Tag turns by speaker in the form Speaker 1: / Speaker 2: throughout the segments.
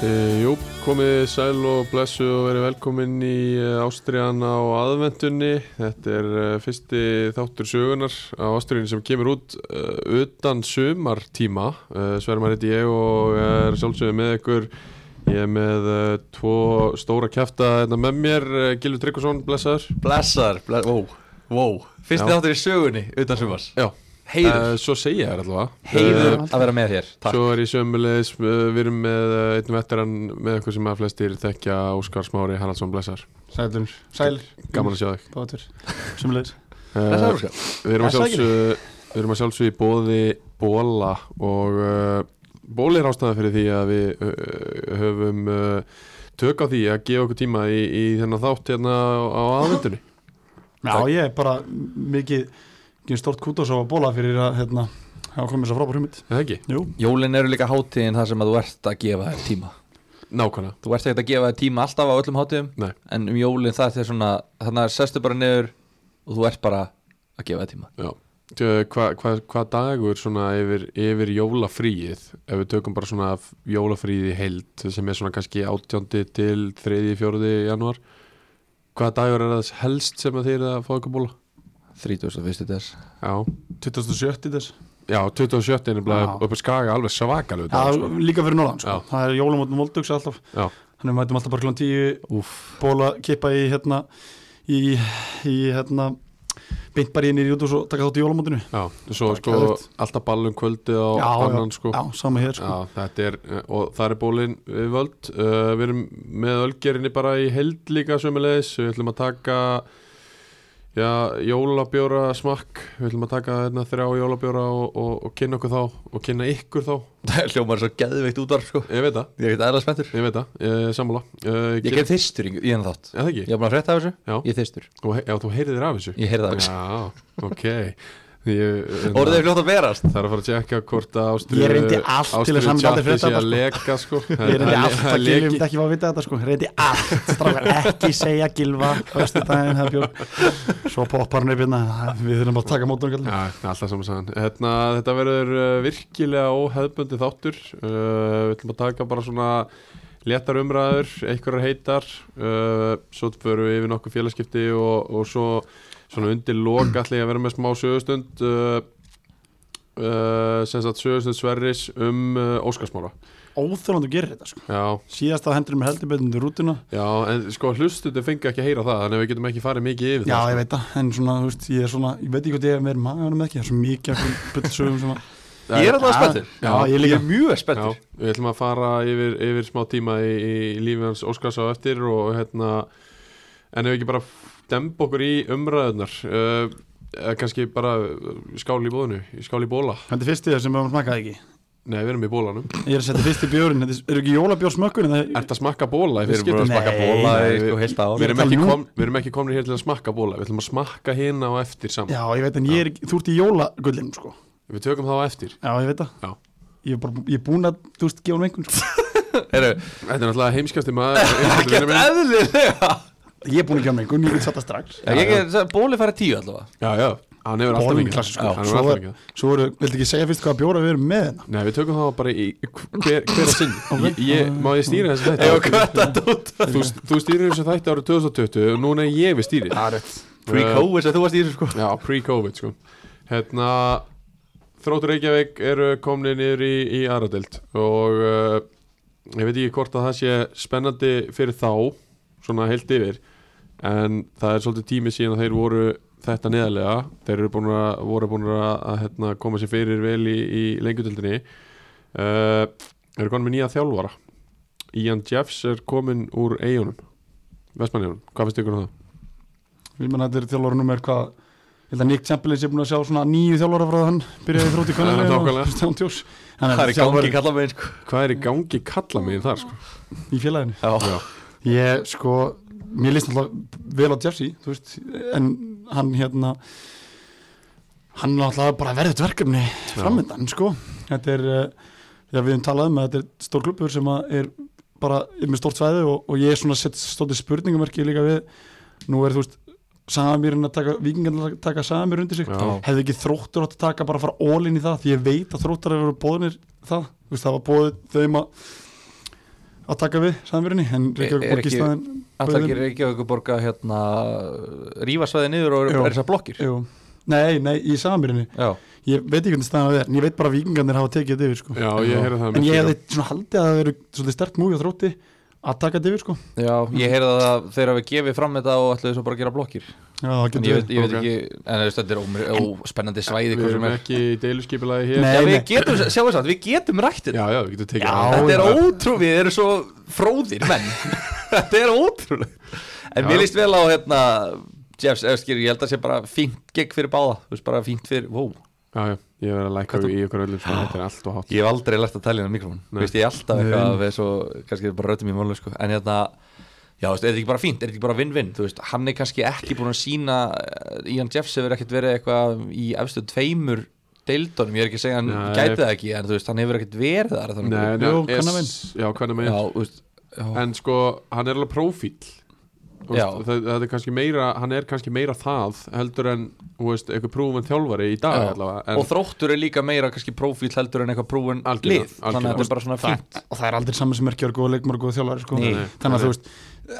Speaker 1: E, jú, komið sæl og blessu og verið velkomin í eh, Ástriðana og aðvendunni. Þetta er eh, fyrsti þáttur sögunar á Ástriðinu sem kemur út uh, utan sumartíma. Uh, Svermar heiti ég og er sjálfsögðu með ykkur. Ég er með uh, tvo stóra kæfta hérna með mér, uh, Gilvi Tryggvason, blessaður.
Speaker 2: Blessar, bless, wow, wow Fyrsti
Speaker 1: Já.
Speaker 2: þáttur í sögunni utan sumars
Speaker 1: Já, Eh,
Speaker 2: Heiður,
Speaker 1: svo segja ég þér allavega.
Speaker 2: heiður
Speaker 1: Eh,
Speaker 2: að vera með þér Takk
Speaker 1: Svo er ég sömulegis, uh, við erum með uh, einnum veteran með ykkur sem að flestir þekkja Óskar Smári Haraldsson Blessar.
Speaker 3: Sælur, sælir,
Speaker 1: Gaman að sjá þig.
Speaker 3: bátur, sumleir
Speaker 1: Eh,
Speaker 2: Blessar, Óskar.
Speaker 1: Við erum að
Speaker 3: Blessaður,
Speaker 1: sjálfsögðu Við erum að sjálfsögðu í bóði bóla og uh, bóli er ástæða fyrir því að við uh, höfum uh, tök á því að gefa okkur tíma í, í þennan þátt hérna á aðvendunni
Speaker 3: Já, ég er bara mikið ekki stort kútos á að bóla fyrir að hérna, hafa komið svo frábær hugmynd
Speaker 1: eða ekki?
Speaker 3: Jú,
Speaker 2: Jólin eru líka hátíðin þar sem að þú ert að gefa þér tíma
Speaker 1: Nákvæmlega
Speaker 2: Þú ert ekkert að gefa þér tíma alltaf á öllum hátíðum
Speaker 1: Nei.
Speaker 2: En um jólin það er svona Þannig að sestu bara niður og þú ert bara að gefa þér tíma
Speaker 1: Já Hvað hva, hva hvað dagur svona yfir, yfir jólafríið ef við tökum bara svona f- jólafríið í heild sem er svona kannski 18. til 3. 4. januar hvaða dagur er það helst sem að þið er að fá ykkur bóla?
Speaker 2: 31. des
Speaker 1: Já
Speaker 3: 2007 í þess
Speaker 1: Já, 27. er nefnilega
Speaker 3: Já.
Speaker 1: upp í skaga alveg svakalegur
Speaker 3: Já,
Speaker 1: dagur, sko.
Speaker 3: líka fyrir norðan, sko
Speaker 1: Já.
Speaker 3: Það er jólumótin voldugs alltaf
Speaker 1: Já.
Speaker 3: Þannig við mætum alltaf bara klán 10
Speaker 1: sko.
Speaker 2: Úff
Speaker 3: bóla, kippa í hérna í, í hérna beint bara í nýri út og svo taka þátt í jólumótinu
Speaker 1: Já, svo
Speaker 3: Bara
Speaker 1: sko
Speaker 3: geðveikt.
Speaker 1: alltaf ballum kvöldi á
Speaker 3: Já,
Speaker 1: annan sko
Speaker 3: Já, sama hér, sko
Speaker 1: Já, þetta er, eh, og það er bólin við völd, uh, við erum með ölgerinni bara í held líka sömulegis við ætlum að taka já, jólabjóra smakk við ætlum að taka hérna, þrjá jólabjóra og, og, og kynna okkur þá, og kynna ykkur þá
Speaker 2: Það er hljómar svo geðveikt útvarf sko
Speaker 1: ég veit það,
Speaker 2: Ég er ekkert aðra spenntur
Speaker 1: ég veit það, eh, sammála uh,
Speaker 2: Ég er þyrstur í í þennan þátt
Speaker 1: Já, það ekki,
Speaker 2: Ég er búin að frétta af þessu
Speaker 1: Já.
Speaker 2: Ég er þyrstur
Speaker 1: og he já, þú heyrið þér af þessu
Speaker 2: Ég heyrði af þessu.
Speaker 1: Já, ok Ég-
Speaker 2: Orðið er fljótt að berast
Speaker 1: Það er að fara að tjekka hvort að ástriðu
Speaker 3: Ég reyndi allt til þess að hann aldrei frétta
Speaker 1: sé að
Speaker 3: þetta, sko.
Speaker 1: leka sko
Speaker 3: Ég reyndi allt að Gilvi
Speaker 1: leki-
Speaker 3: myndi ekki fá að vita þetta sko Reyndi allt, strákar, ekki segja Gilva Föstu daginn, það bjór Svo poppar hann upp hérna Við þurfum bara að taka mótum
Speaker 1: Já, alltaf saman saman hérna, Þetta verður uh, virkilega óheðbundi þáttur uh, Við ætlum að taka bara svona léttar umræður, einhverjar heitar uh, Svo förum við yfir nokkuð félagskipti og, og svo svona undir lok ætla ég að vera með smá sögustund uh, uh, sem sagt sögustund Sverris um uh, Óskarsmála
Speaker 3: Óþjóðan þú gerir þetta sko
Speaker 1: Já,
Speaker 3: síðast að hendur mér heldur betur undir rútuna
Speaker 1: Já, en sko hlustuðu fengi ekki að heyra það þannig að við getum ekki farið mikið yfir
Speaker 3: já
Speaker 1: það sko.
Speaker 3: ég veit það, en svona, þú veist, ég er svona ég veit ekki hvað ég er meir maður ekki það er svo mikið af bullsögum sem að
Speaker 2: Ég er alltaf spenntur
Speaker 3: já, ég
Speaker 2: Ég
Speaker 3: líka
Speaker 2: er mjög spenntur
Speaker 1: Já, við ætlum að fara yfir, yfir smá tíma í, í lífi hans Óskars á eftir og hérna en ef við ekki bara demb okkur í umræðunar uh, eða kannski bara eh, skál í bóðinu skál í bóla,
Speaker 3: þetta er fyrsti sem við höfum smakkað ekki
Speaker 1: nei við erum í bólanum
Speaker 3: ég er að setja fyrsti bjórin, þetta eru ekki jólabjór smökkurinn það
Speaker 1: Er þetta smakka bóla? Við
Speaker 3: Við
Speaker 1: erum bara að smakka
Speaker 3: skiptum- Nei,
Speaker 1: bóla
Speaker 2: nei,
Speaker 1: við-
Speaker 2: sko, heilt ár.
Speaker 1: Við erum
Speaker 3: Ég er að
Speaker 1: ekki
Speaker 3: tala
Speaker 1: kom- við erum ekki komni hér til að smakka bóla Við ætlum að smakka hérna á eftir saman
Speaker 3: já ég veit en ég er ekki, þú ert í jólagullin sko
Speaker 1: Við tökum það á eftir
Speaker 3: já ég veit það
Speaker 1: Já.
Speaker 3: ég er bara, ég er búin að, þú veist, gefa hún einhvern sko.
Speaker 2: Heyrðu,
Speaker 1: Þetta er náttúrulega heimskjastir maður vinur
Speaker 2: Ekkert
Speaker 1: minn.
Speaker 2: eðlilega
Speaker 3: ég er búin að gefa hún einhvern, ég get satt það strax
Speaker 2: Já, ég er, bóli fara tíu allavega
Speaker 1: Já, já, hann hefur alltaf
Speaker 3: Bólin
Speaker 1: líka
Speaker 3: klassískur.
Speaker 1: Hann hefur
Speaker 3: Svo
Speaker 1: alltaf
Speaker 3: er-
Speaker 1: líka
Speaker 3: svo eru, viltu ekki segja fyrst hvað bjóra við erum með hérna
Speaker 1: Nei, við tökum það bara í hver, hver að sinn okay. ég, Má ég stýra þessu
Speaker 2: Ég var
Speaker 1: þætti?
Speaker 2: kvöld að dút
Speaker 1: Þú, þú stýrir þessu þætti árið 2020 og núna er ég við stýrið
Speaker 2: Pre-COVID sem þú varst í þessu sko
Speaker 1: Já, pre-covid sko Hérna, Þróttur Reykjavík eru komni niður í, í Aradelt og uh, ég veit ekki hvort að það sé spennandi fyrir þá svona heilt yfir en það er svolítið tími síðan að þeir voru þetta neðarlega, þeir eru búin að voru búin að, að hérna, koma sér fyrir vel í, í lengjutöldinni uh, eru konum með nýja þjálfara Ian Jeffs er komin úr eigunum, Vestmanniðunum hvað finnst ykkur um það?
Speaker 3: ég menna þetta er þjálfóra nummer hvað ég held að Nick Chamberlain sé búin að sjá svona nýju þjálfóra frá hann byrjaði þrótt í
Speaker 1: Já,
Speaker 3: könnulegu
Speaker 1: nákvæmlega.
Speaker 2: Það er í gangi kalla með sko
Speaker 1: Hvað er í gangi kalla mig þar sko?
Speaker 3: í félaginu
Speaker 2: Já,
Speaker 3: ég sko, mér líst alltaf vel á Jeffsy, þú veist en hann hérna hann er alltaf bara verðið verkefni framöndan, sko þetta er, eh, já við höfum talað um að þetta er stór klubur sem að er bara er með stórt svæði og, og ég er svona sett stóti spurningamarki líka við nú er þú veist, Samir að taka vikingarnir að taka Samir undir sig
Speaker 1: Já.
Speaker 3: hefði ekki þróttur átt að taka bara að fara all in í það því ég veit að þróttar hefur verið bóðinir það, þú veist, það var bóðið þeim að að taka við samverðinni en
Speaker 2: Er- er
Speaker 3: Reykjavík borg í
Speaker 2: ekki-
Speaker 3: staðin
Speaker 2: Alltaf ekki Reykjavík borga hérna rífa svæði niður og
Speaker 3: Jú.
Speaker 2: er þessar blokkir
Speaker 3: Jú. Nei, nei, í samverðinni
Speaker 2: Já,
Speaker 3: Ég veit ekki hvernig staðan það er en ég veit bara að vikingarnir hafa tekið þetta yfir sko.
Speaker 1: Já, ég heyrði það
Speaker 3: En
Speaker 1: mitt
Speaker 3: ég
Speaker 1: líka.
Speaker 3: hefði svona haldið að það verið svolítið stert múi á þrótti að taka þetta yfir sko.
Speaker 2: já, ég heyrði það að þeir hafi gefið fram þetta og ætluðu svo bara að gera blokkir
Speaker 3: Já, það
Speaker 2: En ég
Speaker 3: getur
Speaker 2: veit, ég veit
Speaker 1: Ok.
Speaker 2: ekki, en þú veist, þetta er ómri, ó, spennandi svæði
Speaker 1: Við
Speaker 2: hvað sem
Speaker 1: erum
Speaker 2: er
Speaker 1: ekki í deiluskipilagi hér
Speaker 3: Nei,
Speaker 2: Já, við
Speaker 3: nei.
Speaker 2: getum, sjáum þess að, við getum rætt þetta
Speaker 1: Já, já, við getum tekið
Speaker 3: Já,
Speaker 1: það.
Speaker 2: Þetta er ótrú, við erum svo fróðir menn Þetta er ótrúlegt En
Speaker 1: Já.
Speaker 2: mér líst vel á hérna Jeffs Öskir, ég held að sé bara fínt gegn fyrir báða Þú veist bara fínt fyrir, wow
Speaker 1: Já, já, ég verði að læka í ykkur öllum svona, þetta er allt og hátt
Speaker 2: Ég hef aldrei lært að tala inn á mikrofón
Speaker 1: Nei.
Speaker 2: Þú veist, ég er alltaf eitthvað
Speaker 3: Nei.
Speaker 2: að við svo Kannski bara röddum í málu, sko En hérna, já, þú veist, er þetta ekki bara fínt, er þetta ekki bara vinn-vinn Þú veist, hann er kannski ekki búin að sína Ian Jeffs hefur ekkert verið eitthvað Í efstu tveimur deildunum Ég er ekki að segja hann
Speaker 1: Nei.
Speaker 2: gæti það ekki En þú veist, hann hefur ekkert verið þar þannig
Speaker 1: Nei,
Speaker 2: að-
Speaker 1: nei,
Speaker 3: Jú,
Speaker 1: es-
Speaker 3: kvennamein.
Speaker 1: Já, hvernig
Speaker 2: Já,
Speaker 1: megin
Speaker 2: þú veist, já.
Speaker 1: En sko, hann er alveg prófíl
Speaker 2: Já.
Speaker 1: Þetta er kannski meira, hann er kannski meira það heldur en, þú veist, eitthvað prúfum þjálfari í dag
Speaker 2: Já.
Speaker 1: allavega en,
Speaker 2: og þróttur er líka meira kannski profíl heldur en eitthvað prúin
Speaker 1: Algjörlega,
Speaker 2: lið þannig að
Speaker 1: algjörlega.
Speaker 2: þetta er bara svona fínt
Speaker 3: og það er aldrei saman sem er ekki góð leikmar og góð þjálfari sko.
Speaker 2: Nei.
Speaker 3: þannig að þú veist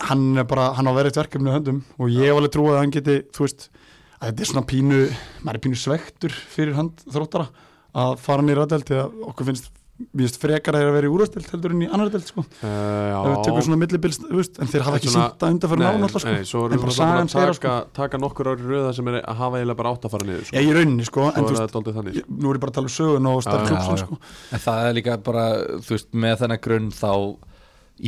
Speaker 3: hann er bara, hann á verið verkefni á höndum og ég hef alveg trúið að hann geti, þú veist að þetta er svona pínu, maður er pínu svektur fyrir hann þróttara að fara hann í ræðdelt því að okkur finnst við finnst frekar að þeir að vera í úrvæðdelt heldur en í annardelt sko,
Speaker 1: uh,
Speaker 3: ef við
Speaker 1: Já,
Speaker 3: tökum svona millibils, þú veist, en þeir hafa
Speaker 1: En
Speaker 3: ekki
Speaker 1: svona-
Speaker 3: sínt að undarfæra náðan alltaf sko,
Speaker 1: nei, svo
Speaker 3: En
Speaker 1: erum
Speaker 3: bara
Speaker 1: við bara
Speaker 3: sagan sko.
Speaker 1: að
Speaker 3: segir,
Speaker 1: taka, taka nokkur árið röða sem er að hafa eiginlega bara átt að fara niður sko.
Speaker 3: ég í rauninni sko,
Speaker 1: Svo
Speaker 3: en
Speaker 1: er
Speaker 3: þú
Speaker 1: það
Speaker 3: veist
Speaker 1: daldið þannig
Speaker 3: ég- nú er ég bara að tala um sögun og
Speaker 1: Já,
Speaker 3: starf
Speaker 2: já,
Speaker 3: klúpsinn
Speaker 2: já.
Speaker 3: sko
Speaker 2: en það er líka bara, þú veist, með þennan grunn þá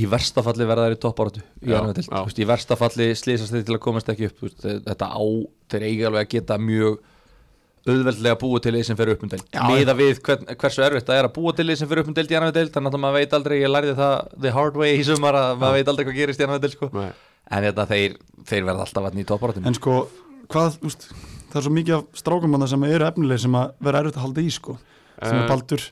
Speaker 2: í versta falli verða þær í toppáratu í
Speaker 1: Já,
Speaker 2: annað deild.
Speaker 1: já.
Speaker 2: Þú veist, í versta falli slýsast þeir til að komast ekki upp þú veist, þetta á, þeir eiga alveg að geta mjög auðveldlega búa til lið sem fer upp um deild
Speaker 3: Já,
Speaker 2: miða við hvern, hversu erfitt það er að búa til lið sem fer upp um deild í annar deild þannig að maður veit aldrei, ég lærði það the hard way í sumar að maður veit aldrei hvað gerist í annar deild sko.
Speaker 1: Nei.
Speaker 2: en þetta þeir, þeir verða alltaf vatn í
Speaker 1: Mm.
Speaker 2: toppáratum
Speaker 3: en sko, hvað, úst, það er svo mikið af strákumanna sem eru efnileg sem að vera erfitt að halda í sko, sem
Speaker 1: Eh.
Speaker 3: er baldur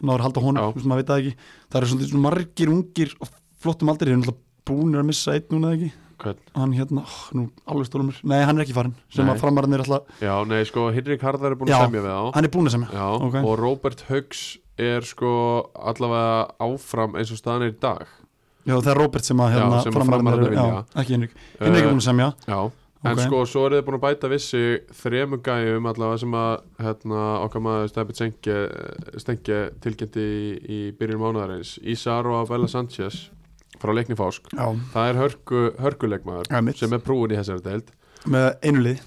Speaker 3: náður að halda honum,
Speaker 1: Já.
Speaker 3: þú veist, maður veit það ekki það eru svona, svona margir ungir og flottum aldrei, þeir eru náttúrulega búnir að missa einn núna eða ekki,
Speaker 1: Hvern?
Speaker 3: hann hérna ó, nú, alveg stólum mér, nei hann er ekki farinn sem
Speaker 1: Nei.
Speaker 3: að framarinn er alltaf,
Speaker 1: Já, nei, sko, Henrik Harðar er búin
Speaker 3: Já.
Speaker 1: að semja við á
Speaker 3: hann er búin að semja
Speaker 1: Já,
Speaker 3: ok.
Speaker 1: og Robert Huggs er sko allavega áfram eins og staðan er í dag
Speaker 3: já, það er Robert sem að hérna
Speaker 1: Já, sem að
Speaker 3: framarinn
Speaker 1: framararnir
Speaker 3: er, já,
Speaker 1: vilja.
Speaker 3: ekki Henrik Henrik er
Speaker 1: Eh,
Speaker 3: búin að semja,
Speaker 1: Já, en
Speaker 3: Ok.
Speaker 1: sko, svo eru þið búin að bæta vissi þremu gæjum allavega sem að hérna, okkar maður Stefið Senke, Stenke tilkynnti í, í byrjun mánuðarins Ísar og Abella Sanchez frá Leiknifásk
Speaker 3: já,
Speaker 1: Það er hörku, hörkuleikmaður
Speaker 3: Já, mitt.
Speaker 1: sem er prúin í þessari deild
Speaker 3: með einu lið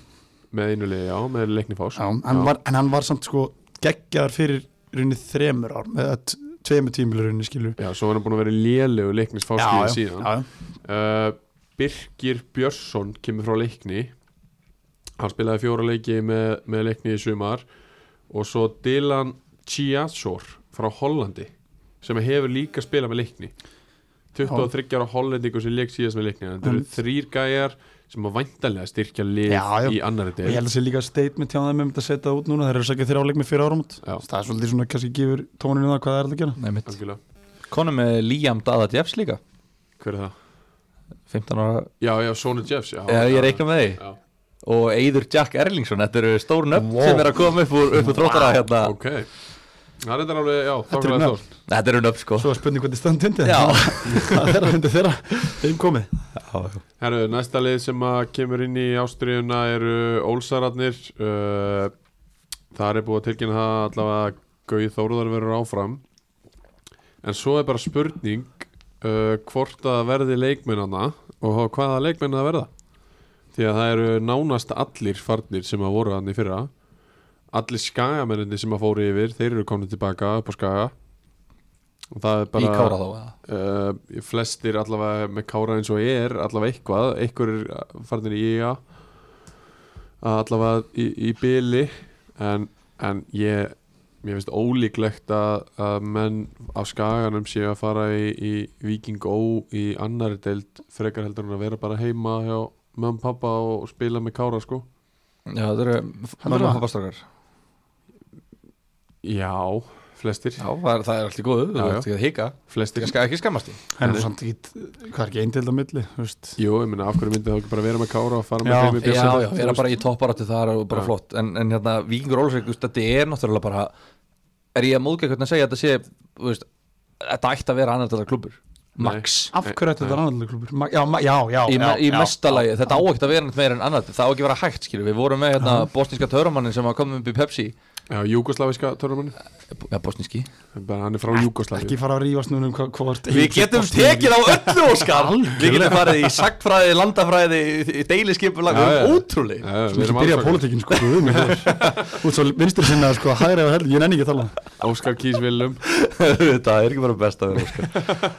Speaker 1: með einu liði, já, með Leiknifásk
Speaker 3: já, hann var, en hann var samt sko geggjaðar fyrir runni þremur ár, með að tveimur tímil runni skilur
Speaker 1: Já, svo er hann búin að vera lélegu leiknisfáskið síðan
Speaker 3: já, já.
Speaker 1: uh, Birgir Björnsson kemur frá leikni hann spilaði fjóra leiki með, með leikni í sumar og svo Dylan Chiazor frá Hollandi sem hefur líka spilað með leikni 23 ára hollendingur sem leik síðast með leikni en þetta eru
Speaker 3: Einmitt.
Speaker 1: þrýr gæjar sem að væntanlega styrkja lið
Speaker 3: Já, já.
Speaker 1: í annari
Speaker 3: Og ég
Speaker 1: del
Speaker 3: held að sé líka statement hjá þeim um þetta að setja það út núna, þeir eru sækja þeirra áleik með fyrir árum út
Speaker 1: Já.
Speaker 3: það er svolítið svona kannski gefur tóninu það hvað það er að gera
Speaker 2: Nei, mitt.
Speaker 1: Algjörlega.
Speaker 2: Konum með Liam Dada Jeffs líka
Speaker 1: hver er það?
Speaker 2: 15 ára
Speaker 1: Já, já, Sónu Jeffs já,
Speaker 2: Já, ég
Speaker 3: um
Speaker 2: reikna með því
Speaker 1: Já,
Speaker 2: Og Eyður Jack Erlingsson, þetta eru stór nöfn sem er að koma upp úr, upp úr þróttara hérna
Speaker 1: ok Það er þetta alveg, já,
Speaker 3: Þetta eru
Speaker 1: þokkalega
Speaker 3: nöfn.
Speaker 1: stórt.
Speaker 2: Þetta eru nöfn sko
Speaker 3: Svo er spurning hvernig stand undir
Speaker 2: Já.
Speaker 3: það er þeirra undir þeirra þeim komið
Speaker 1: Herru, næsta lið sem að kemur inn í Ástriðuna eru Ólsararnir uh, Þar er búið að tilkynna það allavega að Gauð Þóruðar verður áfram En svo er bara spurning uh, hvort að verði leikmennana og þá hvaða leikmenn það verða Því að það eru nánast allir farnir sem að voru hann í fyrra Allir skagamenninni sem að fóru yfir, þeir eru komin tilbaka upp á skaga Og það er
Speaker 2: Í
Speaker 1: bara
Speaker 2: kára þá eða?
Speaker 1: uh, flestir allavega með kára eins og er allavega eitthvað, einhver er farin í IA allavega í, í byli en, en ég mér finnst ólíklegt að, að menn af skaganum séu að fara í, í Viking Ó í annari deild frekar heldur en að vera bara heima hjá mömmu og pappa og spila með kára sko
Speaker 2: Já, þetta eru
Speaker 3: það?
Speaker 2: mamma og pappastrákar
Speaker 1: já, flestir
Speaker 2: Já, það er, það er allt í góðu,
Speaker 1: Já, já.
Speaker 2: þú ert ekki að hika
Speaker 1: flestir,
Speaker 2: Ég skal ekki skammast því
Speaker 3: en samt ekki, hvað er ekki einn til það milli þú veist.
Speaker 1: jú, ég meina af hverju myndi þá ekki bara vera með kára og fara
Speaker 3: Já.
Speaker 1: með heimi
Speaker 2: Já, já, vera bara í topparáttu þar og bara
Speaker 1: Já.
Speaker 2: flott En, en hérna, Víkingur Ólfsvík, þú veist, þetta er náttúrulega bara Er ég að móðgæk hvernig að segja að þetta sé, þú veist Þetta ætti að vera annar þetta klubur max
Speaker 3: af hverju ætti þetta er annar klubur Ma- já, ma- já, já,
Speaker 2: í,
Speaker 3: já,
Speaker 2: me, í
Speaker 3: já,
Speaker 2: mesta
Speaker 3: já.
Speaker 2: lagi, þetta á ekkert að vera neitt meira en annað það á ekki að vera hægt, skilur, við vorum með hérna, bosniska törumannin sem var komin upp í Pepsi
Speaker 1: Já, júgoslaviska törnumann
Speaker 2: ja, bosniski,
Speaker 1: Bara hann er frá Júgoslavi
Speaker 3: ekki fara að rífast núna um hvað hvort
Speaker 2: við getum tekið á öllu Óskar, við getum farið í sagfræði, landafræði, í deiliskipulag
Speaker 1: Já,
Speaker 2: við
Speaker 1: já.
Speaker 2: erum ótrúleg
Speaker 1: Já,
Speaker 3: Svo
Speaker 1: við
Speaker 3: mikið
Speaker 1: erum
Speaker 3: byrja á
Speaker 1: afsakaðir.
Speaker 3: pólitíkin sko, guð minn góður. Út svo vinstri sinna sko, hægri eða helgi, ég nenni ekki að tala
Speaker 1: Óskar Kís Willum
Speaker 2: þetta er ekki bara best að vera Óskar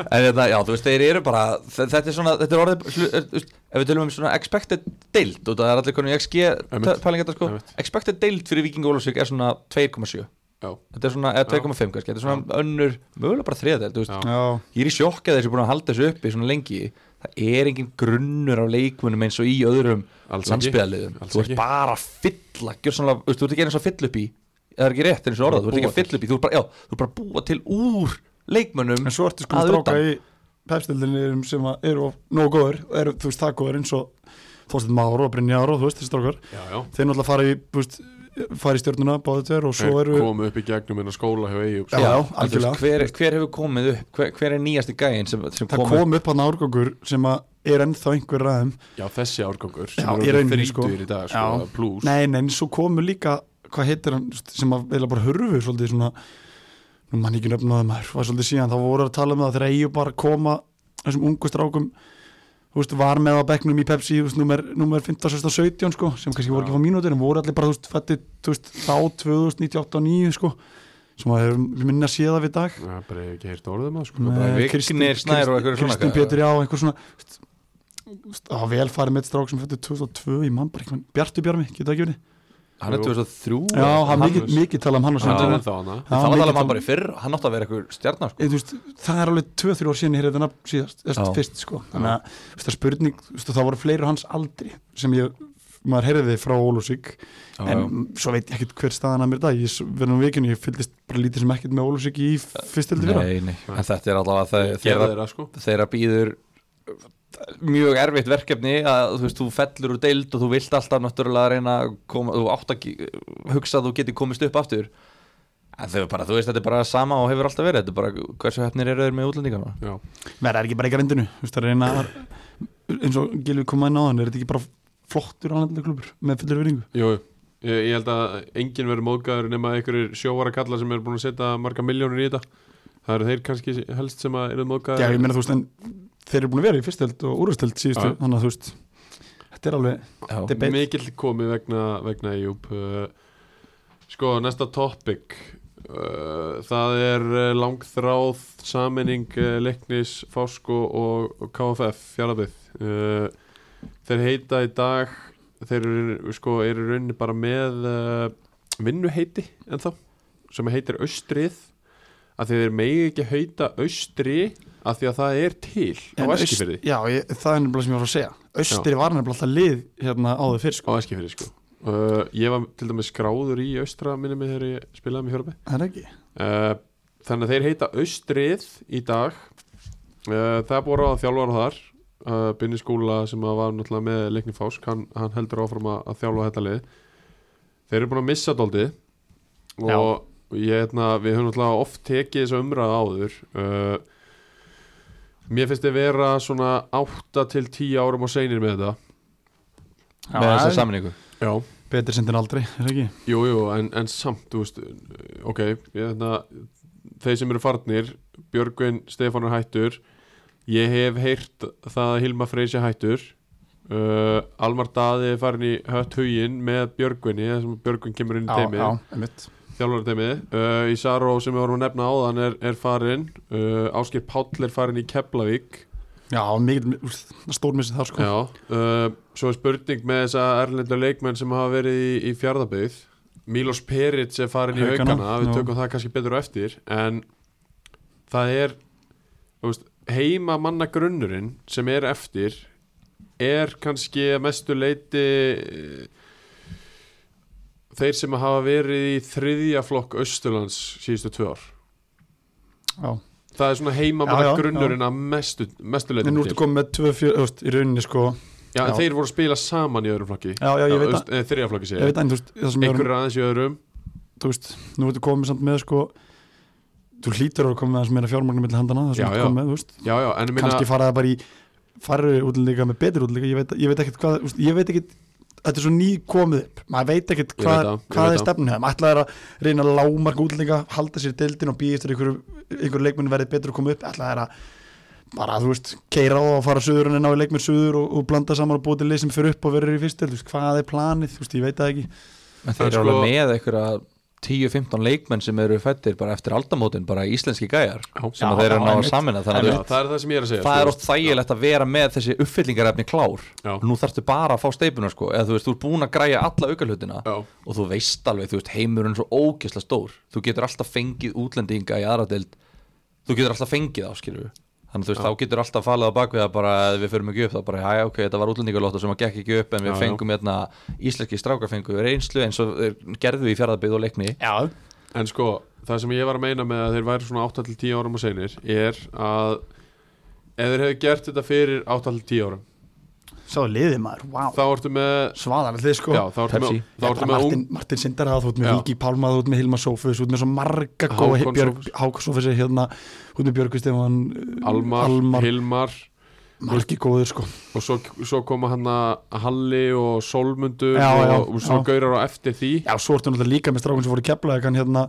Speaker 2: en þetta, já, þú veist, þeir eru bara þe- þetta er svona, þetta er orðið hlu- er- þú veist, ef við tölum um svona expected deild og það er allir konum í XG
Speaker 1: Einmitt.
Speaker 2: pælingar þetta sko,
Speaker 1: Einmitt.
Speaker 2: expected deild fyrir Viking Ólafsvík er svona 2,7
Speaker 1: Já,
Speaker 2: þetta er svona, eða 2,5 kannski, þetta er svona önnur mögulega bara þriðadeild, þú veist
Speaker 1: Já.
Speaker 3: Já,
Speaker 2: ég er í sjokka þessi búin að halda þessu uppi svona lengi það er engin grunnur á leikmunum eins og í öðrum
Speaker 1: Alls ekki.
Speaker 2: landsbyðaliðum
Speaker 1: Alls
Speaker 2: þú ert
Speaker 1: ekki.
Speaker 2: bara að fylla gjörsamlega- þú veist, þú ert ekki eins og að fylla upp í eða er ekki rétt eins og orðað, þú ert ekki að fylla upp í þú ert bara, já, þú ert bara að búa til úr leikmunum
Speaker 3: en svo ertu sko
Speaker 2: að
Speaker 3: stráka
Speaker 2: utan.
Speaker 3: í pepstildinni sem að eru of- nógu góður og eru, þú veist, það góður eins og Þorstein Már og Brynjar og þú veist, þessi strákar
Speaker 1: já, já
Speaker 3: þeir náttúrulega fara í, þú veist, fara í stjórnuna báðu tver og svo
Speaker 1: Þeir
Speaker 3: eru
Speaker 1: komu upp í gegnum en að skóla hjá Eyjum
Speaker 3: Já,
Speaker 1: sko.
Speaker 2: en þú veist,
Speaker 3: algjörlega.
Speaker 2: hver, hver hefur komið upp, hver, hver er nýjasti gæinn sem, sem
Speaker 3: það
Speaker 2: komið
Speaker 3: kom upp hann árgangur sem að er ennþá einhver ræðum
Speaker 1: já, þessi árgangur sem
Speaker 3: Já,
Speaker 1: eru
Speaker 3: í
Speaker 1: orðnir
Speaker 3: rauninni, sko.
Speaker 1: þrítugur í dag
Speaker 3: Já.
Speaker 1: sko, plus
Speaker 3: Nei, nei, en svo komu líka hvað heitir hann, sem að eða bara hurfu svolítið svona, nú mann ekki nöfnaði maður, var svolítið síðan, þá voru að tala um það þegar eigi bara koma þessum ungu strákum þú veist, var með á bekknum í Pepsi, þú veist, númer, númer 15, 16, 17 sko, sem kannski voru ekki fá mínútur, en voru allir bara, þú veist, fætti, þú veist, þá 2098 og 9 sko, sem að hefur minna séð af í dag
Speaker 1: Já, bara hef ekki heyrt orðum að sko
Speaker 3: Nei.
Speaker 1: bara,
Speaker 2: Sko, Vignir
Speaker 3: Kristín-
Speaker 2: Snær og einhverju svona
Speaker 3: Kristín
Speaker 2: gæjar.
Speaker 3: Pétur já, einhver svona þú veist, það var velfarið með strák sem fættu 2002 í mann, bara einhvern Bjartu Bjarmi, geta ekki verið
Speaker 2: hann er 2003
Speaker 3: Já, hann mikið,
Speaker 1: Hannes.
Speaker 3: mikið talað um hann á
Speaker 1: Hann er
Speaker 3: sínum tíma.
Speaker 1: ennþá hana
Speaker 3: Já,
Speaker 2: það var talað um
Speaker 3: mikið talað-
Speaker 2: hann bara í fyrr hann átti að vera eitthvað stjarnar sko.
Speaker 3: Ég, þú veist, það er alveg 2-3 ár síðan ég heyrði þetta nafn síðast, eða
Speaker 2: Já.
Speaker 3: fyrst sko þannig að þú veist, það er spurning, þú veist, það voru fleiri á hans aldri sem ég, maður heyrði frá Ólusík
Speaker 2: Já,
Speaker 3: en svo veit ég ekkert hver staðan að mér í dag, ég verðum vikinu ég fylgist bara lítið sem ekkert með Ólusík í fyrstildi fyrra
Speaker 2: nei, nei. en þetta er allavega
Speaker 1: gerði
Speaker 2: þe- þeirra
Speaker 1: þeirra sko
Speaker 2: þeirra býður mjög erfitt verkefni að þú veist, þú fellur úr deild og þú vilt alltaf náttúrulega reyna að koma, þú átt að ge- hugsa að þú getur komist upp aftur en þau bara, þú veist, þetta er bara sama og hefur alltaf verið, þetta er bara, hversu hefnir eru þeir með útlendingana?
Speaker 1: já,
Speaker 3: verða er ekki bara í grindinu, þú veist, það er eina eins og Gilvi kom að náðan, er þetta ekki bara flottur annaðlega klubur með fyllir veringu
Speaker 1: jú jú. ég, ég held að enginn verður móðgæður nema einhverjir sjóvara kallar sem eru búin að setja marga miljónir í þetta það eru þeir kannski helst sem að eru
Speaker 3: Já, ég
Speaker 1: móðgæður
Speaker 3: meina þú veist, en þeir eru búin að vera í fyrstild og úrvöstild síðustu,
Speaker 1: Já.
Speaker 3: þannig að þú veist þetta er alveg, þetta
Speaker 2: Já,
Speaker 3: er beitt
Speaker 1: mikill komi vegna, vegna Júp sko, næsta topic uh, það er eh, langþráð saminning uh, Leknis, Fásko og, og KFF fjallabið uh, þeir heita í dag þeir eru sko, eru í rauninni bara með uh, vinnuheiti ennþá, sem heitir Austrið að þeir megi ekki heita Austri af því að það er til á
Speaker 3: En
Speaker 1: Eskifirði
Speaker 3: Aust- Já, ég, það er nefnilega sem ég var að segja Östri var nefnilega alltaf lið hérna áður fyrr
Speaker 1: á
Speaker 3: sko.
Speaker 1: Eskifirði sko uh, ég var til dæmis skráður í austra minni mig þegar ég spilaði með Hjörbi
Speaker 3: Það er ekki
Speaker 1: uh, þannig að þeir heita Austrið í dag uh, það er búið að ráða þjálfara þar uh, Binni Skúla sem að var náttúrulega með leikni Fásk, hann, hann heldur áfram að, að þjálfa þetta lið þeir eru búin að missa dóldi
Speaker 3: Já.
Speaker 1: og ég, hérna, við höfum náttúrulega oft tekið þessu umræða áður uh, mér finnst þið vera svona 8 til 10 árum á seinir með þetta
Speaker 2: með þessa samningu
Speaker 1: já
Speaker 3: Betur sendin aldrei, er það ekki?
Speaker 1: Jú, jú, en, en samt, þú veist ok, ég, þetta, þeir sem eru farnir Björgvin Stefán er hættur ég hef heyrt það að Hilma Freysi hættur uh, Almar Daði er farin í hött huginn með Björgvinni, þar sem Björgvin kemur inn í teimið,
Speaker 3: einmitt
Speaker 1: þjálfari teimið uh, í Saró sem við vorum að nefna áðan er, er farin, uh, Áskir Páll er farin í Keflavík
Speaker 3: Já, mikið, stórmissið þar sko
Speaker 1: Já, uh, svo er spurning með þessa erlendur leikmenn sem hafa verið í, í fjárðabyggð Milos Peric er farin í
Speaker 3: Haukana,
Speaker 1: haugana, við
Speaker 3: já.
Speaker 1: tökum það kannski betur á eftir en það er þú veist, heima manna grunnurinn sem er eftir er kannski að mestu leiti eh, þeir sem hafa verið í þriðja flokk Östurlands síðustu tvö ár
Speaker 3: Já.
Speaker 1: það er svona heima
Speaker 3: Já,
Speaker 1: manna
Speaker 3: já,
Speaker 1: grunnurinn að mestu, mestu leiti
Speaker 3: En nú ertu komið með 2-4, þú veist, í rauninni sko
Speaker 1: Já, en
Speaker 3: Já.
Speaker 1: þeir voru að spila saman í öðrum flokki
Speaker 3: Já, já, ég veit að,
Speaker 1: að Þriðja flokki
Speaker 3: ég
Speaker 1: segja
Speaker 3: veit að, en um- þú veist, það sem ég var
Speaker 1: Einhverjur aðeins í öðrum
Speaker 3: þú veist, nú ertu komið samt með sko þú hlýtur að koma með þess meira fjármagnum milli handana, það
Speaker 1: Já,
Speaker 3: sem
Speaker 1: já.
Speaker 3: þú kom með, þú veist
Speaker 1: já, já, en ég minna
Speaker 3: kannski fara það bara í farri útlendinga með betri útlendinga, ég veit, ég veit ekkert hvað þú veist, ég veit ekkert, þetta er svo ný komið upp maður veit ekkert
Speaker 1: Ég veit
Speaker 3: hvað,
Speaker 1: það, ég
Speaker 3: hvað
Speaker 1: veit
Speaker 3: er
Speaker 1: það.
Speaker 3: stefnið þeim ætlaði að reyna að lámarka útlendinga halda sér deildin og býðist þegar einhver, einhver leikmenn verið betur að koma upp, ætlaði að bara, þú veist, keira á að fara söður en ná í leikmenn söður og, og blanda saman og búið til lið sem fyrir upp og verður í fyrstu deild, þú veist, hvað er planið, þú veist, ég veit það ekki
Speaker 2: En þeir
Speaker 1: En
Speaker 2: eru alveg
Speaker 1: sko-
Speaker 2: með einhverja 10-15 leikmenn sem eru fættir bara eftir aldamótin, bara íslenski gæjar
Speaker 1: Já.
Speaker 2: sem
Speaker 3: Já,
Speaker 2: að þeir eru að ná að
Speaker 3: einmitt.
Speaker 2: samina þannig
Speaker 1: já,
Speaker 2: að þú-
Speaker 1: það er það sem ég er að segja
Speaker 2: það
Speaker 1: sko.
Speaker 2: er oft þægilegt að vera með þessi uppfyllingarefni klár
Speaker 1: Já.
Speaker 2: nú þarftu bara að fá steipuna sko eða þú veist, þú ert búin að græja alla aukarlutina
Speaker 1: Já.
Speaker 2: og þú veist alveg, þú veist, heimurinn er svo ókesslega stór þú getur alltaf fengið útlendinga í aðradeild þú getur alltaf fengið áskilur þannig að þú veist, þá getur alltaf falið á bakvið að bara ef við förum ekki upp, þá bara, já, já, ok, þetta var útlendingalóta sem að gekk ekki upp en við
Speaker 1: Já, já.
Speaker 2: fengum hérna íslenski strákar fengum við reynslu eins og þeir gerðu í fjaraðbyggð og leikni
Speaker 3: Já,
Speaker 1: En sko, það sem ég var að meina með að þeir væri svona 8-10 árum og senir er að ef þeir hefðu gert þetta fyrir 8-10 árum
Speaker 3: sá liðið maður, wow,
Speaker 1: þá ertu með,
Speaker 3: svaðan lið sko
Speaker 1: já, þá ertu með,
Speaker 2: Pepsi.
Speaker 1: þá ertu með
Speaker 3: Martin,
Speaker 1: ung,
Speaker 3: ung... Martin Sindar að þú ert með
Speaker 1: Já.
Speaker 3: Helgi Pálma þú ert með Hilma Sófus, þú ert með svo marga
Speaker 1: Hákon
Speaker 3: góða Björg,
Speaker 1: Sófus.
Speaker 3: Hákonsófus hérna, þú ert með Björg Stefán uh,
Speaker 1: Almar,
Speaker 3: Almar
Speaker 1: Hilmar
Speaker 3: margi góðir sko
Speaker 1: og svo, svo koma hann að Halli og Solmundur
Speaker 3: Já, já,
Speaker 1: og, og svo
Speaker 3: já.
Speaker 1: gaurar á eftir því
Speaker 3: já, svo ertu náttúrulega líka með strákun sem voru kepla hann hérna,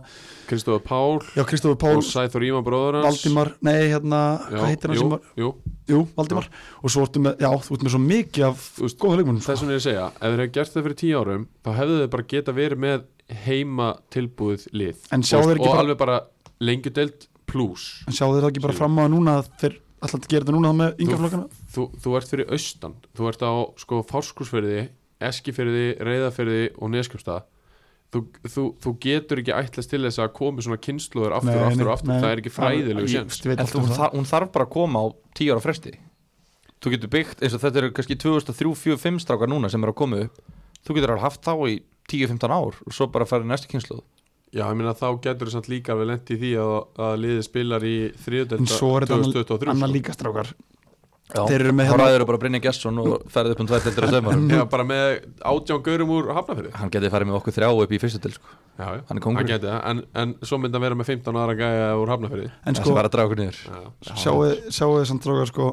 Speaker 1: Kristofur Pál
Speaker 3: já, Kristofur Pál,
Speaker 1: og Sæþór Íma bróður hans
Speaker 3: Valdimar nei, hérna,
Speaker 1: Já,
Speaker 3: hvað heitir hann
Speaker 1: jú,
Speaker 3: sem var
Speaker 1: jú.
Speaker 3: jú, Valdimar, og svo ertu með, já, þú ert með svo mikið af
Speaker 1: Þú veist,
Speaker 3: góða leikmunum
Speaker 1: Þess vegna
Speaker 3: sko.
Speaker 1: er ég að segja, ef þeir hefðu gert það fyrir 10 árum þá hefðu þeir bara geta verið með heima tilbúið lið
Speaker 3: En sjá
Speaker 1: og,
Speaker 3: þeir
Speaker 1: og
Speaker 3: ekki bara-
Speaker 1: alveg bara lengjudelt pluss
Speaker 3: en sjáðu þér það ekki bara fram á núna að þeir alltaf að gera þetta núna þá með yngaflokkana
Speaker 1: þú, þú ert fyrir austan þú ert á sko fárskursferði eskifyrði, reyðafyrði og neskjöfsta þú, þú, þú getur ekki ætlast til þess að komi svona kynsluður aftur og aftur og aftur, það er ekki fræðilegu séns
Speaker 2: en þú,
Speaker 3: um það,
Speaker 2: þar, hún þarf bara að koma á 10 ára fresti þú getur byggt, eins og þetta eru kannski 2003, 4, 5 strákar núna sem eru að koma upp þú getur alveg haft þá í 10-15 ár og svo bara að fara í næstu kynsluð
Speaker 1: Já, ég meina þá getur þess að líka við lent í því að, að liðið spilar í
Speaker 3: en
Speaker 1: þriðudelta
Speaker 3: svo er þetta
Speaker 1: 2023 sko.
Speaker 3: annað líka strákar Þeir
Speaker 2: þá
Speaker 3: eru með hérna-
Speaker 2: ræður bara Brynja Gesson og ferði upp um tvær deildir að sömurum
Speaker 1: Já, bara með átján gaurum úr hafnafyrði
Speaker 2: hann geti farið með okkur þrjá upp í fyrstu til sko.
Speaker 1: Já, já,
Speaker 2: Hann er kóngur.
Speaker 1: geti það, en, en svo myndi hann vera með 15 aðra gæja úr hafnafyrði
Speaker 3: en
Speaker 2: það sem
Speaker 3: sko,
Speaker 2: var að draga okkur niður
Speaker 1: Já,
Speaker 3: sjáuði þið samt drókar sko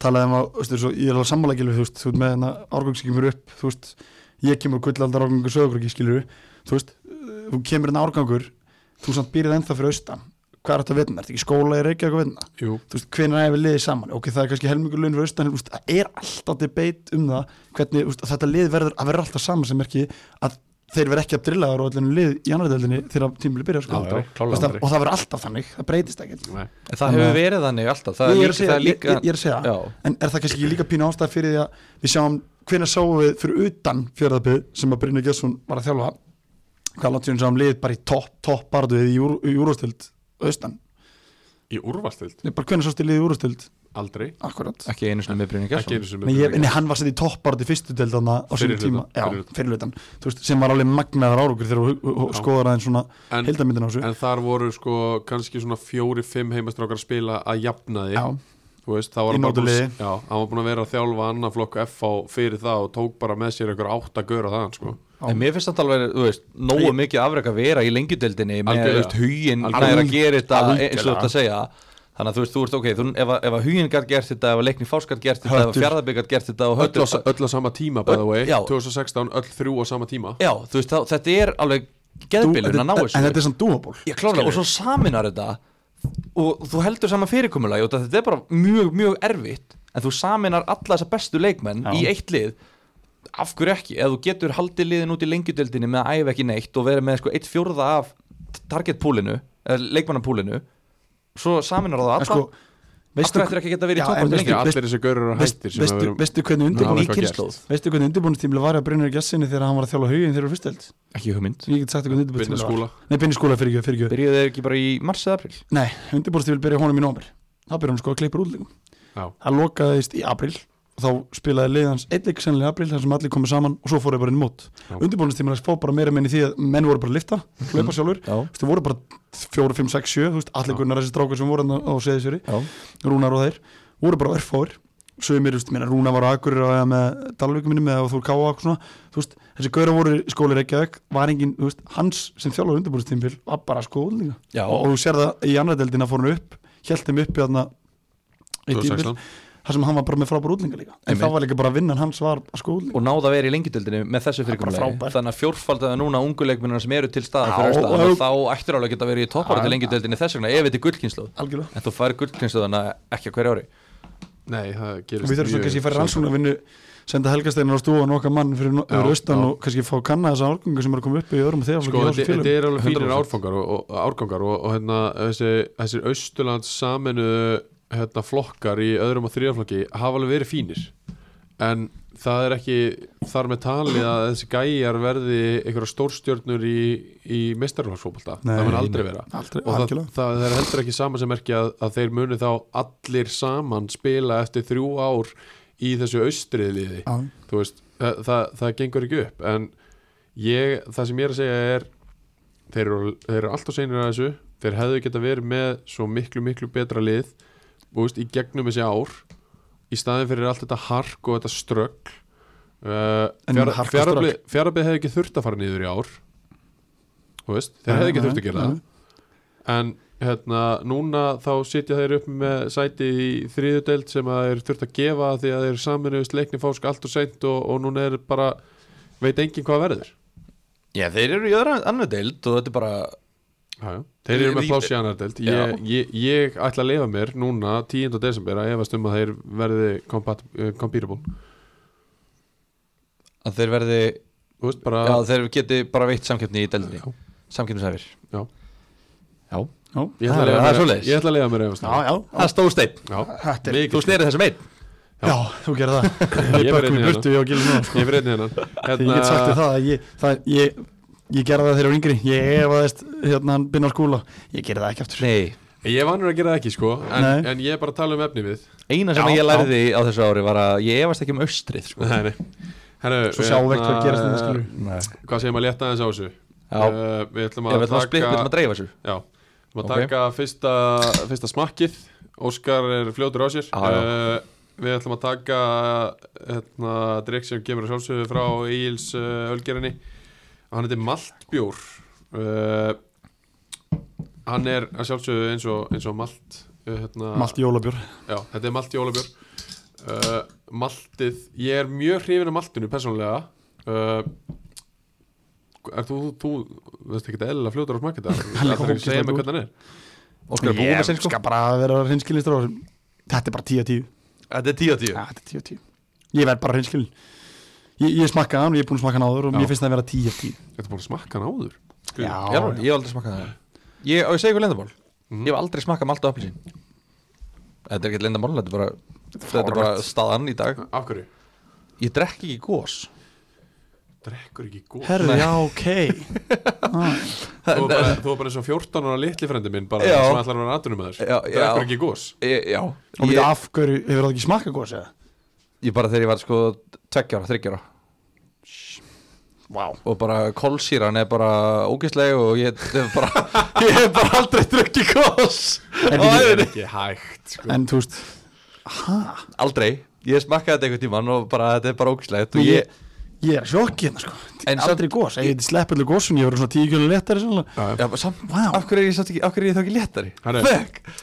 Speaker 3: talaði um að, þú veist, svo, ég er alveg sammálagilu þú veist, þú veist, með þennan árgang sem kemur upp þú veist, ég kemur gullaldar árgangur sögurkröki, skilur þú veist, eh, þú kemur þennan árgangur þú samt býrið ennþá fyrir austan hvað er þetta að vinna, ertu ekki í skóla í Reykjavík að vinna
Speaker 1: jú,
Speaker 3: þú veist, hvenær er við liðið saman ok, það er kannski helmingur laun fyrir austan en, þú veist, það er alltaf debate um það hvernig, þú veist, að þetta lið verður að vera alltaf saman sem ekki að þeir verða ekki að drilla á öllinu lið í annaðeldinni þegar tímili byrja sko.
Speaker 1: Aldrei,
Speaker 3: Þú
Speaker 1: klárlega
Speaker 3: veist,
Speaker 1: aldrei.
Speaker 3: og það verður alltaf þannig, það breytist ekkert
Speaker 1: nei
Speaker 2: En það hefur verið þannig alltaf það er
Speaker 3: ég,
Speaker 2: líka,
Speaker 3: er að segja,
Speaker 2: það er líka,
Speaker 3: ég, ég, ég er að segja
Speaker 2: Já.
Speaker 3: en er það kannski ekki líka pínu ástæð fyrir því að við sjáum hvenær sáum við fyrir utan fjörðaböð sem að Brynja Gjössun var að þjálfa hvað langt sérinn sáum liðið bara í topp topp barðuðið í, júr, í júróstild austan,
Speaker 1: Í úrvastild,
Speaker 3: Nei, bara hvenær sástu liðið í júróstild
Speaker 1: aldrei
Speaker 3: akkurat
Speaker 2: ekki einu sinni með Brynja
Speaker 1: Ekki
Speaker 2: Gesson
Speaker 1: einu sinni
Speaker 3: Nei,
Speaker 1: með
Speaker 3: ég, nei, hann var sett í toppbárði fyrstu deild þarna á sínum
Speaker 1: Fyrir
Speaker 3: tíma
Speaker 1: hlutan,
Speaker 3: já,
Speaker 1: fyrir hlutan.
Speaker 3: fyrir hlutan, þú veist, sem var alveg magnaðar árugur þegar þú
Speaker 1: Já.
Speaker 3: skoðar aðeins svona
Speaker 1: En-
Speaker 3: heildamindin á þessu
Speaker 1: En þar voru sko kannski svona fjóri, fimm heimastrákar að spila að jafna því
Speaker 3: já,
Speaker 1: Þú veist, þá var
Speaker 3: Í
Speaker 1: hann bara búinn að-
Speaker 3: mótuliði.
Speaker 1: Já, hann var búin að vera að þjálfa annan flokk F á fyrir það og tók bara með sér einhver átt að gera það sko.
Speaker 2: en mér finnst þetta alveg, þú veist, nógu mikið afrek að vera í lengjudeldinni með, þú
Speaker 1: Algjörlega.
Speaker 2: veist, hugin
Speaker 1: Algjörlega.
Speaker 2: næra að gera þetta
Speaker 3: Algjörlega.
Speaker 2: eins og þetta segja þannig að þú veist, þú ert ok, þú, ef, að- ef að hugin gætt gert þetta, ef að leikni fáskat gert þetta ef að
Speaker 3: Höttur.
Speaker 2: fjaraðbyggat gert þetta og
Speaker 1: öll,
Speaker 2: höttur
Speaker 1: á, sa- öll á sama tíma by the
Speaker 2: Öll-
Speaker 1: way,
Speaker 2: já.
Speaker 1: 2016 öll þrjú á sama tíma
Speaker 2: já, þú veist, þá, þetta er alveg geðbilun að ná
Speaker 3: en
Speaker 2: þessu
Speaker 3: þetta er svona dúaból
Speaker 2: Já, klálega, og svo saminar þetta og þú heldur saman fyrirkomulagi og þetta er bara mjög, mjög erfitt en þú saminar alla þessa bestu leikmenn
Speaker 3: Já.
Speaker 2: í eitt lið af hverju ekki, ef þú getur haldið liðin út í lengjudeldinni með að æfa ekki neitt og verið með sko eitt fjórða af targetpúlinu eða leikmannapúlinu svo saminar það alla
Speaker 3: en sko,
Speaker 2: Af hverju ættir ekki að geta verið í
Speaker 3: Já,
Speaker 2: toppbaráttu
Speaker 3: en
Speaker 2: lengi?
Speaker 1: Ekki
Speaker 3: veistu-
Speaker 1: allir þessi görur að
Speaker 3: veist-
Speaker 1: hættir sem að
Speaker 3: veistu-
Speaker 1: verum-
Speaker 3: veistu
Speaker 1: Ná,
Speaker 3: hvernig
Speaker 1: alveg
Speaker 2: ný
Speaker 3: undirbúin
Speaker 1: hvað
Speaker 2: kynnslóð
Speaker 3: veistu hvernig undirbúinstímli var að Brynjar Gessinni þegar hann var að þjálfa hugin þegar þú fyrsteld
Speaker 2: ekki hugmynd
Speaker 3: ég get sagt eitthvað
Speaker 1: Binna
Speaker 3: undirbúinstímli
Speaker 1: skúla
Speaker 3: nei, Binni skóla fyrir ekki, fyrir ekki
Speaker 2: byrjuðu þeir ekki bara í mars eða april
Speaker 3: nei, undirbúinstímli byrja honum í nómur þá byrja hann sko að kleipur útlíkum
Speaker 1: Já.
Speaker 3: það lokaðist í april og þá spilaði liðans einleik sennilega í april þar sem allir komið saman og svo fóruði bara inn í mót
Speaker 1: Já. Mhm.
Speaker 3: undirbúinstímli fór bara meira menn í því að menn voru bara að lifta, hlaupa sjálfur
Speaker 2: já,
Speaker 3: þú veist, það voru bara 4, 5, 6, 7 þú veist, allir
Speaker 1: Já.
Speaker 3: gunnar þessi strákur sem voru þarna á seðisveri
Speaker 2: já,
Speaker 3: Rúnar og þeir voru bara örfáir sögumir, þú veist, meina Rúna var á Akureyri og með Dalvíkum minnum eða Þór Káa og eitthvað svona, þú veist, þessi gauðra voru í skóli Reykjavík, var engin, þú veist, hans sem þjálfur undirbúrstímpil var bara sko útlendinga
Speaker 2: Já.
Speaker 3: og, og þú sér það í annar deildina fór hann upp, held þeim upp í þarna eitt
Speaker 1: 2016
Speaker 3: tímpil, þar sem hann var bara með frábár útlendinga líka, en
Speaker 2: Einmitt.
Speaker 3: það var líka bara vinnan hans var sko útlendinga
Speaker 2: og náða að vera í lengjudöldinu með þessu
Speaker 3: er bara
Speaker 2: fyrirkomulegi
Speaker 3: frábært.
Speaker 2: þannig að fjórfaldaða núna ungu leikmennina sem eru til staða
Speaker 3: Já,
Speaker 2: fyrir austan,
Speaker 3: og-
Speaker 2: þannig að þá ættir alveg að geta verið í toppar til lengjudöldinu þess vegna ef þetta er gullkynnslóð
Speaker 3: algjörlega
Speaker 2: en þú fær gullkynnslóðana ekki á hverju ári
Speaker 1: Nei, það gerist
Speaker 3: Við þurfum svo
Speaker 1: mjög
Speaker 3: kannski að fara
Speaker 1: sjaldan.
Speaker 3: rannsókn að vinnu senda helgasteinar á stúan okkar mann fyrir no-
Speaker 1: Já,
Speaker 3: fyrir austan
Speaker 1: já.
Speaker 3: og kannski fá að kanna þessa árgöngu sem eru að koma upp í öðrum og þeirra
Speaker 1: Sko, þetta
Speaker 3: flokki í þessum
Speaker 1: þetta
Speaker 3: félögum.
Speaker 1: er alveg fínir
Speaker 2: 100%.
Speaker 1: árfangar og, og, árgangar og, og hérna, þessi, þessir austurlands saminu hérna, flokkar í öðrum og þriðaflokki hafa alveg verið fínir en það er ekki þar með talið að þessi gæjar verði einhverja stórstjörnur í, í mestarhóðsfóbalta,
Speaker 3: Nei,
Speaker 1: það mun aldrei vera
Speaker 3: Aldrei,
Speaker 1: og það,
Speaker 3: algjörlega
Speaker 1: það, það er heldur ekki samansemerki að, að þeir muni þá allir saman spila eftir þrjú ár í þessu austriðliði
Speaker 3: Já,
Speaker 1: þú veist, það, það, það gengur ekki upp en ég, það sem ég er að segja er þeir eru, þeir eru alltaf seinir að þessu þeir hefðu geta verið með svo miklu, miklu betra lið þú veist, í gegnum þessi ár í staðin fyrir allt þetta hark og þetta strögg uh,
Speaker 3: En hark og
Speaker 1: fjárabli, fjárabli hefði ekki þurft að fara niður í ár þú veist, þeir hefðu ekki
Speaker 3: Nei,
Speaker 1: þurft að gera
Speaker 3: nei.
Speaker 1: það en hérna, núna þá sitja þeir upp með sæti í þriðudeld sem að þeir þurft að gefa því að þeir saminuðist leikni fásk allt og seint og, og núna er bara veit enginn hvað verður
Speaker 2: Já, þeir eru í öðru annar deild og þetta er bara
Speaker 1: já, já. þeir eru
Speaker 2: Þeir-
Speaker 1: með pláss í annar deld ég, ég, ég ætla að leifa mér núna 10. desember að efast um að þeir verði compat- eh, compatible
Speaker 2: að þeir verði,
Speaker 1: þú veist bara
Speaker 2: já þeir geti bara veitt samkeppni í deildinni,
Speaker 1: Já.
Speaker 2: samkeppnisæfir
Speaker 1: Já.
Speaker 2: Já,
Speaker 3: Já,
Speaker 1: ég ætla að
Speaker 2: Það er-
Speaker 1: leyfa
Speaker 2: það er
Speaker 1: mér-
Speaker 2: svoleiðis.
Speaker 1: ég ætla að leifa mér að efast um
Speaker 3: já, já,
Speaker 2: það er stóð steip
Speaker 1: Já.
Speaker 3: þetta er-
Speaker 2: Þú snerið þessum einn
Speaker 3: já, þú gerir það Það
Speaker 1: Ég
Speaker 3: er
Speaker 1: verð Hérna-
Speaker 3: bökum í
Speaker 1: einnig
Speaker 3: burtu, ég á gilum núna sko.
Speaker 1: ég fyrir einnig hennan
Speaker 3: Ég get sagt þér það að ég, það, ég, ég gerði það þegar ég var yngri Ég efaðist hérna hann binnar skúla Ég gerði það ekki aftur
Speaker 2: Nei,
Speaker 1: Hérna, ég vanur að gera það ekki sko en,
Speaker 3: Nei.
Speaker 1: en ég er bara að tala um efni við
Speaker 2: eina sem
Speaker 3: Já,
Speaker 2: ég lærði á þessu ári var að ég efast ekki um austrið sko.
Speaker 1: Nei, nei. Herru,
Speaker 3: Svo sjáum við ekkert
Speaker 1: hérna,
Speaker 3: hvað gerist hérna, skilur.
Speaker 2: Nei.
Speaker 1: Hvað segir maður létta aðeins á þessu?
Speaker 2: Já,
Speaker 1: Uh, við ætlum
Speaker 2: ég
Speaker 1: að
Speaker 2: veit að split, við
Speaker 1: taka,
Speaker 2: ætlum að dreifa þessu
Speaker 1: já, við ætlum að
Speaker 2: Ok.
Speaker 1: taka fyrsta, fyrsta smakkið Óskar er fljótur á sér
Speaker 2: Já, já.
Speaker 1: Uh, Við ætlum að taka hérna, drikk sem kemur að sjálfsögðu frá Egil's uh, Ölgerinni Hann heitir Maltbjór uh, Hann er að sjálfsögðu eins og, eins og Malt uh, hérna,
Speaker 3: Malt jólabjór
Speaker 1: Já, þetta er malt jólabjör uh, Maltið, ég er mjög hrifin af maltinu persónulega uh, Er þú, þú, þú veist ekki eðlilega fljótar á smakið það
Speaker 3: Hann er
Speaker 1: Það er ekki að segja mig
Speaker 3: ógeðslega góður.
Speaker 1: hvernig hann er
Speaker 2: Óskar er búinn með sinn
Speaker 3: Ég
Speaker 2: sko
Speaker 3: skal bara vera hinskilistur á þessum Þetta er bara 10 af 10
Speaker 2: Þetta er 10 á 10
Speaker 3: Já, þetta er 10 af 10 Ég verð bara hreinskilin Ég, ég smakkaði hann og ég er búinn að smakka hann áður og
Speaker 1: Já.
Speaker 3: mér finnst það að vera 10 af 10
Speaker 1: Þetta er búin að smakka hann áður Guð.
Speaker 3: Já,
Speaker 2: Já, ég hef aldrei smakað það Ég, og ég segi ykkur lendamál
Speaker 1: Mhm.
Speaker 2: Ég hef aldrei smakað malt og appelsín Þetta er ekkert lendamál, þetta er bara Þetta er bara
Speaker 3: fáránlegt.
Speaker 2: staðan í dag
Speaker 1: Af hverju?
Speaker 2: Ég drekk ekki gós
Speaker 1: Drekkur ekki góð
Speaker 3: Herru, já, ok
Speaker 1: Þú er bara, þú er bara eins og 14 ára litli frendi minn bara
Speaker 2: Já.
Speaker 1: sem ætlar að vera aðdunum með þér
Speaker 2: Já, já.
Speaker 1: Drekkur ekki góðs
Speaker 2: ég, Já,
Speaker 3: Og
Speaker 2: ég,
Speaker 3: veit af hverju, hefur það ekki smakkað góðs eða?
Speaker 2: ég bara þegar ég var sko Tveggjara, þryggjara
Speaker 3: Vá
Speaker 2: Og bara kolsýran er bara ógeðsleg Og ég ég hef bara, ég hef bara aldrei drukki gós
Speaker 3: En
Speaker 2: Á
Speaker 3: bíddu,
Speaker 2: ævinni.
Speaker 1: Ekki hægt sko.
Speaker 3: En þú veist,
Speaker 2: Aldrei, ég smakkaði þetta einhvern tímann Og bara þetta er bara ógeðslegt Og
Speaker 3: ég,
Speaker 2: ég,
Speaker 3: ég er sjokkið hérna sko
Speaker 2: En
Speaker 3: En aldrei góðs, ef ég heiti sleppullu góðsun Ég verður svona 10 kjöldur léttari sannlega
Speaker 1: Já,
Speaker 2: já, bara samt,
Speaker 3: Vá.
Speaker 2: af hverju er ég, samt ekki, af hverju er ég þá ekki léttari?
Speaker 1: Herru.
Speaker 2: Fuck.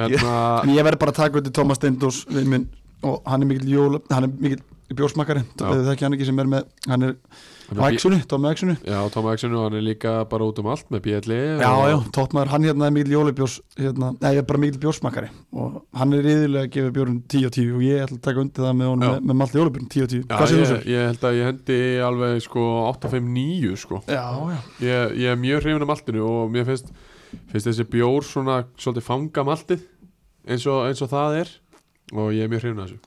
Speaker 1: Hérna,
Speaker 3: En ég verð bara að taka út í Thomas Steindós Vinn minn, og hann er mikill jól Hann er mikill bjórsmakkari
Speaker 1: Já.
Speaker 3: Það er ekki hann ekki sem er með, hann er á Exunu, Tommy á Exunu
Speaker 1: já Tom Axonu, hann er líka bara út um allt með PLI
Speaker 3: Já, já, toppmaður, hann hérna er mikil jólubjós hérna, nei, ég er bara mikil bjórsmakari og hann er yfirlega að gefa bjórun 10 og 10 og ég ætla að taka undir það með honum
Speaker 1: Já.
Speaker 3: með, með malti jólubjórn 10 og 10,
Speaker 1: Já,
Speaker 3: hvað séð þú
Speaker 1: ég,
Speaker 3: sér?
Speaker 1: ég held að ég hendi alveg sko 8-5-9 sko
Speaker 3: Já, já,
Speaker 1: ég, ég er mjög hrifin af maltinu og mér finnst, finnst þessi bjór svona svolítið fanga maltið eins og, eins og það er og ég er mjög hrifin af þessu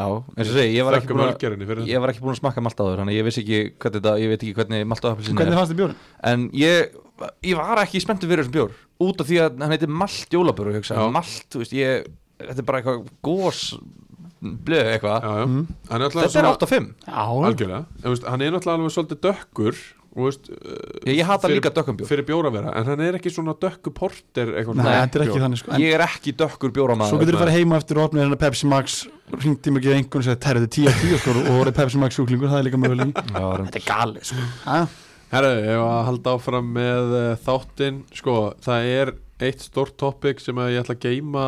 Speaker 2: Já, eins og segi, ég var ekki
Speaker 1: Þakka
Speaker 2: búin að
Speaker 1: mörgerinni fyrir
Speaker 2: ég var ekki búin að smakka malt áður þannig að ég vissi ekki hvernig þetta, ég veit ekki hvernig malt og appelsín
Speaker 3: hvernig
Speaker 2: er
Speaker 3: fannst þið bjórun?
Speaker 2: en ég, ég var ekki spenntur fyrir þessum bjór út af því að hann heitir malt jólabjór og ég hugsa,
Speaker 1: Já.
Speaker 2: malt, þú veist, ég þetta er bara eitthvað gós blöð eitthvað,
Speaker 1: já, já. Mm.
Speaker 2: þetta er 8 og 5
Speaker 3: Já,
Speaker 1: algjörlega, en, veist, hann er náttúrulega alveg svolítið dökkur og veist, uh,
Speaker 2: ég, ég hata
Speaker 1: fyrir-
Speaker 2: líka dökkum bjór
Speaker 1: fyrir bjóra vera en hann er ekki svona dökku porter
Speaker 3: Nei, þetta er ekki þannig sko en
Speaker 2: ég er ekki dökkur bjóramaður
Speaker 3: Svo getur þú
Speaker 2: maður.
Speaker 3: farið heima eftir og opnið hérna Pepsi Max ringt í mig ekki einhvern og segir Tæri þetta er 10 af 10 sko og orðið Pepsi Max sjúklingur það er líka möguleg
Speaker 2: Já, reyndar.
Speaker 3: Þetta er galið sko ha?
Speaker 1: Herru, ég var að halda áfram með uh, þáttinn, sko, það er eitt stórt topic sem að ég ætla að geima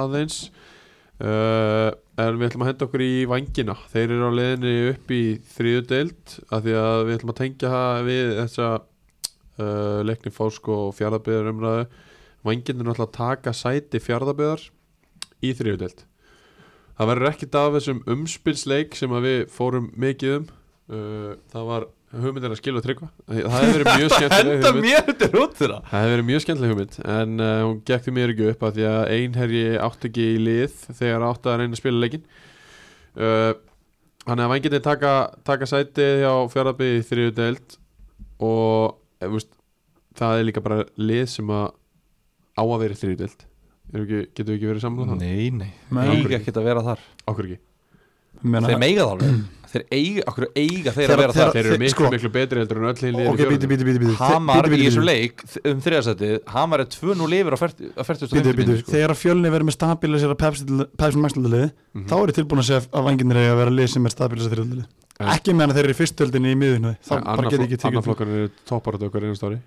Speaker 1: aðeins uh, en við ætlum að henda okkur í vangina, þeir eru á leiðinni upp í þriðu deild, af því að við ætlum að tengja það við þessa uh, leikni fásk og fjárðaböðar umræðu, vangin er náttúrulega að taka sæti fjárðaböðar í þriðu deild það verður ekkit af þessum umspilsleik sem að við fórum mikið um uh, það var hugmyndin að skilja og tryggva það hefur verið mjög skemmtileg
Speaker 2: henda
Speaker 1: hugmynd
Speaker 2: mér þetta út þeirra
Speaker 1: það hefur verið mjög skemmtileg hugmynd en uh, hún gekk því mér ekki upp af því að einherji átt ekki í lið þegar átt að reyna að spila leikin uh, hann hefði vangið taka, taka sæti hjá fjárabbi í þriðu deild og eh, þú veist, það er líka bara lið sem að á að vera í þriðu deild Erum við ekki- getum við ekki verið samlega það?
Speaker 2: nei, nei,
Speaker 3: Nei.
Speaker 2: eiga ekki að vera þar
Speaker 1: Okkur ekki
Speaker 3: Meina,
Speaker 2: þeir meiga það alveg þeir eiga, okkur eiga þeir að
Speaker 3: Þeirra-
Speaker 2: vera þar
Speaker 1: Þeir eru
Speaker 3: Þe-
Speaker 1: miklu,
Speaker 3: sko-
Speaker 1: miklu betri heldur en öll hinn liðin
Speaker 3: Ok, bíti, bíti, bíti, bíti
Speaker 2: Hamar í þessu leik um þriðasæti Hamar er 2-0 yfir á 40 á 40.
Speaker 3: Bíti, bíti,
Speaker 2: mínútu, sko.
Speaker 3: þegar fjölni verður með stabilisera Pepsi Pepsi Max-liðið,
Speaker 2: Mhm.
Speaker 1: Mhm.
Speaker 3: þá er ég tilbúin að segja að vanginir eiga að vera lið sem er stabilisera
Speaker 1: En-
Speaker 3: þriðliðið ekki meðan þeir eru í fyrstöldinni í miðunni þá bara get ég ekki tekið
Speaker 1: Annaflokkar eru topparöðu okkar einast ári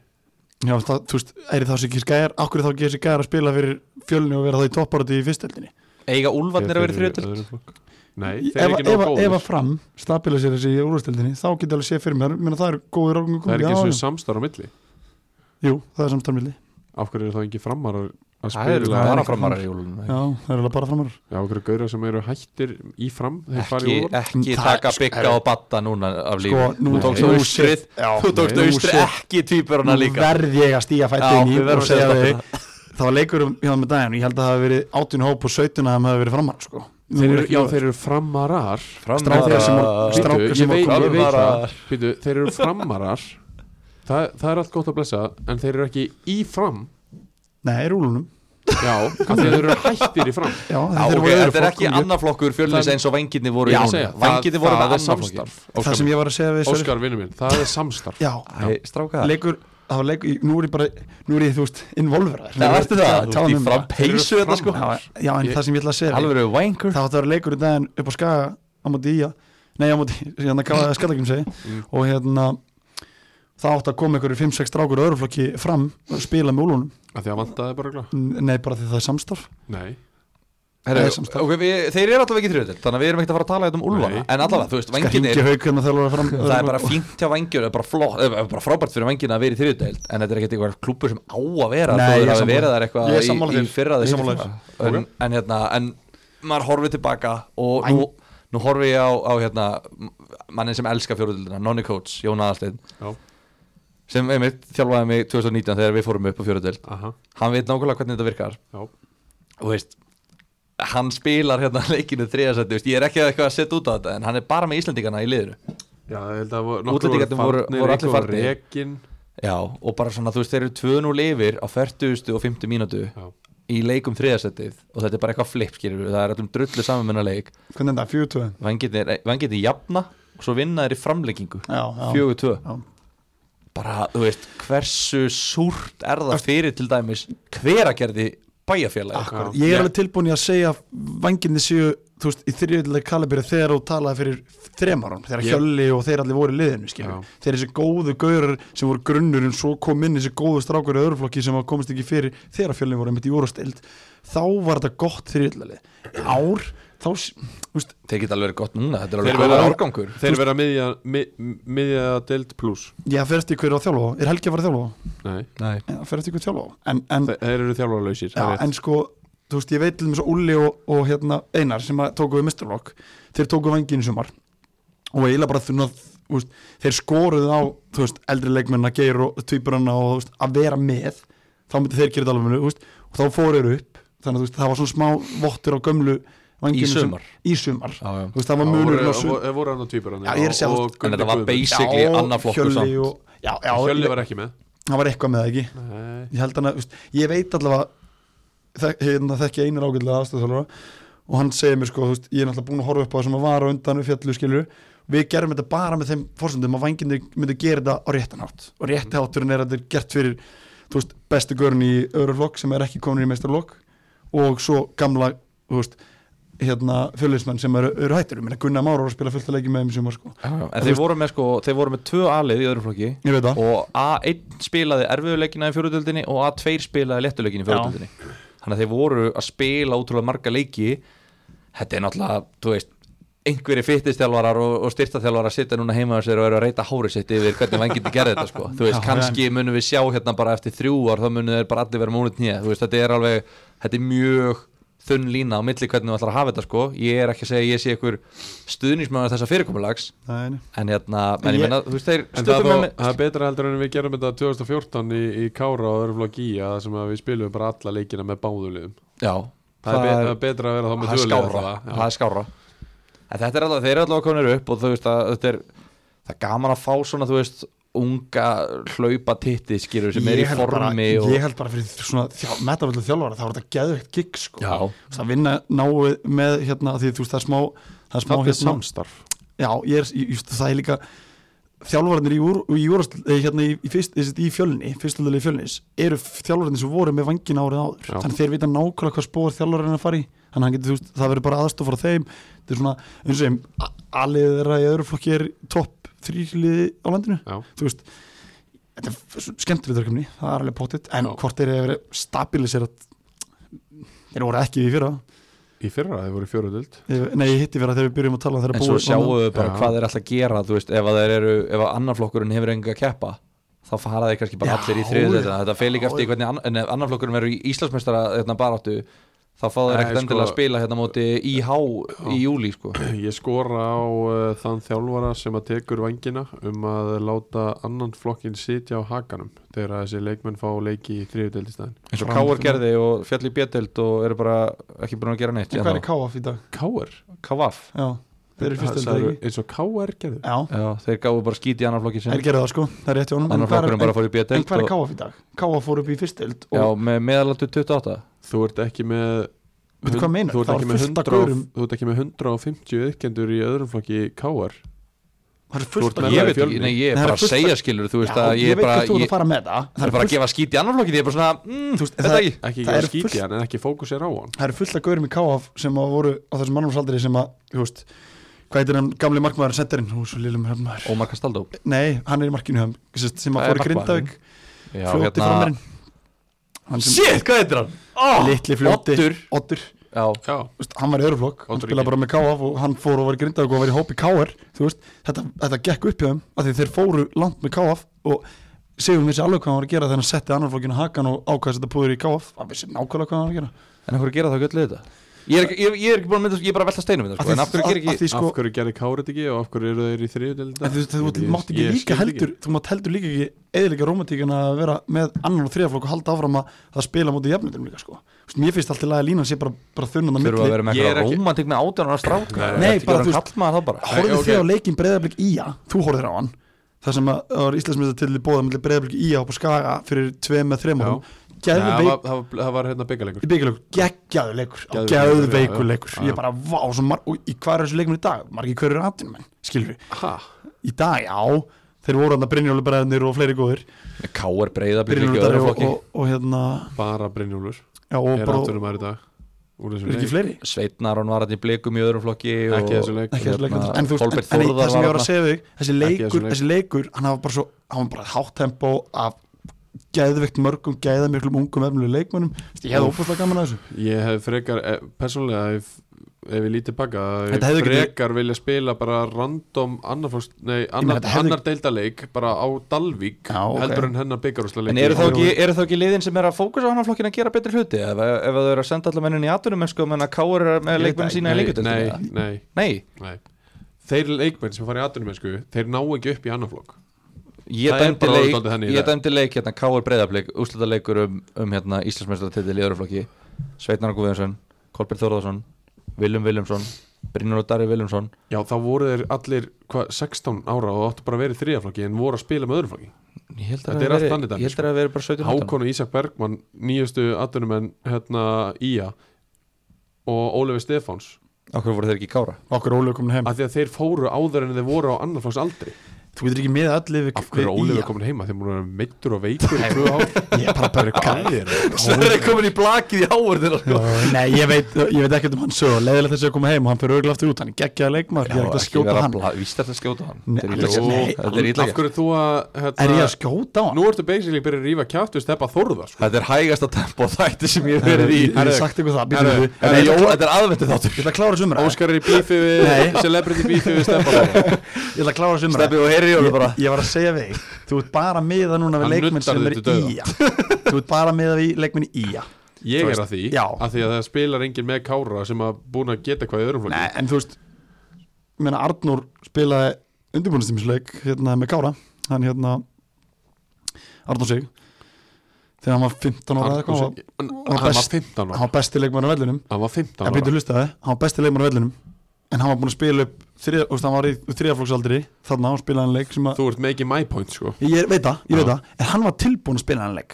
Speaker 3: Já, það, þú veist, er það sem ekki skæjar Akkur er þá ekki þessi gæjar að spila fyrir fjölni og vera það í topparötu í fyrstöldinni
Speaker 2: eiga úlfarnir að vera í þriðasæti
Speaker 1: Nei,
Speaker 3: Ef
Speaker 1: þeir eru ekki
Speaker 3: ef-
Speaker 1: nóg
Speaker 3: ef
Speaker 1: góður
Speaker 3: að fram stabilisera sig í úrvastöldinni þá get ég alveg séð fyrir mér menn það eru góður ákveðin
Speaker 1: Það er ekki eins og
Speaker 3: já,
Speaker 1: samstar á milli
Speaker 3: já. Jú, það er samstæðmilli
Speaker 1: Af hverju eru þá engin framar að
Speaker 2: það eru
Speaker 1: spila
Speaker 3: það er
Speaker 2: bara
Speaker 3: ekki-
Speaker 2: framarar í úlunum
Speaker 3: Já, það er alveg bara framar
Speaker 1: Já, okkur gauðra sem eru hættir í fram Þeir fari
Speaker 2: ekki,
Speaker 1: úr
Speaker 2: ekki
Speaker 3: Það-
Speaker 2: taka
Speaker 3: sko,
Speaker 2: bygga
Speaker 3: herru.
Speaker 2: og batta núna af lífi
Speaker 3: Sko, nú
Speaker 2: þú tókst
Speaker 1: nú
Speaker 2: austrið
Speaker 3: shit. Já,
Speaker 2: þú tókst
Speaker 3: nú
Speaker 2: austrið
Speaker 3: shit.
Speaker 2: ekki
Speaker 3: Nú
Speaker 2: týpurana líka
Speaker 3: verð ég að stíja
Speaker 2: Já,
Speaker 3: fættin í
Speaker 2: við verðum að
Speaker 3: og segja
Speaker 2: segja
Speaker 3: þau Það var leikur um hjá þeim með daginn og ég held að það hafi verið 18 hóp og 17 að það hafi verið framar sko.
Speaker 1: Þeir eru- Já, þeir eru framarar
Speaker 3: Strákar sem að-
Speaker 2: Framarar.
Speaker 3: strákar
Speaker 1: Bíddu,
Speaker 3: sem
Speaker 1: ég
Speaker 3: að
Speaker 1: veit-
Speaker 3: koma
Speaker 1: ég veit
Speaker 2: framarar.
Speaker 1: það. Bíddu, Þeir eru framarar Það, það er allt gott að blessa en þeir eru ekki í fram
Speaker 3: Nei, rúlunum
Speaker 1: já, af því að þeir eru hættir í fram
Speaker 3: Já,
Speaker 2: Já,
Speaker 3: þeir
Speaker 2: ok,
Speaker 3: voru-
Speaker 2: þetta er ekki
Speaker 3: fólk-
Speaker 2: annar flokkur fjölnis
Speaker 1: Það-
Speaker 2: eins og vengirni voru í
Speaker 1: Ég að segja,
Speaker 2: núna vengirni
Speaker 1: það-
Speaker 2: voru
Speaker 1: það
Speaker 2: með
Speaker 1: er
Speaker 2: annar flokki
Speaker 1: samstarf
Speaker 3: Það sem ég var að segja við Sverrir-
Speaker 1: Óskar, vinnu minn, það er samstarf
Speaker 3: Já,
Speaker 2: Æ, stráka
Speaker 3: leikur Það var leikur, nú er ég bara, nú er ég þú veist involverað
Speaker 2: Það ertu það, þú
Speaker 3: um
Speaker 2: ert í fram peysu
Speaker 1: Þeir eru
Speaker 2: þetta sko
Speaker 1: framar.
Speaker 3: Já, en
Speaker 1: Ég-
Speaker 3: það sem ég ætla að segja
Speaker 2: Alveg eru wanker
Speaker 3: Það átti að vera leikur í daginn upp á skaga á móti í að Nei, á móti, hérna gáði að skallakjum segi
Speaker 1: Mm.
Speaker 3: Og hérna Það átti að koma einhverjir 5-6 strákur á öruflokki fram og spila með úlunum
Speaker 1: Af því að vantaði bara glæð
Speaker 3: N- Nei, bara því það er samstarf
Speaker 1: Nei,
Speaker 2: Herru,
Speaker 3: Það er samstarf.
Speaker 2: ok, við- Þeir eru allavega ekki þriðutil Þannig að við erum ekkert að fara að tala hérna um úlfana
Speaker 1: Nei.
Speaker 2: En allavega, þú veist,
Speaker 3: Skal
Speaker 2: venginir
Speaker 3: hringi hauk hérna þjálfara fram
Speaker 2: Það er bara fínt hjá vengjur, það er bara, flott, það er bara frábært fyrir vengina að vera í þriðutdeild En þetta er ekkert eitthvað klúpur sem á að vera
Speaker 3: Nei,
Speaker 2: þó
Speaker 3: ég
Speaker 2: þeir
Speaker 3: er
Speaker 2: hafi
Speaker 3: sammála.
Speaker 2: verið þar
Speaker 3: Ég er
Speaker 2: eitthvað
Speaker 3: sammála
Speaker 2: í,
Speaker 3: þér.
Speaker 2: í fyrra
Speaker 3: Ég er
Speaker 2: þessi
Speaker 3: sammála
Speaker 2: tíma.
Speaker 1: þér.
Speaker 2: en, en hérna, en maður horfið tilbaka Og nú, nú horfið ég á, á hérna, mannin sem elskar fjóruðildina, Nonni Coates, Jón Aðalsteinn
Speaker 1: já,
Speaker 2: Sem einmitt þjálfaði mig 2019 þegar við fórum upp á fjóruðdeild
Speaker 1: aha,
Speaker 2: Hann veit nákvæmlega hvernig þetta virkar
Speaker 1: já
Speaker 2: og veist hann spilar hérna leikinu þriðasætti veist, ég er ekki eitthvað að setja út á þetta en hann er bara með Íslandingana í liðinu
Speaker 1: Já, ég held að voru-
Speaker 2: Útlendingarnir voru- voru allir
Speaker 1: einhver var
Speaker 2: farnir.
Speaker 1: rekinn.
Speaker 2: já, og bara svona þú veist þeir eru 2-0 yfir á 40. og 50 mínútu
Speaker 1: Já.
Speaker 2: í leikum þriðasættið og þetta er bara eitthvað flip skilur það er öllum drullu saman með hennar leik
Speaker 3: Hvernig enda, 4-2
Speaker 2: vangirni jafna og svo vinna þeir í framleggingu
Speaker 3: Já, já
Speaker 2: 4-2
Speaker 3: Já.
Speaker 2: bara þú veist hversu súrt er það fyrir til dæmis hveragerði bæjarfélagi
Speaker 3: Akkur,
Speaker 1: Já.
Speaker 3: ég
Speaker 2: Já.
Speaker 3: er alveg tilbúin í að segja að vanginni séu þú veist, í þriðjöldileg kalabyrði þegar þú talaði fyrir þremarum, þegar
Speaker 1: Ég-
Speaker 3: Hjölli og þeir allir voru í liðinu,
Speaker 1: Já.
Speaker 3: skilur, þegar þessi góðu gaurar sem voru grunnurinn, svo kom inn þessi góðu strákur í öðruflokki sem var- komist ekki fyrir þegar Hjölli voru einmitt í úrvastild þá var þetta gott þriðjöldileg ár, þá, s- þú veist
Speaker 2: þeir geta alveg verið gott núna þetta er
Speaker 1: Þeir
Speaker 2: alveg
Speaker 1: verða-
Speaker 2: góður árgangur
Speaker 1: Þeir vera miðja, mið, miðja deild pluss
Speaker 3: ég fer eftir hverju á þjálfa, á. er Helgi að fara að þjálfa á?
Speaker 1: Nei,
Speaker 2: Nei.
Speaker 3: Já, fer eftir hverju þjálfa á. en, en
Speaker 1: þe- þeir eru þjálfarlausir
Speaker 3: Já, en sko, þú veist, ég veit til þess að Ulli og, og hérna Einar sem að tóku við Mistralokk, þeir tóku vangin í sumar og eiginlega bara þunna, þú veist, þeir skoruðu á, þú veist, eldri leikmenn að geir og tvíburana og þú veist, að vera með þá myndi þeir gera þetta alveg, þú veist, og þá fóru þeir upp, þannig að þú veist, það var svona smá vottur á gömlu vanginu sem-
Speaker 2: sumar.
Speaker 3: í sumar,
Speaker 2: Já, já.
Speaker 3: þú veist, það var munur
Speaker 1: voru, voru, voru hann á tvíbur
Speaker 3: Já, ég er að segja, þú-
Speaker 2: en þetta var basically annað flokkur samt
Speaker 3: og, já, já,
Speaker 1: Hjölli var ekki með
Speaker 3: það var eitthvað með það ekki
Speaker 1: Nei.
Speaker 3: ég held hann að, veist, ég veit allavega þek, hérna þekki einar ágætlega aðstæðþjálfara og hann segir mér sko, þú veist, ég er náttúrulega búin að horfa upp á það sem að vara undan við fjallu skilur við gerum þetta bara með þeim fórsöndum að vanginni myndi gera þetta á réttan hátt og rétti hátturinn er að þetta er gert fyrir þú veist, bestu görun í öðruflokk sem er ekki komin í meistarlokk og svo gamla þú veist, hérna, fjöliðsmenn sem eru, eru hættur ég meina Gunnar Már var að spila fullt að leikja með þeim sem var sko.
Speaker 2: en þeir voru með sko, þeir voru með tvö alið í öðrum flokki
Speaker 3: ég veit það
Speaker 2: og A1 spilaði erfiðuleikina í fjóruðöldinni og A2 spilaði lettuleikina í fjóruðöldinni þannig að þeir voru að spila ótrúlega marga leiki þetta er náttúrulega, þú veist einhverjir fyttistjálfarar og, og styrtaþjálfarar sitja núna heima á sér og eru að reyta hárið sitt yfir hvernig mann getur gerði þetta sko þú veist,
Speaker 3: Já,
Speaker 2: kannski munum við sjá hérna bara eftir þrjú ár þá munum þeir bara allir vera múnit nýja þú veist, þetta er alveg, þetta er mjög þunn lína á milli hvernig við ætlar að hafa þetta sko ég er ekki að segja, að ég sé einhver stuðnismöður þessa fyrirkomulags
Speaker 3: Nei, nei.
Speaker 2: en hérna, en
Speaker 3: En
Speaker 2: ég
Speaker 3: ég-
Speaker 2: menna, þú veist, þeir
Speaker 1: En það,
Speaker 2: stökum
Speaker 1: þó, það er betra heldur en við gerum þetta 2014 í, í Kára og Örflokk í að sem að við spilum bara alla leikina með báðulegum
Speaker 2: Já,
Speaker 1: það, er betra, betra að vera þá með
Speaker 2: það er skára
Speaker 1: það,
Speaker 2: það er skára en þetta er alltaf, þeir eru alltaf konir upp og þú veist að þetta er það er gaman að fá svona, þú veist unga hlaupa titti skilur sem er í
Speaker 3: Ég held
Speaker 2: formi
Speaker 3: bara,
Speaker 2: og
Speaker 3: ég held bara fyrir svona þjá, metaföldu þjálfara þá er þetta geðveikt gig sko
Speaker 2: Já.
Speaker 3: það vinna náið með hérna því þú veist það er smá það er smá
Speaker 1: það er
Speaker 3: hérna
Speaker 1: samstarf
Speaker 3: já ég er ég, just, það er líka þjálfararnir í, úr, í, úrast, eh, hérna, í, í, fyrst, í, í fjölni fyrstöldulegi fjölnis eru þjálfararnir sem voru með vangin árið áður
Speaker 1: Já.
Speaker 3: þannig þeir vita nákvæmlega hvað spór þjálfararnir að fara í þannig að hann getur þú veist það verður bara aðstof frá þeim þetta er svona eins og þeim alið þeirra í öðru flokki er topp þrýliði á landinu
Speaker 1: Já.
Speaker 3: þú veist þetta er f- s- skemmtilegt verkefni, það er alveg pottitt en
Speaker 1: Já.
Speaker 3: hvort þeir eru verið stabiliserat þeir voru ekki í fyrra
Speaker 1: í fyrra þeir voru í fjóruðild
Speaker 3: Ég- nei, ég hitti fyrra þegar við byrjum að tala um þegar
Speaker 2: en svo sjáum við bara
Speaker 1: Já.
Speaker 2: hvað þeir alltaf gera þú veist, ef að þeir eru, ef að annar flokkurinn hefur enga að keppa, þá fara þeir kannski bara
Speaker 3: Já,
Speaker 2: allir í þriðu þetta,
Speaker 3: já.
Speaker 2: þetta fer líka eftir í hvernig ann- en ef annar flokkurinn verður í Íslandsmeistara hérna baráttu, þá fá þeir
Speaker 1: Nei,
Speaker 2: ekkert
Speaker 1: sko-
Speaker 2: endilega að spila hérna móti IH í júli, sko
Speaker 1: ég skora á uh, þann þjálfara sem að tekur vangina um að láta annan flokkin sitja á hakanum þegar að þessi leikmenn fá leiki í þriðudild í staðin
Speaker 2: eins og
Speaker 3: Fram-
Speaker 2: Káar gerði og fjall í bjötild og eru bara ekki búin að gera neitt
Speaker 3: en hvað er KF í dag?
Speaker 1: K.R.
Speaker 2: Kavaf
Speaker 3: Já, þeir eru fyrst
Speaker 1: Það
Speaker 3: heldur
Speaker 1: eru
Speaker 3: ekki
Speaker 1: eins og K.R. gerði
Speaker 3: Já,
Speaker 2: Já, þeir gáfu bara skít í annar flokki sinni
Speaker 3: þeir gerðu það sko, það er rétt hjá honum En
Speaker 2: annar
Speaker 3: hvað er-
Speaker 2: flokkurinn bara fór í
Speaker 3: En en
Speaker 2: B-deild
Speaker 3: hvað er
Speaker 2: og-
Speaker 3: KF í dag? KF fór upp í fyrst held
Speaker 2: Já,
Speaker 3: og
Speaker 2: með meðalandu 28
Speaker 1: þú ert ekki með
Speaker 3: Veitu hvað meinar?
Speaker 1: þú ert
Speaker 3: Það
Speaker 1: ekki
Speaker 3: var
Speaker 1: með
Speaker 3: fullt af
Speaker 1: 100 og-
Speaker 3: gaurum.
Speaker 1: þú ert ekki með 150 yðkendur í öðrum flokki K.R.
Speaker 3: það er
Speaker 1: Þú
Speaker 3: fullt
Speaker 1: ert
Speaker 3: af
Speaker 1: með-
Speaker 2: Ég
Speaker 1: það
Speaker 2: veit
Speaker 1: er
Speaker 2: ekki,
Speaker 1: fjölni.
Speaker 2: nei, ég er
Speaker 3: Nei, það
Speaker 2: bara
Speaker 3: er
Speaker 2: að
Speaker 3: fullt
Speaker 2: segja skilur Þú veist
Speaker 3: Já,
Speaker 2: að ég er
Speaker 3: veit
Speaker 2: bara
Speaker 3: hvert þú ert
Speaker 2: Ég
Speaker 3: að fara með það
Speaker 2: ég
Speaker 3: það
Speaker 2: er bara
Speaker 3: er
Speaker 2: að
Speaker 3: fullt-
Speaker 2: gefa skít í annar flokki Ég er bara svona, mm,
Speaker 3: Þú veist,
Speaker 2: þetta
Speaker 3: það-
Speaker 2: ekki
Speaker 1: ekki gera
Speaker 3: Það eru fullt-
Speaker 1: skítið hann en ekki fókus er á hann
Speaker 3: það eru fullt af gaurum í KF sem að voru á þessum mannumsaldri sem að, þú veist hvað heitir hann gamli markmaður senderinn hún er svo lillum hefnmaður
Speaker 2: Ómar Kastaldó
Speaker 3: Nei, hann er í markinu hann sérst, sem að
Speaker 2: Það er
Speaker 3: fór í
Speaker 2: markmaðurinn.
Speaker 3: Grindavík fljóti hérna... framarinn hann sem
Speaker 2: Shit, hvað heitir hann? Oh,
Speaker 3: litli fljóti
Speaker 2: Oddur
Speaker 3: Oddur
Speaker 2: Já,
Speaker 1: já,
Speaker 3: Þú veist, hann var í öðruflokk, hann
Speaker 1: Oddur
Speaker 3: spilaði
Speaker 1: Ingi.
Speaker 3: bara með KF og hann fór og var í Grindavík og var í hópi KR þú veist, þetta, þetta gekk upp hjá þeim af því þeir fóru langt með KF og segjum vissi alveg hvað hann var að gera þegar hann setti annar flokkinu hakan og ákvæðis þetta púður í KF hann vissi nákvæmlega hvað hann var að gera
Speaker 2: en hvað gera það göllu þetta? Ég er, ekki- ég, ég er ekki búin að mynda, ég er bara að velta steinum þetta
Speaker 3: Af
Speaker 2: sko, En af hverju gerir
Speaker 3: af
Speaker 2: ekki
Speaker 3: því sko,
Speaker 1: af hverju gerði K.R. þetta ekki og af hverju eru þeir í þriðudild
Speaker 3: En þú, þú, þú mátt ekki líka heldur þú mátt heldur líka ekki eðilega romantíkin að vera með annan og þriðaflokk og halda áfram að það spila mútið jafnöndum líka sko Þú veist, mér finnst alltaf að línan sé bara, bara þunnan að
Speaker 2: Þurfa að vera með
Speaker 3: milli
Speaker 1: Ég er
Speaker 2: eitthvað
Speaker 1: ekki-
Speaker 2: romantik með átjánar stráka
Speaker 1: Nei,
Speaker 3: Nei,
Speaker 2: þú
Speaker 3: bara, þú veist-
Speaker 2: veist Kallmaður þá bara
Speaker 3: horfðu
Speaker 1: Nei, ok.
Speaker 3: þið á leikin breyðablik ía þú horfðir á hann það sem að það var Íslandsmiðsta til í bóða millir breyðablik ía upp á skaga fyrir tveim með þreim
Speaker 1: Já.
Speaker 3: árum
Speaker 1: það
Speaker 3: gæðu
Speaker 1: var,
Speaker 3: veik
Speaker 1: það var, það var hérna byggalengur
Speaker 3: í byggilegur, geggjaður leikur
Speaker 1: Geðveikur leikur,
Speaker 3: geggjaður
Speaker 1: já,
Speaker 3: veikur
Speaker 1: já.
Speaker 3: leikur
Speaker 1: Já.
Speaker 3: ég bara, vá, svo mar, og í hvað er þessu leikum í dag margir hverju er atvinnum menn, skilur
Speaker 1: ha,
Speaker 3: í dag, já, þeir voru hann að Brynjólu bræðinir og fleiri góðir
Speaker 2: K.R. breyða blir ekki
Speaker 3: Brynjólu
Speaker 2: öðru
Speaker 3: og,
Speaker 2: flokki
Speaker 3: og, og hérna
Speaker 1: bara Brynjólfur
Speaker 3: já, og
Speaker 1: er
Speaker 3: bara,
Speaker 1: áttunum aðri dag úr þessum
Speaker 3: er ekki
Speaker 1: leik
Speaker 3: fleiri
Speaker 2: Sveitnaron var hann í blikum í öðrum flokki og-
Speaker 1: ekki þessu leik
Speaker 3: ekki þessu leikur
Speaker 2: Hérna,
Speaker 3: en þú veist,
Speaker 2: Kolbeinn
Speaker 3: en, en
Speaker 2: Þórðar
Speaker 3: það sem
Speaker 2: var
Speaker 3: ég var að
Speaker 2: þarna.
Speaker 3: segja þig þessi leikur,
Speaker 1: þessum leik.
Speaker 3: þessi leikur hann var bara svo, hann var bara háttempo af gæðveikt mörgum, gæða miklum ungum efnileg leikmönnum, Þú veist, ég hefði
Speaker 1: Úff.
Speaker 3: óbúslega gaman að þessu
Speaker 1: Ég hef frekar, eh, persónulega ef, ef ég lítið pakka
Speaker 3: Þetta hefði
Speaker 1: Ég
Speaker 3: getið-
Speaker 1: frekar vilja spila bara random annar, fórst, nei, annar,
Speaker 3: þetta hefði-
Speaker 1: annar deildaleik bara á Dalvík
Speaker 3: Já, ok.
Speaker 1: heldur en hennar byggarúsla
Speaker 2: En eru þá ekki, eru þá ekki liðin sem er að fókusa á hann flokkin að gera betri hluti ef, ef þau eru að senda allar mennin í atunum en sko menna káur er með
Speaker 3: Ég veit
Speaker 2: leikmenn
Speaker 3: það
Speaker 2: sína í
Speaker 1: Nei,
Speaker 2: leikutildinu
Speaker 1: nei,
Speaker 2: eða?
Speaker 1: nei,
Speaker 2: nei,
Speaker 1: nei Þeir leikmenn sem fara í atvinnumennsku Þeir ná ekki upp í annar flokk
Speaker 2: ég
Speaker 1: Það er
Speaker 2: dæmdi
Speaker 1: bara
Speaker 2: leik,
Speaker 1: dálítið þannig í dag.
Speaker 2: ég dæmdi leik hérna káur breyðablík, úslita leikur um, um hérna Íslandsmeistaratitil í öðru flokki Sveitnar Guðjónsson, Kolbjörn Þórðarsson Viljum Viljumsson, Brynur og Darri Viljumsson
Speaker 1: Já, þá voru þeir allir hva, 16 ára og áttu bara að vera í þriðaflokki en voru að spila með öðrum flokki
Speaker 2: Ég held
Speaker 1: Þetta
Speaker 2: að
Speaker 1: er
Speaker 2: það
Speaker 1: allt
Speaker 2: veri-
Speaker 1: þannig dæmi,
Speaker 2: ég held að það veri bara 17 18.
Speaker 1: Hákon og Ísak Bergmann, nýjustu atvinnumenn hérna, Ía og Ólefi Stefáns
Speaker 2: Okkur voru þeir ekki í kára
Speaker 3: okkur Óli er komin heim
Speaker 1: af því að þeir fóru áður en þeir voru á annarflokks aldri
Speaker 3: þú getur ekki með allir við,
Speaker 1: af hverju Ólið er komin heima þeir múlu að meittur og veikur í tvö ár
Speaker 3: ég er bara bara gæðir
Speaker 2: Sverri er komin í blakið í áverðina sko.
Speaker 3: nei, ég veit, ég veit ekkert um hann sög leðilegt þessi að koma heim og hann fyrir örgla aftur út hann er geggjaði leikmaður, ég er ekkert að skjóta hann
Speaker 2: Víst er þetta að skjóta hann
Speaker 3: Nei,
Speaker 2: Þetta er
Speaker 3: alls
Speaker 2: illa
Speaker 3: ekki.
Speaker 2: gert. Þetta er illa
Speaker 1: af
Speaker 2: gert.
Speaker 1: hverju þú að
Speaker 3: er ég
Speaker 1: hérna,
Speaker 3: að skjóta hann?
Speaker 1: nú ertu basically byrjað að rífa kjátt við steppa þorða sko.
Speaker 2: Þetta er hægasta tempo þætti sem ég hef verið í
Speaker 3: ég hef sagt ykkur það býtum
Speaker 1: Herru,
Speaker 3: við.
Speaker 2: Þetta
Speaker 3: Nei,
Speaker 2: er-
Speaker 3: ég
Speaker 2: Þetta er aðvendu þáttur
Speaker 3: ég ætla að klára sumra ég
Speaker 1: Óskar er í bífi
Speaker 3: Nei.
Speaker 1: við celebrity bífi við steppa þorða
Speaker 3: ætla að klára sumra
Speaker 2: Steppi og heyri í
Speaker 3: ég,
Speaker 2: okkur bara
Speaker 3: ég var að segja við þú ert bara miða núna við
Speaker 1: Hann
Speaker 3: leikmenn
Speaker 1: nuddar
Speaker 3: sem
Speaker 1: þig
Speaker 3: er
Speaker 1: til dauða.
Speaker 3: í þú ert bara miða við leikmenn í í
Speaker 1: ég
Speaker 3: Þú
Speaker 1: er
Speaker 3: veist,
Speaker 1: að því
Speaker 3: já.
Speaker 1: af því að það spilar enginn með kára sem að búin að geta hvað í öðrum
Speaker 3: Nei,
Speaker 1: flokki
Speaker 3: en þú veist ég meina Arnur spilaði undirbúinastímisleik hérna með Kára hann hérna Arnur Sig þegar hann var 15 ára eða
Speaker 1: hann,
Speaker 3: eitthvað hann,
Speaker 1: hann, hann,
Speaker 3: var
Speaker 1: var
Speaker 3: best-
Speaker 1: 15
Speaker 3: var-
Speaker 1: ára
Speaker 3: hann var besti leikmann á vellinum
Speaker 1: hann var 15
Speaker 3: ég
Speaker 1: ára
Speaker 3: byrju hlustaði, hann var besti leikmann á vellinum en hann var búin að spila upp þrið, veist, hann var í þriðaflóksaldri þarna og spilaði hann leik sem að
Speaker 1: þú ert making my point sko
Speaker 3: ég veit það, ég veit
Speaker 1: Já.
Speaker 3: það, en hann var tilbúin að spila hann leik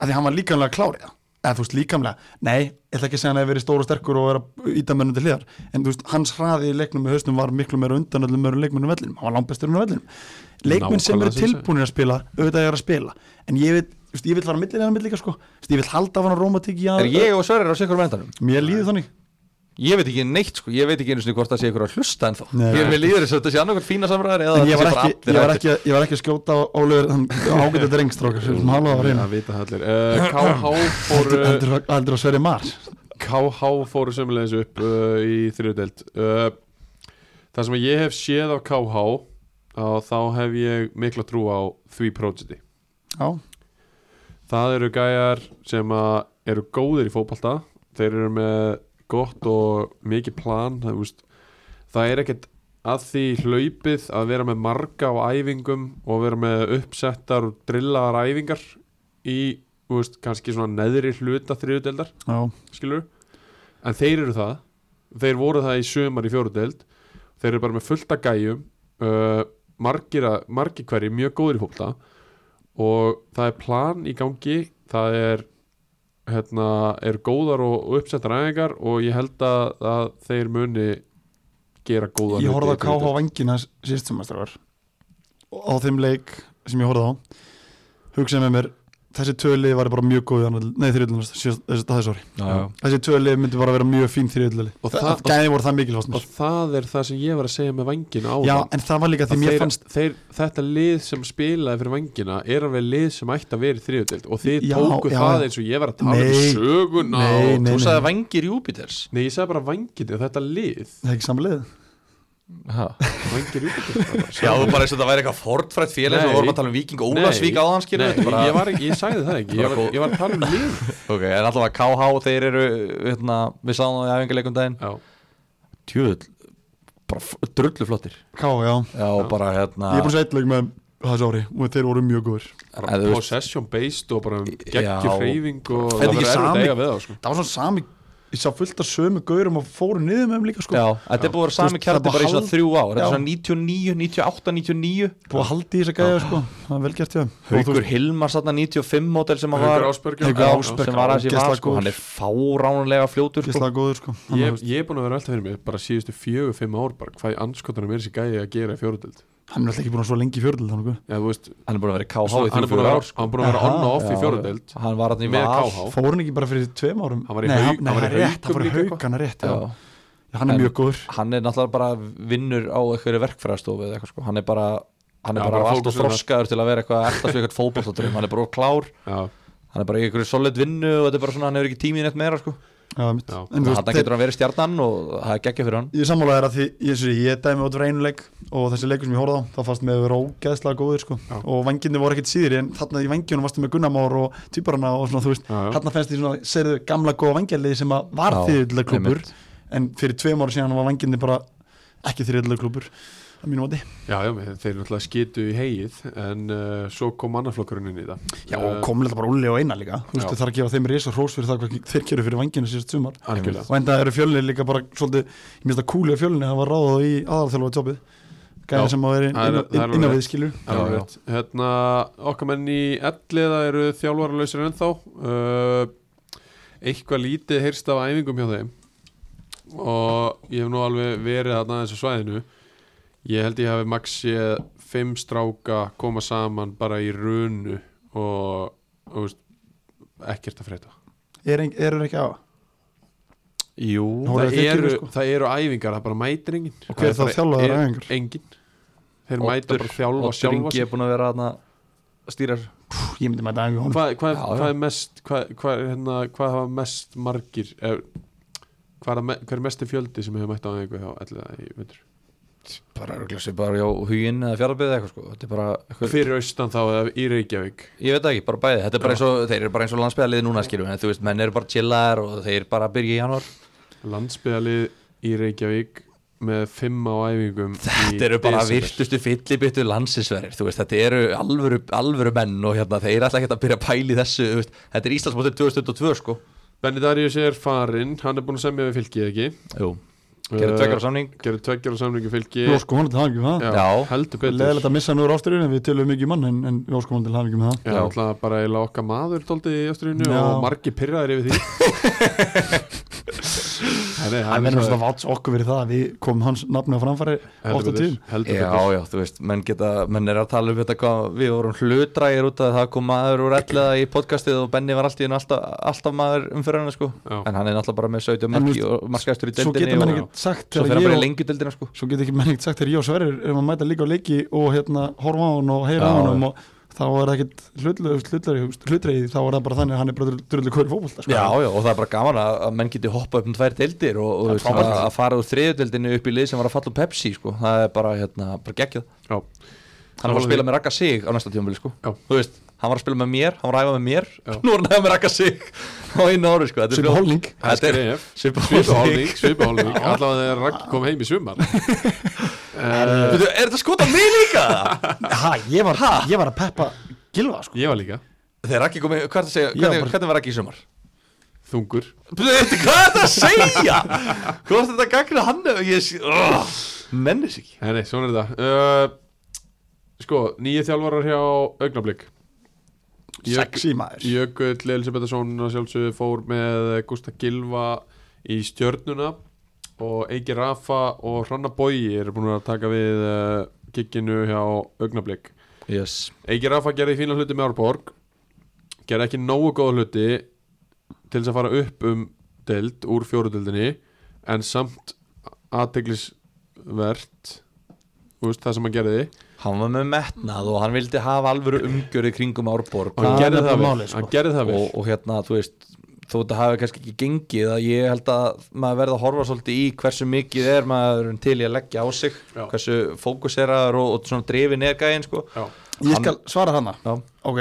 Speaker 3: af því hann var líkamlega klárið eða þú veist líkamlega, nei, ég ætla ekki að segja hann að verið stór og sterkur og vera ídamönnum til hliðar en þú veist, hans hraði í leiknum með hausnum var miklu meira undan öllum öðrum leikmennum vellinum, hann var langbesturinn á vellinum leikmenn sem
Speaker 1: Nákvæmlega
Speaker 3: eru
Speaker 1: sem ég segi.
Speaker 3: tilbúinir að spila auðvitað er að spila, en ég veit þú veist, ég vil fara millir en að millir líka sko Þú veist, ég vil halda af hann að rómatík í að
Speaker 2: Er ég og Sverri á sikur vendanum?
Speaker 3: mér líði þannig
Speaker 2: Ég veit ekki neitt sko, ég veit ekki einu sinni hvort það sé ykkur að hlusta ennþá
Speaker 3: Nei.
Speaker 2: Ég er með líður þess að þetta sé annarkvæmt fína samræðar eða
Speaker 3: en ég
Speaker 2: þetta
Speaker 3: var,
Speaker 2: sé bara allir
Speaker 3: ekki, ég, var
Speaker 2: hættir.
Speaker 3: ekki, ég var ekki að skjóta á Ólöfur ágæta drengstrókar sem hálfa á reyna
Speaker 1: að vita það allir uh, KH fóru
Speaker 3: heldur heldur að sverja mar
Speaker 1: KH fóru sömulegis upp uh, í þriðudeld uh, Það sem ég hef séð á KH á, þá hef ég mikla trú á því prójekti
Speaker 3: já,
Speaker 1: Það eru gæjar sem að eru góðir í fótbalta þeir eru með gott og mikið plan það, veist, það er ekkert að því hlaupið að vera með marga á æfingum og vera með uppsettar og drillaðar æfingar í þú veist, kannski svona neðri hluta þriðudeldar
Speaker 3: já,
Speaker 1: skilur en þeir eru það þeir voru það í sömar í fjórudeld þeir eru bara með fullta gæjum uh, margir, að- margir hverjir mjög góðir í fólkta og það er plan í gangi það er hérna, er góðar og, og uppsettar aðeingar og ég held að, að þeir muni gera góða
Speaker 3: ég
Speaker 1: hluti í
Speaker 3: horfði á KH
Speaker 1: þriðju deild.
Speaker 3: vangina síðust semastrar og á þeim leik sem ég horfði á hugsaði með mér þessi töli var bara mjög góð í annarri- nei þriðlunast, það er sorry
Speaker 2: Já, já.
Speaker 3: þessi töli myndi bara vera mjög fín þriðlunali
Speaker 1: Og
Speaker 3: og
Speaker 1: það-
Speaker 3: það gæði voru það mikil fast mér
Speaker 1: og það er það sem ég var að segja með vangina á
Speaker 3: já, en það var líka því mér
Speaker 1: þeir,
Speaker 3: fannst
Speaker 1: þeir, þetta lið sem spilaði fyrir vangina er alveg lið sem ætti að vera í þriðutild og þið
Speaker 3: Já,
Speaker 1: tóku
Speaker 3: já.
Speaker 1: það eins og ég var að tala um
Speaker 3: Nei.
Speaker 1: söguna
Speaker 3: Nei,
Speaker 1: og...
Speaker 3: nei,
Speaker 2: Þú
Speaker 3: nei.
Speaker 2: sagði vangir Júpiters
Speaker 1: nei, ég sagði bara vangina, þetta lið
Speaker 3: það er ekki samlega
Speaker 2: Já,
Speaker 1: vangir út
Speaker 2: þú bara eins og það væri eitthvað fortfrætt félag sem
Speaker 1: Nei.
Speaker 2: við vorum að tala um Viking og Ólasvík áðan skilur
Speaker 1: Nei,
Speaker 2: þetta bara-
Speaker 1: ég, var, ekki- ég sagði það ekki, ég var, ég var að tala um lið
Speaker 2: Ok, en allavega KH þeir eru hérna, við sáum það í æfingarleikum daginn
Speaker 1: Já,
Speaker 2: Tjöðl, bara drullu flottir
Speaker 3: KH, já,
Speaker 2: Já, og bara hérna
Speaker 3: ég er búin að segja eitt leik með það er sorry, og þeir voru mjög góður
Speaker 1: bara
Speaker 2: En þú veist-
Speaker 1: possession based og bara
Speaker 2: Já.
Speaker 1: geggjur hreyfing og
Speaker 3: Þetta er
Speaker 1: verður
Speaker 3: ekki
Speaker 1: erfitt að
Speaker 3: sami-
Speaker 1: eiga við það sko.
Speaker 3: það var svona sami, ég sá fullt af sömu gaurum og fóru niður með þeim líka sko
Speaker 2: Já, þetta er búin að vera
Speaker 3: Þú
Speaker 2: sami
Speaker 3: veist,
Speaker 2: kjarti
Speaker 3: það er
Speaker 2: bara í
Speaker 3: bara
Speaker 2: svona þrjú ár Þetta
Speaker 3: Já.
Speaker 2: er svona 99, 98, 99
Speaker 3: búið að haldi í þessa gæja sko, það er vel gert hjá þeim. Og þú
Speaker 2: Haukur Hilmar satna 95 mótel sem hann var
Speaker 1: Haukur Ásberg, já.
Speaker 3: Haukur
Speaker 2: Já,
Speaker 3: Ásberg,
Speaker 2: sem var aðeins í
Speaker 3: ógeðslega
Speaker 2: var sko
Speaker 3: góður.
Speaker 2: Hann er fáránlega fljótur sko.
Speaker 3: Gísla góður sko Hann
Speaker 1: ég,
Speaker 3: var-
Speaker 1: ég er búin að vera alltaf fyrir mig bara síðustu fjögur, fimm ár bara hvað í anskotanum er þessi gæi að gera í fjóruðild
Speaker 3: Hann er alltaf ekki búin að svo lengi í sko. fjördil þannig
Speaker 1: Já, þú veist,
Speaker 2: Hann er búin að vera í KH í
Speaker 1: hann er
Speaker 2: þrjú
Speaker 1: búin að
Speaker 2: fjögur
Speaker 1: vera,
Speaker 2: ár sko.
Speaker 1: hann er búin að vera
Speaker 3: Aha.
Speaker 1: on og off í
Speaker 2: Já,
Speaker 1: fjóruðild
Speaker 2: Hann var hann í
Speaker 1: með
Speaker 2: val
Speaker 1: KH
Speaker 3: Fór hann ekki bara fyrir tveim árum
Speaker 1: Hann var í
Speaker 3: Nei,
Speaker 1: Hauk-
Speaker 3: nei,
Speaker 1: hann var í
Speaker 3: hann er
Speaker 1: Haukum
Speaker 3: rétt, hann var í
Speaker 1: líka
Speaker 3: hauk,
Speaker 1: eitthvað.
Speaker 3: hann er rétt já.
Speaker 2: Já.
Speaker 3: Já, Hann er
Speaker 2: En-
Speaker 3: mjög góður
Speaker 2: hann er náttúrulega bara vinnur á einhverju verkfræðastofu eða eitthvað sko hann er bara hann er
Speaker 1: Já,
Speaker 2: bara,
Speaker 1: bara fókusinn
Speaker 2: alltaf
Speaker 1: á-
Speaker 2: þroskaður til að vera eitthvað alltaf svo eitthvað fótbollstadröfum hann er bara of klár
Speaker 1: Já,
Speaker 2: hann er bara í einhverju solid vinnu og þetta er bara svona hann hefur ekki tímið neitt meira sko
Speaker 3: já, mitt.
Speaker 1: Já.
Speaker 2: þannig
Speaker 3: En þú veist,
Speaker 2: að
Speaker 3: þeir,
Speaker 2: getur hann verið stjarnan og það er geggja fyrir hann
Speaker 3: ég sammála er að því ég, sé, ég dæmi út fyrir einu leik og þessi leikur sem ég horfði á þá fannst með vera ógeðslega góðir sko.
Speaker 1: Já.
Speaker 3: og vanginni voru ekkit síðri en þarna í vangjunum varstu með Gunnamár og týparana og svona þú veist
Speaker 1: Já, já.
Speaker 3: þarna fennst því svona serðu gamla góða vangjaliði sem að var
Speaker 2: Já,
Speaker 3: þýðilega klubur
Speaker 2: einmitt.
Speaker 3: en fyrir tveim ára síðan var vanginni bara ekki þýðilega klubur að mínu vati
Speaker 1: já, já, men þeir náttúrulega skitu í heið en uh, svo kom annarflokkurinn inn í það
Speaker 3: Já,
Speaker 1: Eh,
Speaker 3: og komulega bara Ulli og Einar líka Þú veist,
Speaker 1: Já.
Speaker 3: það er að gefa þeim risa hrós fyrir það hvað þeir gerir fyrir vanginu síðast sumar
Speaker 1: Algjörlega.
Speaker 3: Og enda eru fjölni líka bara svolítið Ég minnst að kúli á fjölni, það var ráðað í aðalþjálfa tjópið
Speaker 1: Já,
Speaker 3: Gæðin sem að vera inn,
Speaker 1: það er-
Speaker 3: inn,
Speaker 1: það er
Speaker 3: inn, inn
Speaker 1: alveg
Speaker 3: við skilur
Speaker 1: Það var
Speaker 2: Já, já.
Speaker 1: rétt. Hérna, okkar menn í elliða eru þjálfaralausir ennþá uh, eitthvað lítið heyrst af æfingum hjá þeim og ég hef nú alveg verið þarna þessu svæðinu ég held ég hafi maxi fimm stráka koma saman bara í runu og, og veist, ekkert að frétta
Speaker 3: er, ein- eru þeir ekki á
Speaker 1: Jú,
Speaker 3: Nú voru
Speaker 1: það
Speaker 3: þeir
Speaker 1: eru,
Speaker 3: þykir, sko.
Speaker 1: það eru æfingar, það er bara mætir enginn
Speaker 3: Og hver er þá
Speaker 1: bara-
Speaker 3: þjálfaður
Speaker 1: er-
Speaker 3: æfingar?
Speaker 1: Enginn, þeir
Speaker 2: Oddur-
Speaker 1: mætur bara þjálfa
Speaker 2: Oddur
Speaker 1: sjálfa
Speaker 2: Ingi
Speaker 1: sig
Speaker 2: er búin að vera þarna að stýra þessu.
Speaker 3: Pff, ég myndi mæta æfingu honum
Speaker 1: Hvað hva,
Speaker 2: Já,
Speaker 1: hva
Speaker 2: já.
Speaker 1: er mest, hvað hva, hérna, hva hafa mest margir, er, hvað er, að me- hver er mesti fjöldi sem hefur mætt á æfingu þá allir í vindur?
Speaker 2: bara örglega sér bara á huginn eða fjárabæði eða eitthvað sko þetta er bara eitthvað,
Speaker 1: Fyrir austan þá eða í Reykjavík
Speaker 2: ég veit það ekki, bara bæði þetta er bara eins og þeir eru bara eins og landsbyðalið núna skilur en þú veist, menn eru bara chillaðar og þeir bara byrja í januar
Speaker 1: landsbyðalið í Reykjavík með fimm á æfingum í
Speaker 2: þetta eru bara
Speaker 1: desember.
Speaker 2: virtustu fyllibittu landsisverir þú veist, þetta eru alvöru, alvöru menn og hérna, þeir ætla ekki að byrja að pæli þessu þú veist, þetta er Íslandsmótið 2022 sko
Speaker 1: Benny Darius er farinn, hann er búin að semja við fylkið ekki Eh,
Speaker 2: Jú, gerir tveggjara samning
Speaker 1: Gerðu tveggjara samlingu fylki
Speaker 3: við óskum honum til hafingjum það
Speaker 2: Já.
Speaker 1: heldur betur
Speaker 3: leðilegt að missa hann úr ásturinn en við tölum mikið um hann en, en við óskum honum til hafingjum það
Speaker 1: Já,
Speaker 2: Já.
Speaker 1: alltaf bara eiginlega okkar maður tóldi í Östurínu
Speaker 3: Já.
Speaker 1: og margi pyrraðir yfir því Nei,
Speaker 3: Það verður
Speaker 1: svo-
Speaker 3: svona vats okkur verið það að við komum hans nafni á framfæri
Speaker 1: heldur
Speaker 3: ofta
Speaker 1: betur,
Speaker 3: til
Speaker 1: heldur
Speaker 2: Já,
Speaker 1: betur.
Speaker 2: já, þú veist, menn geta, menn er að tala um þetta hvað, við vorum hlutrægir út að það kom maður úr elliða í podcastið og Benni var alltaf, alltaf, alltaf maður umfyrir hana sko
Speaker 1: Já.
Speaker 2: en hann er náttúrulega bara með 17
Speaker 3: En þú
Speaker 2: marki
Speaker 3: veist,
Speaker 2: og markaðistur í
Speaker 3: Svo
Speaker 2: deildinni
Speaker 3: getur menn
Speaker 2: og
Speaker 3: ekkert sagt
Speaker 2: svo
Speaker 3: þegar
Speaker 2: fyrir hann bara í
Speaker 3: ég og-
Speaker 2: lengju deildina sko
Speaker 3: Svo getur ekki menn ekkert sagt þegar ég og Sverrir erum að mæta líka á leiki og hérna horfa á hann og heyra
Speaker 2: Já,
Speaker 3: á hann
Speaker 2: já.
Speaker 3: og þá er það ekkert hlutreið þá er það bara þannig að hann er bara drullu kvöri fókvöld
Speaker 2: Já, já, og það er bara gaman að, að menn geti hoppað upp um tvær deildir og, og þú veist, að, að fara úr þriðju deildinni upp í lið sem var að falla úr Pepsi sko, það er bara, hérna, bara geggjað
Speaker 1: Já.
Speaker 2: Hann var að spila með Raka Sig á næsta tímabili sko
Speaker 1: Já.
Speaker 2: Þú veist, hann var að spila með mér, hann var að æfa með mér
Speaker 1: Já.
Speaker 2: Nú er hann að æfa með Raka Sig á einu ári sko Þetta er
Speaker 3: sem
Speaker 2: fljótt.
Speaker 3: holning
Speaker 1: Þetta
Speaker 2: Þetta
Speaker 1: er
Speaker 2: Svipahólning
Speaker 1: svipahólning svipahólning, allavega þegar Ragn kom heim í svumar Eh,
Speaker 2: Veitu, er þetta skot á mig líka?
Speaker 3: ha, ég, var, ég var að peppa gilva sko.
Speaker 1: Ég var líka
Speaker 2: Þeir er ekki komið, hvað er það að segja,
Speaker 3: Já,
Speaker 2: hvernig,
Speaker 3: bara-
Speaker 2: hvernig var ekki í sumar?
Speaker 1: þungur
Speaker 2: Veitu, hvað er það að segja? Hvað er þetta að gagna hann? Ég sé, oh, mennis ekki
Speaker 1: Nei, nei, svona er þetta uh, Sko, nýju þjálfarar hjá Augnablík
Speaker 3: sexy maður
Speaker 1: Jökull Elisabethasson að sjálfsögðu fór með Gustaf Gilva í stjörnuna og Eiki Rafa og Hranna Bogi eru búin að taka við uh, kikkinu hjá Augnablík
Speaker 2: yes.
Speaker 1: Eiki Rafa gerði fína hluti með Árborg gerði ekki nógu góða hluti til þess að fara upp um deild úr fjóruðildinni en samt aðteglisvert þú veist það sem hann gerði
Speaker 2: Hann var með metnað og hann vildi hafa alvöru umgjörði kringum Árborg
Speaker 1: og hann
Speaker 3: Það
Speaker 1: gerði
Speaker 3: er
Speaker 1: það vel,
Speaker 3: nefnilega málið, sko.
Speaker 1: hann gerði það vel.
Speaker 2: og, og hérna, þú veist þó þetta hafi kannski ekki gengið að ég held að maður verði að horfa svolítið í hversu mikið er maður til í að leggja á sig
Speaker 1: Já.
Speaker 2: hversu fókuseraður og, og svona drefin er gæinn sko
Speaker 1: Já.
Speaker 3: ég skal svara hana
Speaker 2: Já.
Speaker 3: ok,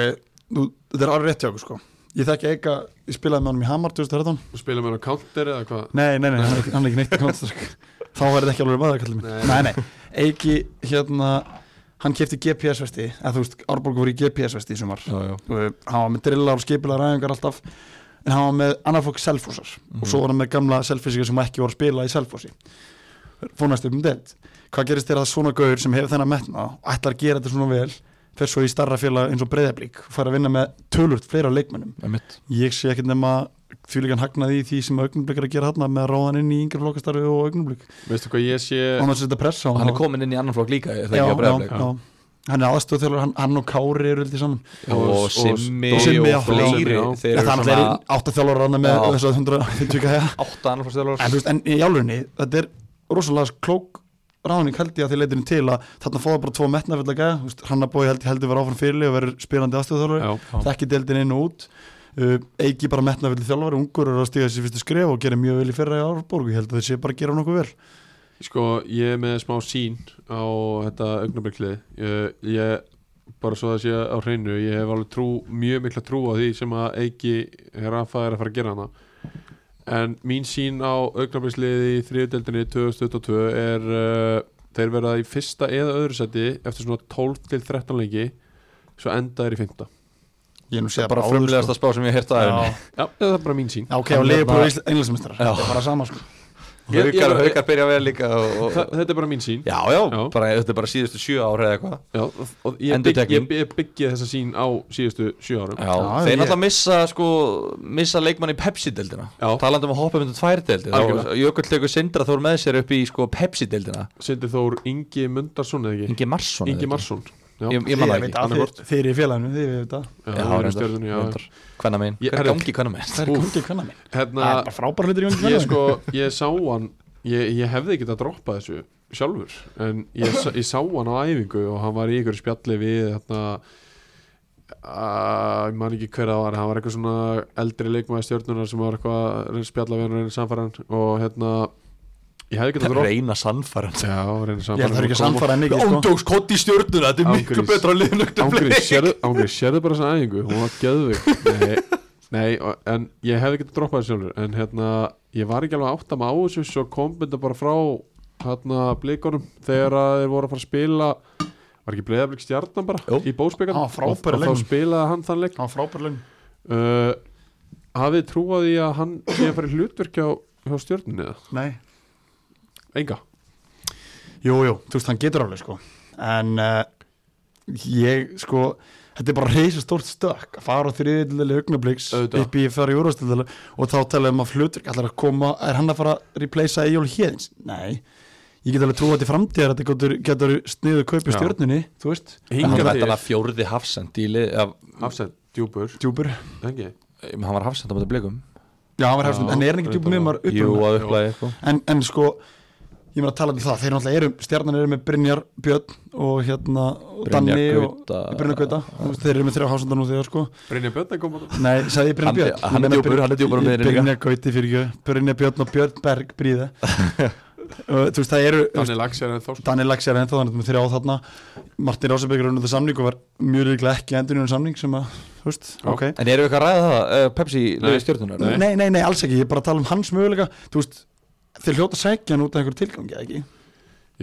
Speaker 3: nú, þetta er alveg rétt hjá okkur sko. ég þekki Eika, ég spilaði með honum í Hamar 2013
Speaker 1: og spila með hann á counter eða hvað
Speaker 3: Nei, nei, nei, hann er ekki, hann er ekki neitt í Counter-Strike Þá var þetta ekki alveg maður kallið minn Nei, nei, Eiki, hérna Hann kefti GPS-vesti, eða þú veist Árborg voru í GPS-vesti í sumar
Speaker 2: Já, já.
Speaker 3: Og Hann var með drillar og skipilar ræðingar alltaf En hann var með annar fólk selfosar Og svo var hann með gamla selfisika sem ekki voru að spila í selfosi Fónast upp um delt Hvað gerist þér að svona gaur sem hefur þennan metna og Ætlar að gera þetta svona vel Fer svo í starra félag eins og breyðablík Og fara að vinna með tölvört fleira leikmönnum
Speaker 2: Einmitt.
Speaker 3: ég sé ekkert nema þvílíkan hagnaði í því sem augnublik er að gera hann með að ráða hann inn í yngri flokkastarfi og augnublik
Speaker 1: veistu hvað ég sé
Speaker 3: og hann setja pressa á
Speaker 2: Eh. hann er komin inn í annan flokk líka er það
Speaker 3: já,
Speaker 2: ekki að
Speaker 3: já,
Speaker 2: Breiðablik?
Speaker 3: já. hann er aðstöð þegar hann, hann og Kári eru held ég saman
Speaker 2: og Simmi og,
Speaker 3: Simmi, já.
Speaker 2: fleiri
Speaker 1: Já.
Speaker 2: þeir
Speaker 3: en
Speaker 2: eru
Speaker 3: þannig er
Speaker 2: svona
Speaker 3: átta þjálfur hann með
Speaker 2: Já.
Speaker 3: þess að 150 gæja
Speaker 2: átta
Speaker 3: en,
Speaker 2: annarflokksþjálfarar.
Speaker 3: þú veist, en í álunni, þetta er rosalega klók ráðning held ég að því leitinu til að þarna fóða bara tvo metnafjölda gæja þú veist, hann að bói held, heldur vera áfram fyrirli og verður spilandi aðstöðþjálfari
Speaker 1: Já.
Speaker 3: þekki deildin inn og út uh, eigi bara metnafjöldi þjálfari, ungur er að stíga þessi fyrstu skref og gera mjög vel í fyrra í árborgu ég held að þessi bara að gera nokkuð vel
Speaker 1: sko ég er með smá sín á þetta augnabliklið ég, ég bara svo það sé á hreinu ég hef alveg trú, mjög mikla trú á því sem að Eiki Rafa er að fara að gera hana en mín sín á augnabliklið í þriðudeldinni 2022 er uh, þeir verða í fyrsta eða öðru seti eftir svona 12 til 13 lengi svo enda er í fymta
Speaker 3: Ég hef nú
Speaker 2: það
Speaker 3: séð
Speaker 2: er bara
Speaker 3: áður,
Speaker 2: frumlegasta spá sem ég hef hirt
Speaker 3: sko.
Speaker 2: að
Speaker 3: Já.
Speaker 2: henni
Speaker 1: já, það er bara mín sín
Speaker 3: Já, ok, og liður
Speaker 2: Hann
Speaker 3: bara
Speaker 2: er
Speaker 3: Íslandsmestrar Það er bara sama sko
Speaker 1: Ég- ég-
Speaker 2: haukar, haukar byrja vel líka og, og,
Speaker 1: Þa- þetta er bara mín sín
Speaker 2: já, já,
Speaker 1: Já.
Speaker 2: Bara, þetta er bara síðustu sjö ára eða eitthvað
Speaker 1: Já, og ég, bygg,
Speaker 2: Endurtekning.
Speaker 1: ég, ég byggja þessa sín á síðustu sjö árum
Speaker 2: Já,
Speaker 3: Já,
Speaker 2: þeir
Speaker 3: ég-
Speaker 2: náttúrulega missa sko, missa leikmann í Pepsi-deldina
Speaker 1: Já.
Speaker 2: talandi um að hoppa mynda tvær deldina
Speaker 1: Algjörlega.
Speaker 2: Jökull tekur Sindra Þór með sér upp í sko, Pepsi-deldina
Speaker 1: Sindri Þór Ingi Mundarsson eða ekki?
Speaker 2: Ingi Marsson eða
Speaker 1: Ingi
Speaker 2: ekki?
Speaker 1: Marsson Já,
Speaker 2: Ég, ég man það
Speaker 3: veit
Speaker 2: ekki
Speaker 3: að
Speaker 1: annaðhvort.
Speaker 3: þeir, þeir eru í félaginu, þeir eru þetta
Speaker 1: já, já, já, stjörnunni, já.
Speaker 2: Hvenna megin,
Speaker 1: Ég-
Speaker 2: hver
Speaker 1: herri.
Speaker 2: er gangi hvenna megin
Speaker 3: Það er gangið kvenna minn
Speaker 1: Hérna,
Speaker 3: Það er bara frábæra hlutir í gangið
Speaker 1: ég
Speaker 3: kvenna
Speaker 1: sko, ég sá hann ég, ég hefði ekki að droppa þessu sjálfur en ég, sa- ég sá hann á æfingu og hann var í ykkur spjalli við hérna að, ég man ekki hver það var hann var eitthvað svona eldri leikmaði stjörnunar sem var eitthvað að reyna að spjalla við hann og reyna að samfæra hann og hérna ég hefði ekki að droppa
Speaker 2: Reina sannfæran
Speaker 1: Já, reyna að
Speaker 3: Ég
Speaker 1: samfæra
Speaker 3: held það er
Speaker 1: hann og
Speaker 3: ekki að
Speaker 1: koma-
Speaker 3: samfara en ekki sko
Speaker 2: Óndóks kott í stjórnuna, þetta
Speaker 1: Án gríns.
Speaker 2: liðin
Speaker 1: Ángri, sérðu, ángri, sérðu bara þessa æfingu hún var gæðvig nei, nei, og- en ég hefði getið droppað þessu sjálfur en hérna, ég var ekki alveg að átta mig á þessu svo kom þetta bara frá hérna blikunum þegar að þeir voru að fara að spila var ekki bleiðablík stjarnan bara
Speaker 2: Jú.
Speaker 1: í bósbyggan
Speaker 3: Hann var
Speaker 1: og,
Speaker 3: frábær í
Speaker 1: og þá
Speaker 3: leiknum.
Speaker 1: spilaði hann þann leik
Speaker 3: Það var frábæra lögn
Speaker 1: uh, hafið trúað í að hann sé að fara í hlutverk hjá, hjá stjörnunni eða?
Speaker 3: Nei
Speaker 1: enga
Speaker 3: Jú, jú, þú veist, hann getur alveg sko En uh, ég sko Þetta er bara reysa stórt stökk að fara þriðilega augnabliks
Speaker 1: Auðvitað.
Speaker 3: upp í fara í úrvastildilega og þá talaðum að flutur allar að koma, er hann að fara að replacea Egil Hjeðins? Nei Ég get alveg trúið til framtíðar að þetta getur, getur sniðu kaupið
Speaker 1: Já.
Speaker 3: stjörnunni, þú veist
Speaker 1: Hingað
Speaker 2: Hann
Speaker 1: til.
Speaker 2: var þetta fjórði hafsend í lið af,
Speaker 1: afsend, djúpur,
Speaker 3: Djúpur
Speaker 1: engi
Speaker 2: Hann var hafsend á mæta blikum
Speaker 3: Já, hann var hefstum,
Speaker 1: Já,
Speaker 3: en er hann ekki
Speaker 1: reyndar
Speaker 3: djúpur með
Speaker 1: það.
Speaker 3: maður upp um
Speaker 2: Jú, að upplæði eitthvað
Speaker 3: en, en sko ég meina að tala um það, þeir náttúrulega eru stjarnan eru með Brynjar, Björn og hérna og
Speaker 2: Brynjar
Speaker 3: Danni
Speaker 2: Gauta.
Speaker 3: og Brynjar Gauta Þú veist, þeir eru með þrjá hásundar nú þegar sko
Speaker 1: Brynja Bönn kom að
Speaker 3: nei, sagði ég
Speaker 2: Hann-
Speaker 3: Brynjar Björn
Speaker 2: hann er
Speaker 3: Ég meina
Speaker 2: djúpur,
Speaker 3: Bryn-
Speaker 2: hann er djúpur á
Speaker 3: ég-
Speaker 2: miðjunni líka.
Speaker 3: Brynjar Gauti fyrir ekki, Brynjar Björn og Björn Berg Bríða Og þú veist það eru þú veist,
Speaker 1: þannig lags er sko. enn þá
Speaker 3: Danni Lax er ennþá þannig með þrjá þarna Martin Rásabæk er unnið það samning og var mjög líklega ekki endur unnið samning sem að, þú veist,
Speaker 1: Já.
Speaker 3: ok
Speaker 2: En eru við eitthvað að ræða það, uh, Pepsi
Speaker 1: Nei.
Speaker 2: liði stjórnunar?
Speaker 1: Nei.
Speaker 3: nei, nei, nei, alls ekki, ég er bara að tala um hans möguleika þú veist, þeir hljóta að sækja hann út af einhver tilgangi, eða ekki?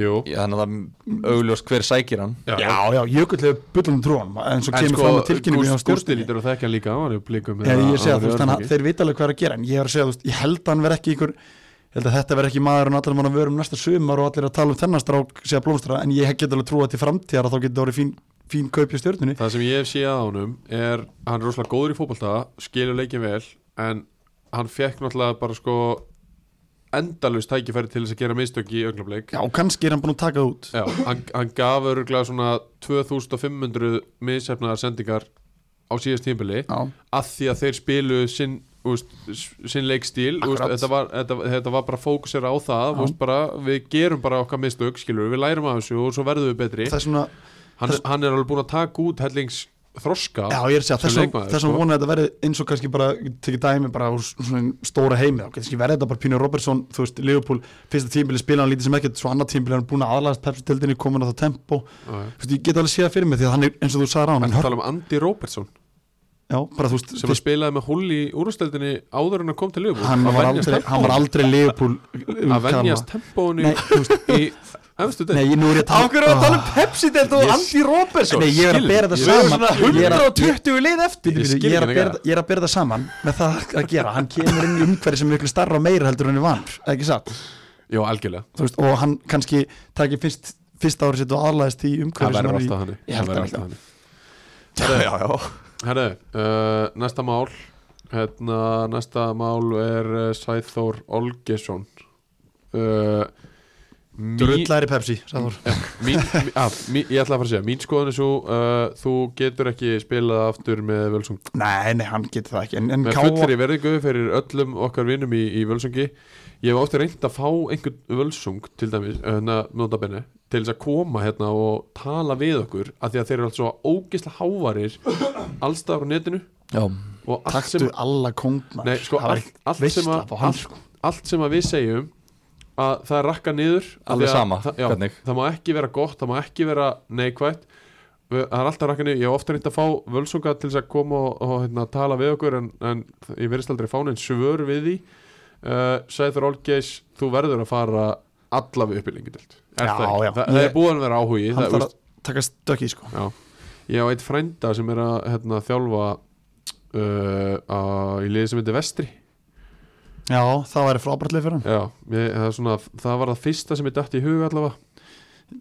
Speaker 1: jú,
Speaker 2: Já, þannig að það augljóst hver sækir hann
Speaker 1: Já.
Speaker 3: Já, já, jökull hefur bullum trúan en svo
Speaker 1: En sko,
Speaker 3: kemur fram að tilkynningu hjá
Speaker 1: Gústi
Speaker 3: stjórnum
Speaker 1: lítur að þekkja hann líka hann var í blikum
Speaker 3: Ég, ég segja þú veist, þannig að
Speaker 1: þeir
Speaker 3: þeir vita alveg hvað er að gera en ég er að segja þú veist, ég held að hann verð ekki ykkur ég held að þetta verð ekki maður en allir mann að vörum næsta sumar og allir að tala um þennan strák segja blómstra, en ég get alveg trúa til framtíðar að þá getur það orðið fín, fín kaupja stjórnunni
Speaker 1: Það sem ég hef séð á honum er hann er rosalega góður í fótbolta skilur leikin vel en hann fekk náttúrulega bara sko endalust tækifæri til þess að gera mistök í augnablik
Speaker 3: Já, kannski er hann búin að taka það út
Speaker 1: Já, hann, hann gaf öruglega svona 2500 missefnaðar sendingar á síðast tímbili
Speaker 3: Já,
Speaker 1: að því að þeir spilu sinn, úst, sinn leikstíl úst,
Speaker 3: Akkurat.
Speaker 1: þetta, var, þetta, þetta var bara fókusera á það
Speaker 3: Já.
Speaker 1: úst, bara, við gerum bara okkar mistök skilur, við lærum af þessu og svo verðum við betri
Speaker 3: það er svona,
Speaker 1: hann, hann er alveg búin að taka út hellings þroska
Speaker 3: já ég er að segja
Speaker 1: Sem
Speaker 3: þess að
Speaker 1: leikmaður,
Speaker 3: þess að
Speaker 1: sko.
Speaker 3: vona að þetta verði eins og kannski bara tekið dæmi bara úr svona stóra heimi þá kannski verði þetta bara Pínu Robertson, þú veist, Liverpool fyrsta tímbili spila hann lítið sem ekkert, svo annað tímbili hann búin að aðlæðast pepsi-tildinni, komin á það tempo
Speaker 1: Já, já.
Speaker 3: Þú veist, ég get alveg séð það fyrir mig því að hann er eins og þú sagði ráðan
Speaker 1: en það tala um Andy Robertson
Speaker 3: Já, bara þú veist
Speaker 1: sem að spilaði með hull í úrústeldinni áður en að kom til Liverpool
Speaker 3: hann,
Speaker 1: Að
Speaker 3: var
Speaker 1: venjast
Speaker 3: aldrei, hann var aldrei Leopold
Speaker 1: tempó- að venjast tempónu
Speaker 3: Nei, þú veist
Speaker 1: í efstu
Speaker 3: Nei,
Speaker 1: del
Speaker 3: ég nú er ég að tala Ah,
Speaker 1: um
Speaker 2: Pepsi-delt
Speaker 1: Ég-
Speaker 2: Robertson?
Speaker 3: Nei, ég er að
Speaker 1: skil,
Speaker 3: bera þetta
Speaker 1: ég-
Speaker 3: saman Ég er að-
Speaker 2: lið eftir
Speaker 1: Ég
Speaker 3: Bíddu,
Speaker 1: skil
Speaker 3: bíddu, Ég
Speaker 1: ekki
Speaker 3: er að bera
Speaker 1: þetta.
Speaker 3: þetta- ég er að bera þetta saman með það að gera Hann kemur inn í umhverfi sem er miklu starra og meira heldur en er vann Ekki satt
Speaker 1: Jó, algjörlega
Speaker 3: Þú veist, Og hann kannski takir fyrst, fyrst ári sitt og aðlæðist í
Speaker 1: það
Speaker 3: umhverfi sem
Speaker 1: verður
Speaker 3: hann er í-
Speaker 1: alltaf hannig
Speaker 3: Ég held
Speaker 1: Það verður alltaf hannig.
Speaker 2: Já,
Speaker 3: það líka.
Speaker 2: já, já
Speaker 1: herru, uh, næsta mál hérna, næsta mál er uh, Sæþór Olgesson uh, mý-
Speaker 3: Drullari Pepsi, sagði Þór
Speaker 1: mín, mín, að, mín, ah, ég ætla að fara að segja mín skoðan er svo uh, þú getur ekki spilað aftur með Völsung
Speaker 3: Nei, nei, hann getur það ekki En, en
Speaker 1: með
Speaker 3: Káa
Speaker 1: fullri verðingu fyrir öllum okkar vinnum í, í Völsungi ég hef ofta reynd að fá einhvern Völsung til dæmis, hérna, notabenni til þess að koma hérna og tala við okkur af því að þeir eru alltaf ógisla hávarir allstaðar á netinu
Speaker 2: Já,
Speaker 1: og allt sem,
Speaker 3: Taktu alla kongmar
Speaker 1: nei, sko, allt, allt, sem að, allt,
Speaker 3: sko.
Speaker 1: allt sem að við segjum að það er rakka niður af
Speaker 2: Alveg
Speaker 1: því að
Speaker 2: sama,
Speaker 1: það, já,
Speaker 2: hvernig.
Speaker 1: það má ekki vera gott, það má ekki vera neikvætt Við- það er alltaf rakka niður, ég hef ofta reynt að fá völsunga til þess að koma og, og hérna, tala við okkur en, en ég verðist aldrei fána en svör við því uh, Sæður Olgeis, þú verður að fara allaveg upp í lengi delt
Speaker 3: Já, já.
Speaker 1: það, það
Speaker 3: Ég-
Speaker 1: er búin að vera áhugi
Speaker 3: Hann
Speaker 1: það,
Speaker 3: þarf
Speaker 1: úst,
Speaker 3: að taka stökkið sko
Speaker 1: ég á eitt frænda sem er að hérna, þjálfa uh, að, í liði sem heitir Vestri
Speaker 3: Já, það væri frábærtlega fyrir hann
Speaker 1: Já, ég, það, er svona, það var það fyrsta sem ég dætti í huga allavega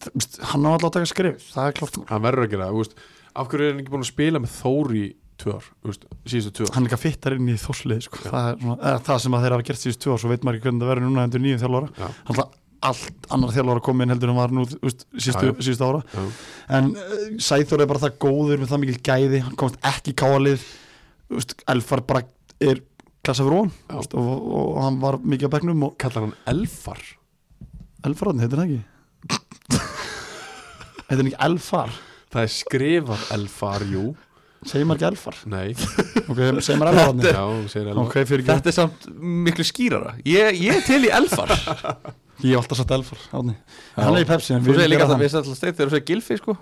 Speaker 3: Þú veist, Hann á alltaf að taka skrif, það er klart
Speaker 1: Hann verður að gera það, þú veist Af hverju er hann ekki búin að spila með Þór í tvö ár, þú veist, síðustu tvö ár
Speaker 3: Hann er líka fittar inn í þorslið sko. það, er svona, eða, það sem að þeir hafa gert síðust tvö ár Svo veit maður ekki hvernig það verður núna hendur nýjum þjálfara
Speaker 1: Já.
Speaker 3: Hann er alltaf allt annar þjálfara komið inn heldur en var nú þú veist, síðustu,
Speaker 1: Já, já.
Speaker 3: síðustu ára
Speaker 1: Já,
Speaker 3: En uh, Sæþór er bara það góður með það mikil gæði Hann komst ekki í káalið Þú veist, Elfar bara er klassa fyrir hún
Speaker 1: Já.
Speaker 3: og, og, og hann var mikið á bekknum og
Speaker 1: Kallar hann Elfar?
Speaker 3: Elfar hann heitir hann ekki Heitir hann ekki Elfar
Speaker 1: Það er skrifað Elfar, jú
Speaker 3: Segir maður ekki Elfar
Speaker 1: Nei,
Speaker 3: Ok, segir maður Elfar hann
Speaker 1: já, hún segir Elfar
Speaker 3: Ok, fyrir ekki
Speaker 2: Þetta er samt miklu skýrara Ég, ég er til í elfar
Speaker 3: Ég hef alltaf sagt Elfar Árni Hann er í Pepsi en
Speaker 2: Þú
Speaker 3: við
Speaker 2: segir líka
Speaker 3: erum
Speaker 2: það,
Speaker 3: að
Speaker 2: við erum alltaf steikt þegar þú segir gilfi sko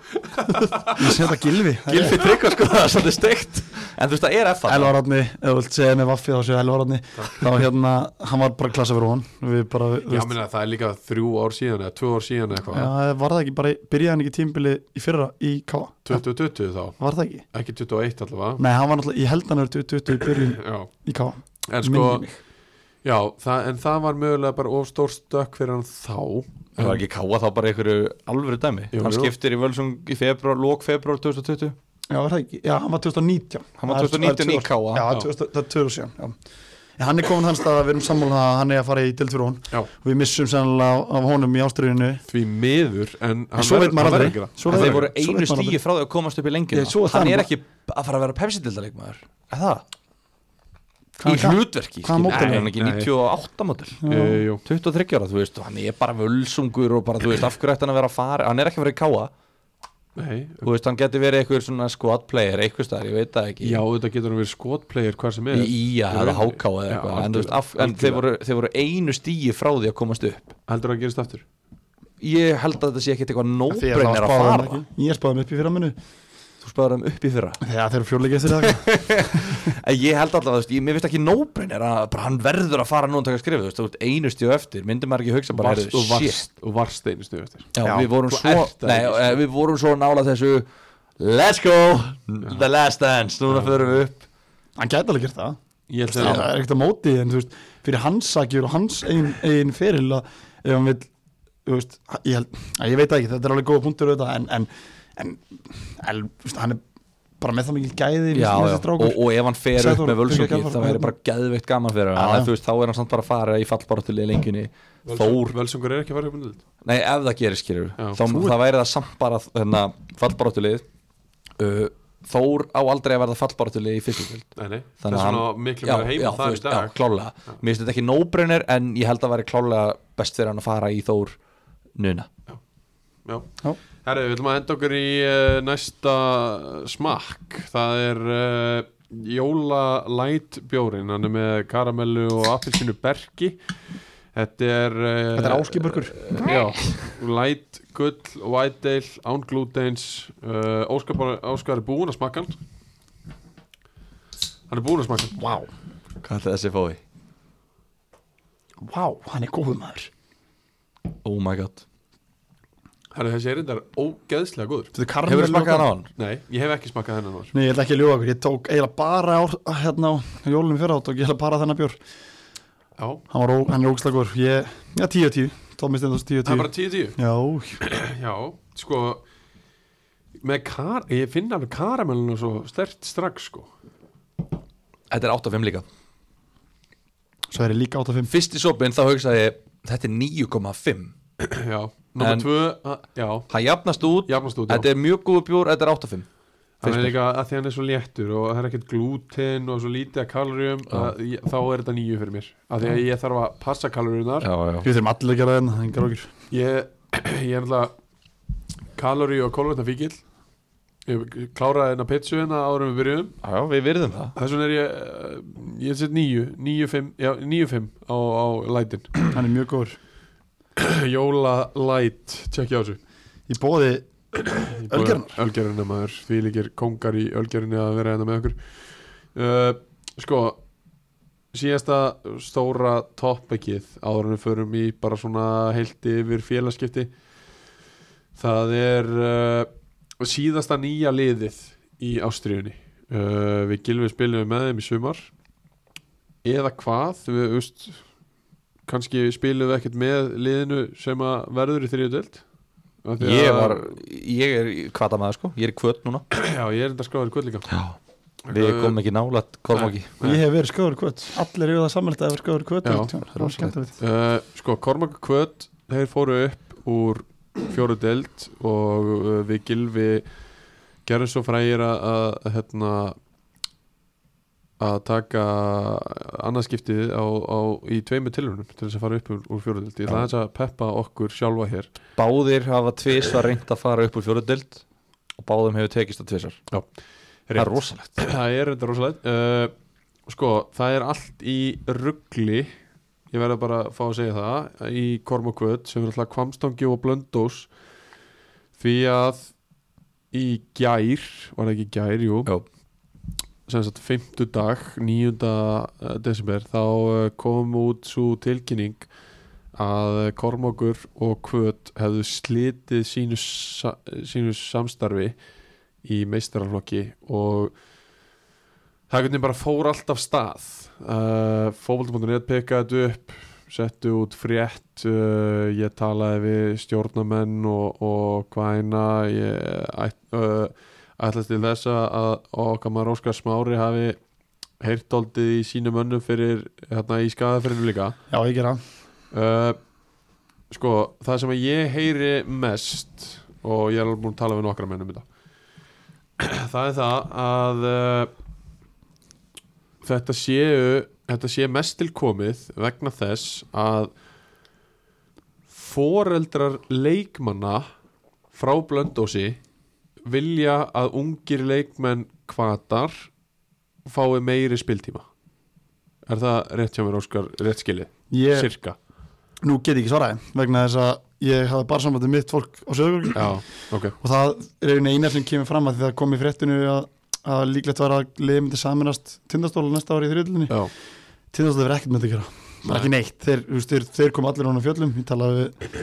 Speaker 3: Ég segir þetta Gilvi
Speaker 2: Gilfi tryggva sko, það er svolítið steikt En þú veist, það er elfar
Speaker 3: Elvar Árni, ef þú vilt segja með vaffi þá séu Elvar Árni Þá hérna, hann var bara klassa fyrir hún Við bara, þú
Speaker 1: Já,
Speaker 3: veist-
Speaker 1: meina, það er líka þrjú ár síðan eða tvö ár síðan eða
Speaker 3: Já,
Speaker 1: eitthvað
Speaker 3: var það ekki bara, byrjaði hann ekki tímbili í fyrra í K
Speaker 1: 2020 þá,
Speaker 3: Var það ekki?
Speaker 1: ekki 21 allavega
Speaker 3: Nei, hann var náttúrulega, ég held hann er 20 í byrjun
Speaker 1: Já,
Speaker 3: í K
Speaker 1: en sko Já, það, en það var mögulega bara of stór stökk fyrir hann þá
Speaker 2: Það var ekki káa þá bara einhverju alvöru dæmi
Speaker 1: Jú,
Speaker 2: Hann
Speaker 1: jú.
Speaker 2: skiptir í Völsung í februar, lók februar 2020
Speaker 3: Já, var það ekki? Já, hann var 2019
Speaker 2: Hann var
Speaker 3: Það
Speaker 2: 2019
Speaker 3: er-
Speaker 2: í
Speaker 3: það er
Speaker 2: KA.
Speaker 3: tvö ár- Já,
Speaker 1: Já.
Speaker 3: 2000 það er 2000, já En hann er komin hans stað að við erum sammála um að hann er að fara í dildfyrir hún
Speaker 1: Já.
Speaker 3: og við missum sennilega af honum í ástriðinu
Speaker 1: Því miður, en
Speaker 3: En svo veit maður aldrei Svo
Speaker 2: En
Speaker 3: veit-
Speaker 2: þeir voru
Speaker 3: svo veit
Speaker 2: einu
Speaker 3: maður aldrei.
Speaker 2: stígi frá því að komast upp í lengjuna
Speaker 3: Ég, svo er það
Speaker 2: Hann er
Speaker 3: nú-
Speaker 2: ekki að fara að vera Pepsi-dildarleikmaður Er það?
Speaker 3: Hvað
Speaker 2: í
Speaker 3: er það?
Speaker 2: hlutverki
Speaker 3: Hvaða módel
Speaker 2: er
Speaker 3: er
Speaker 2: hann ekki
Speaker 1: Nei.
Speaker 2: 98 módel
Speaker 1: Eh, jú.
Speaker 2: 23 ára, þú veist, og hann er bara völsungur og bara, þú veist, af hverju ætti hann að vera að fara hann er ekki að vera í káa,
Speaker 1: Nei,
Speaker 2: þú veist, hann getur verið einhver svona squad player, einhver staðar, ég veit það ekki
Speaker 1: já, þetta getur hann verið skotplayer hvar sem er
Speaker 2: í ía eða háká eða
Speaker 1: Já,
Speaker 2: eitthvað en, þú veist,
Speaker 1: algjörlega,
Speaker 2: af, en
Speaker 1: algjörlega.
Speaker 2: þeir, voru, þeir voru einu stígi frá því að komast upp
Speaker 1: Heldur það að gerist aftur?
Speaker 2: ég held að þetta sé ekkit eitthvað
Speaker 3: Því að það
Speaker 2: nóbreynir að
Speaker 3: spáði hann
Speaker 2: fara
Speaker 3: ekki. Ég spáði hann upp í fyrra minu
Speaker 2: þú spáður þeim upp í fyrra
Speaker 3: Þegar þeir eru fjórleikið eftir það
Speaker 2: en ég held alltaf, þú veist, ég, mér finnst ekki nóbreynir að bara, hann verður að fara nú og taka skrif þú veist, þú veist, einu stíu eftir, myndi maður ekki hugsa bara,
Speaker 1: Varst
Speaker 2: heyrðu,
Speaker 1: og varst, og varst einu stöðu eftir
Speaker 2: Já,
Speaker 3: Já,
Speaker 2: við vorum
Speaker 1: þú
Speaker 2: svo
Speaker 1: ert það
Speaker 2: nei,
Speaker 1: ekki, sko.
Speaker 2: eh, Við vorum svo nála þessu Let's go, the last dance Núna förum við upp
Speaker 3: Hann gæti alveg gert það
Speaker 1: Ég held
Speaker 3: Það
Speaker 1: að
Speaker 3: er ekkert að móti en þú veist, fyrir hans sakir og hans einn ein feril að ef hann vil þú veist, ég, held, að ég veit það ekki, þetta er alveg góða punktur auðvitað, en, en, en el, þú veist, hann er bara með það mikið gæði
Speaker 2: já, já. Og,
Speaker 3: og,
Speaker 2: og ef hann fer
Speaker 3: Sæþór,
Speaker 2: upp með
Speaker 3: Birgir
Speaker 2: völsungi
Speaker 3: Gjafar,
Speaker 2: Það væri
Speaker 3: hérna.
Speaker 2: bara geðveikt gaman fyrir
Speaker 3: Já,
Speaker 2: hann
Speaker 3: já.
Speaker 2: en, þú veist, Þá er hann samt bara að fara í fallbaráttulega lengjunni Þór,
Speaker 1: Völsungur er ekki að fara upp um þetta
Speaker 2: nei ef það gerir skilur
Speaker 1: Já.
Speaker 2: þá, Það væri það samt bara hérna, fallbaráttulega uh, Þór á aldrei að verða fallbaráttulega í fyrstu
Speaker 1: Nei, nei, það
Speaker 2: Þannig
Speaker 1: er
Speaker 2: að
Speaker 1: svona
Speaker 2: hann-
Speaker 1: miklu meira heima það
Speaker 2: þú
Speaker 1: í
Speaker 2: veist, Já,
Speaker 1: dag
Speaker 2: klálega, mér finnst þetta ekki nóbrunir En ég held að væri klálega best fyrir hann að fara í Þór Nuna
Speaker 1: Já.
Speaker 3: Já.
Speaker 1: Herri, við viljum að enda okkur í uh, næsta smakk Það er uh, Jóla Light bjórin Hann er með karamellu og appelsinu berki Þetta er uh,
Speaker 3: Þetta er áskipurkur
Speaker 1: Eh, Já, light, gull, white ale, án glúteins uh, Óskar, bara- Óskar er búinn að smakka hann Hann er búinn að smakka hann
Speaker 3: Vá,
Speaker 2: Hvað ætlaði þessi fói?
Speaker 3: vá, hann er góð maður
Speaker 2: Oh my god
Speaker 1: Herri, þessi er þetta ógeðslega góður
Speaker 3: Þetta er
Speaker 2: Hefur
Speaker 3: karamell-
Speaker 2: þú smakað hann á hann?
Speaker 1: Nei, ég hef ekki smakkað hennan var
Speaker 3: Nei, ég ætla ekki að ljóða okkur, ég tók eiginlega bara á, hérna á jólunum fyrir átt og ég ætla bara þennan bjór
Speaker 1: Já,
Speaker 3: Hann, var, ó- hann er ógslag góður, ég, já, 10 og 10 Tómi Stendors 10 og
Speaker 1: það er
Speaker 3: 10
Speaker 1: bara 10-10
Speaker 3: Já,
Speaker 1: Já, sko með kar, ég finn alveg karamellinu svo stert strax sko
Speaker 2: Þetta er 8.5 líka
Speaker 3: svo er ég líka 8 og 5
Speaker 2: Fyrst í sopin þá hugsaði ég Þetta er 9.5
Speaker 1: Já, nummer
Speaker 2: En-
Speaker 1: 2 Já,
Speaker 2: Hann jafnast út
Speaker 1: jafnast út já.
Speaker 2: Þetta er mjög góð bjór, þetta er 8.5
Speaker 1: Hann er líka að því hann er svo léttur og það er ekkert glúten og svo lítið að kaloríum að ég- þá er þetta nýju fyrir mér að því að ég þarf að passa kaloríunar
Speaker 2: já
Speaker 3: Við þurfum allir að gera það hérna, það er engar okkur
Speaker 1: ég, ég er alltaf kaloríu og koloritna fíkil ég kláraði hennar pitsu hennar árum við byrjuðum
Speaker 2: Já, við virðum það
Speaker 1: þess vegna er ég eh, ég set nýju, nýju fimm já, nýju fimm á, á lætin
Speaker 3: Hann er mjög góður
Speaker 1: Jóla Light, tjekkja á þessu
Speaker 3: Í bóði Ölgerðarnar.
Speaker 1: Ölgerðarnar maður, því líkir kongar í Ölgerðinu að vera hérna með okkur uh, Sko síðasta stóra toppekið áður en við förum í bara svona heilt yfir félagskipti það er uh, síðasta nýja liðið í Ástriðunni uh, við gilfið spilum með þeim í sumar eða hvað við veist, kannski spilum við ekkert með liðinu sem að verður í þriðu deild Af því
Speaker 2: Ég
Speaker 1: að-
Speaker 2: var, ég er kvata maður sko Ég er í kvöt núna
Speaker 1: já, ég er enda skráður í kvöld líka
Speaker 2: Já Við komum ekki nálat Kormáki
Speaker 1: Nei.
Speaker 3: Ég hef verið sköður kvöt Allir eru það samanlítið að vera sköður kvöt
Speaker 1: Já,
Speaker 3: Það var skemmtilegt
Speaker 1: uh, sko, Kormak Kvöt þeir fóru upp úr fjóru deild og uh, við gilfi gerum svo frægir að, að, að hérna að taka annarskiptið á, á, í tveimu tilhörnum til þess að fara upp úr, úr fjóru deild ég ætla
Speaker 2: Já.
Speaker 1: aðeins að peppa okkur sjálfa hér
Speaker 2: Báðir hafa tvisvar reynd að fara upp úr fjóruðdelt Og báðum hefur tekist að tvisvar Það er rosalegt
Speaker 1: það er þetta rosalegt uh, sko, það er allt í ruggli ég verða bara að fá að segja það í Kormakvöld sem er alltaf kvamstangi og blöndós því að í gær, var það ekki í gær, jú
Speaker 2: Jó.
Speaker 1: sem sagt 5. dag 9. desember þá uh, kom út svo tilkynning að Kormokur og Kvöt hefðu slitið sínu, sa sínu samstarfi í meistaraflokki og það hvernig bara fór allt af stað uh, fókvöld.net pekaði þetta upp settu út frétt uh, ég talaði við stjórnamenn og, og hvaðina ég æt, uh, ætlast til þess að að okkar maður Óskar Smári hafi heyrtóldið í sínum önnum fyrir hérna í skadaferðinu líka
Speaker 3: Já, ég gera
Speaker 1: Uh, sko, það sem að ég heyri mest og ég er alveg búin að tala við nokkra menn um þetta það er það að uh, þetta séu þetta sé mest til komið vegna þess að foreldrar leikmanna frá blöndósi vilja að ungir leikmenn kvatar fái meiri spiltíma er það rétt hjá mér Óskar, rétt skilið,
Speaker 3: Ég
Speaker 1: cirka
Speaker 3: nú get ég ekki svaraði vegna þess að ég hafði bara sambandið mitt fólk á sögur
Speaker 1: Já, ok
Speaker 3: og það er einu einar sem kemur fram að því það kom í fréttinu að, að líklegt var að liðið myndi saminast tindastóla næsta ári í þriðlunni
Speaker 1: Já,
Speaker 3: tindastóla verið ekkert með þetta að gera bara ekki neitt, þeir, þú veist, þeir, þeir kom allir án á fjöllum ég talaði við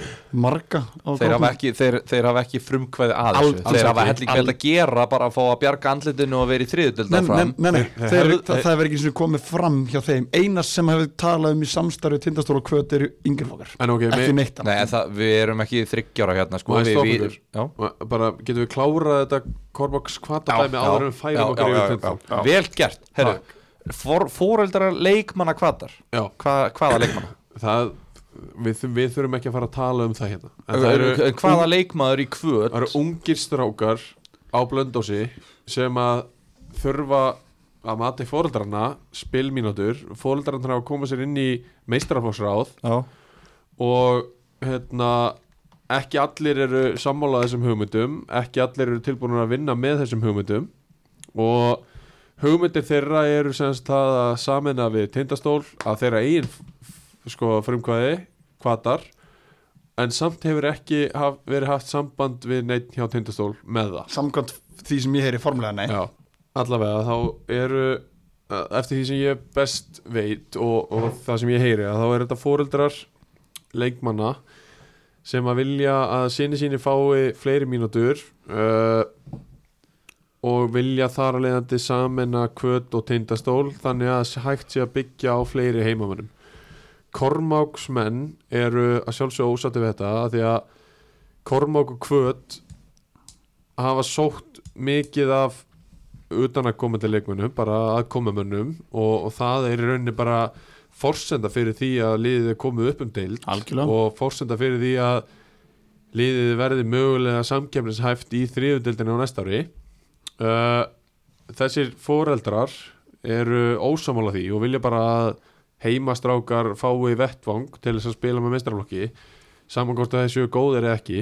Speaker 3: marga
Speaker 2: Þeir
Speaker 3: á
Speaker 2: hafa,
Speaker 3: króknum.
Speaker 2: ekki, þeir, þeir hafa ekki frumkvæði að
Speaker 3: Alls-
Speaker 2: þessu
Speaker 3: alls
Speaker 2: Þeir hafa
Speaker 3: ekki.
Speaker 2: helling með að gera bara að fá að bjarga andlitinu og vera í þriðdelt
Speaker 3: Nei, nei, nei, nei,
Speaker 1: Þeir-
Speaker 3: þeir,
Speaker 1: þeir-
Speaker 3: það, það verið ekki eins og komið fram hjá þeim Einar sem hefur talað um í samstarfi tindastóla og kvöt eru yngri flokkar
Speaker 1: en ok,
Speaker 3: Ekki
Speaker 1: me,
Speaker 3: neitt
Speaker 2: Nei, en það, við erum ekki þryggjára hérna sko.
Speaker 1: Má ég
Speaker 2: við,
Speaker 1: stoppa
Speaker 2: við,
Speaker 1: ykkur?
Speaker 2: já.
Speaker 1: bara getum við klárað þetta Korbox kvatadæmi áður en við færum okkur yfir þetta
Speaker 2: já. Vel gert Herru, for, Fóreldrar leikmanna kvatar
Speaker 1: Já,
Speaker 2: Hva, Hvaða leikmanna?
Speaker 1: það við, við þurfum ekki að fara að tala um það hérna En það eru,
Speaker 2: En Hvaða leikmaður í kvöt
Speaker 1: það eru ungir strákar á blöndósi sem að þurfa að mati fóreldrarna spilmínútur, fóreldrarna hafa komið sér inn í meistraflóksráð
Speaker 2: Já
Speaker 1: og hérna ekki allir eru sammála þessum hugmyndum ekki allir eru tilbúin að vinna með þessum hugmyndum og hugmyndir þeirra eru semst það að samina við tindastól að þeirra eigin f- f- sko frumkvæði kvatar en samt hefur ekki haf, verið haft samband við neitt hjá tindastól með það
Speaker 3: Samkvæmt því sem ég heyri formulega nei
Speaker 1: Já, allavega þá eru eh, eftir því sem ég best veit og, og það sem ég heyri að þá er þetta foreldrar leikmanna sem að vilja að sinni síni fái fleiri mínútur uh, og vilja þar að leiðandi samena kvöt og tindastól þannig að hægt sé að byggja á fleiri heimamönnum Kormáksmenn eru að sjálfsög ósattu við þetta af því að Kormák og kvöt hafa sótt mikið af utan að koma til leikmönnum, bara að koma mönnum og, og það er í rauninni bara forsenda fyrir því að liðið er komið upp um deild
Speaker 3: Algjörlega.
Speaker 1: og forsenda fyrir því að liðið verði mögulega samkemnishæft í þriðudeldinu á næsta ári uh, þessir foreldrar eru ósamála því og vilja bara að heimastrákar fái vettvang til þess að spila með meistarflokki samankort að þessu góðir eða ekki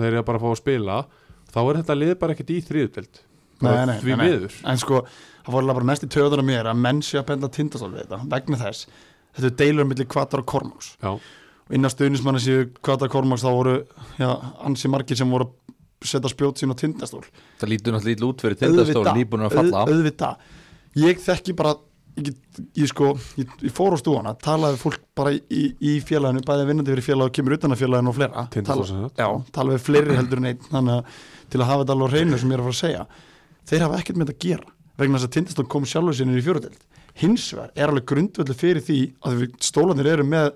Speaker 1: þeir eru bara að fá að spila þá er þetta lið bara ekkert í þriðutöld
Speaker 3: Nei, nei,
Speaker 1: því
Speaker 3: nei, nei.
Speaker 1: miður
Speaker 3: En sko, það voru bara mest í töðunum mér að menn sé að benda tindastól við þetta vegna þess, þetta er deilur millir kvatar og kormáks
Speaker 1: já,
Speaker 3: og innan stuðnismanna séu kvatar og kormáks þá voru já, ansi margir sem voru að setja spjót sín á tindastól
Speaker 2: Það lítur náttúrulega illa út fyrir tindastól Nýbúin að falla
Speaker 3: auð- auðvitað Ég þekki bara ég, get- ég sko, ég, ég fór á stúana talaði við fólk bara í, í félaginu bæði vinnandi fyrir félag og kemur utan að félaginu og fleira
Speaker 1: Tindastóls
Speaker 3: Tala-
Speaker 1: sem sagt.
Speaker 3: Já, tala við fleiri heldur en einn þannig að til að hafa þetta alveg á hreinu sem ég er að fara að segja þeir hafa ekkert með þetta að gera vegna þess að tindastól kom sjálfur sinni í fjörudeld hins vegar er alveg grundvöldu fyrir því að við stólanir eru með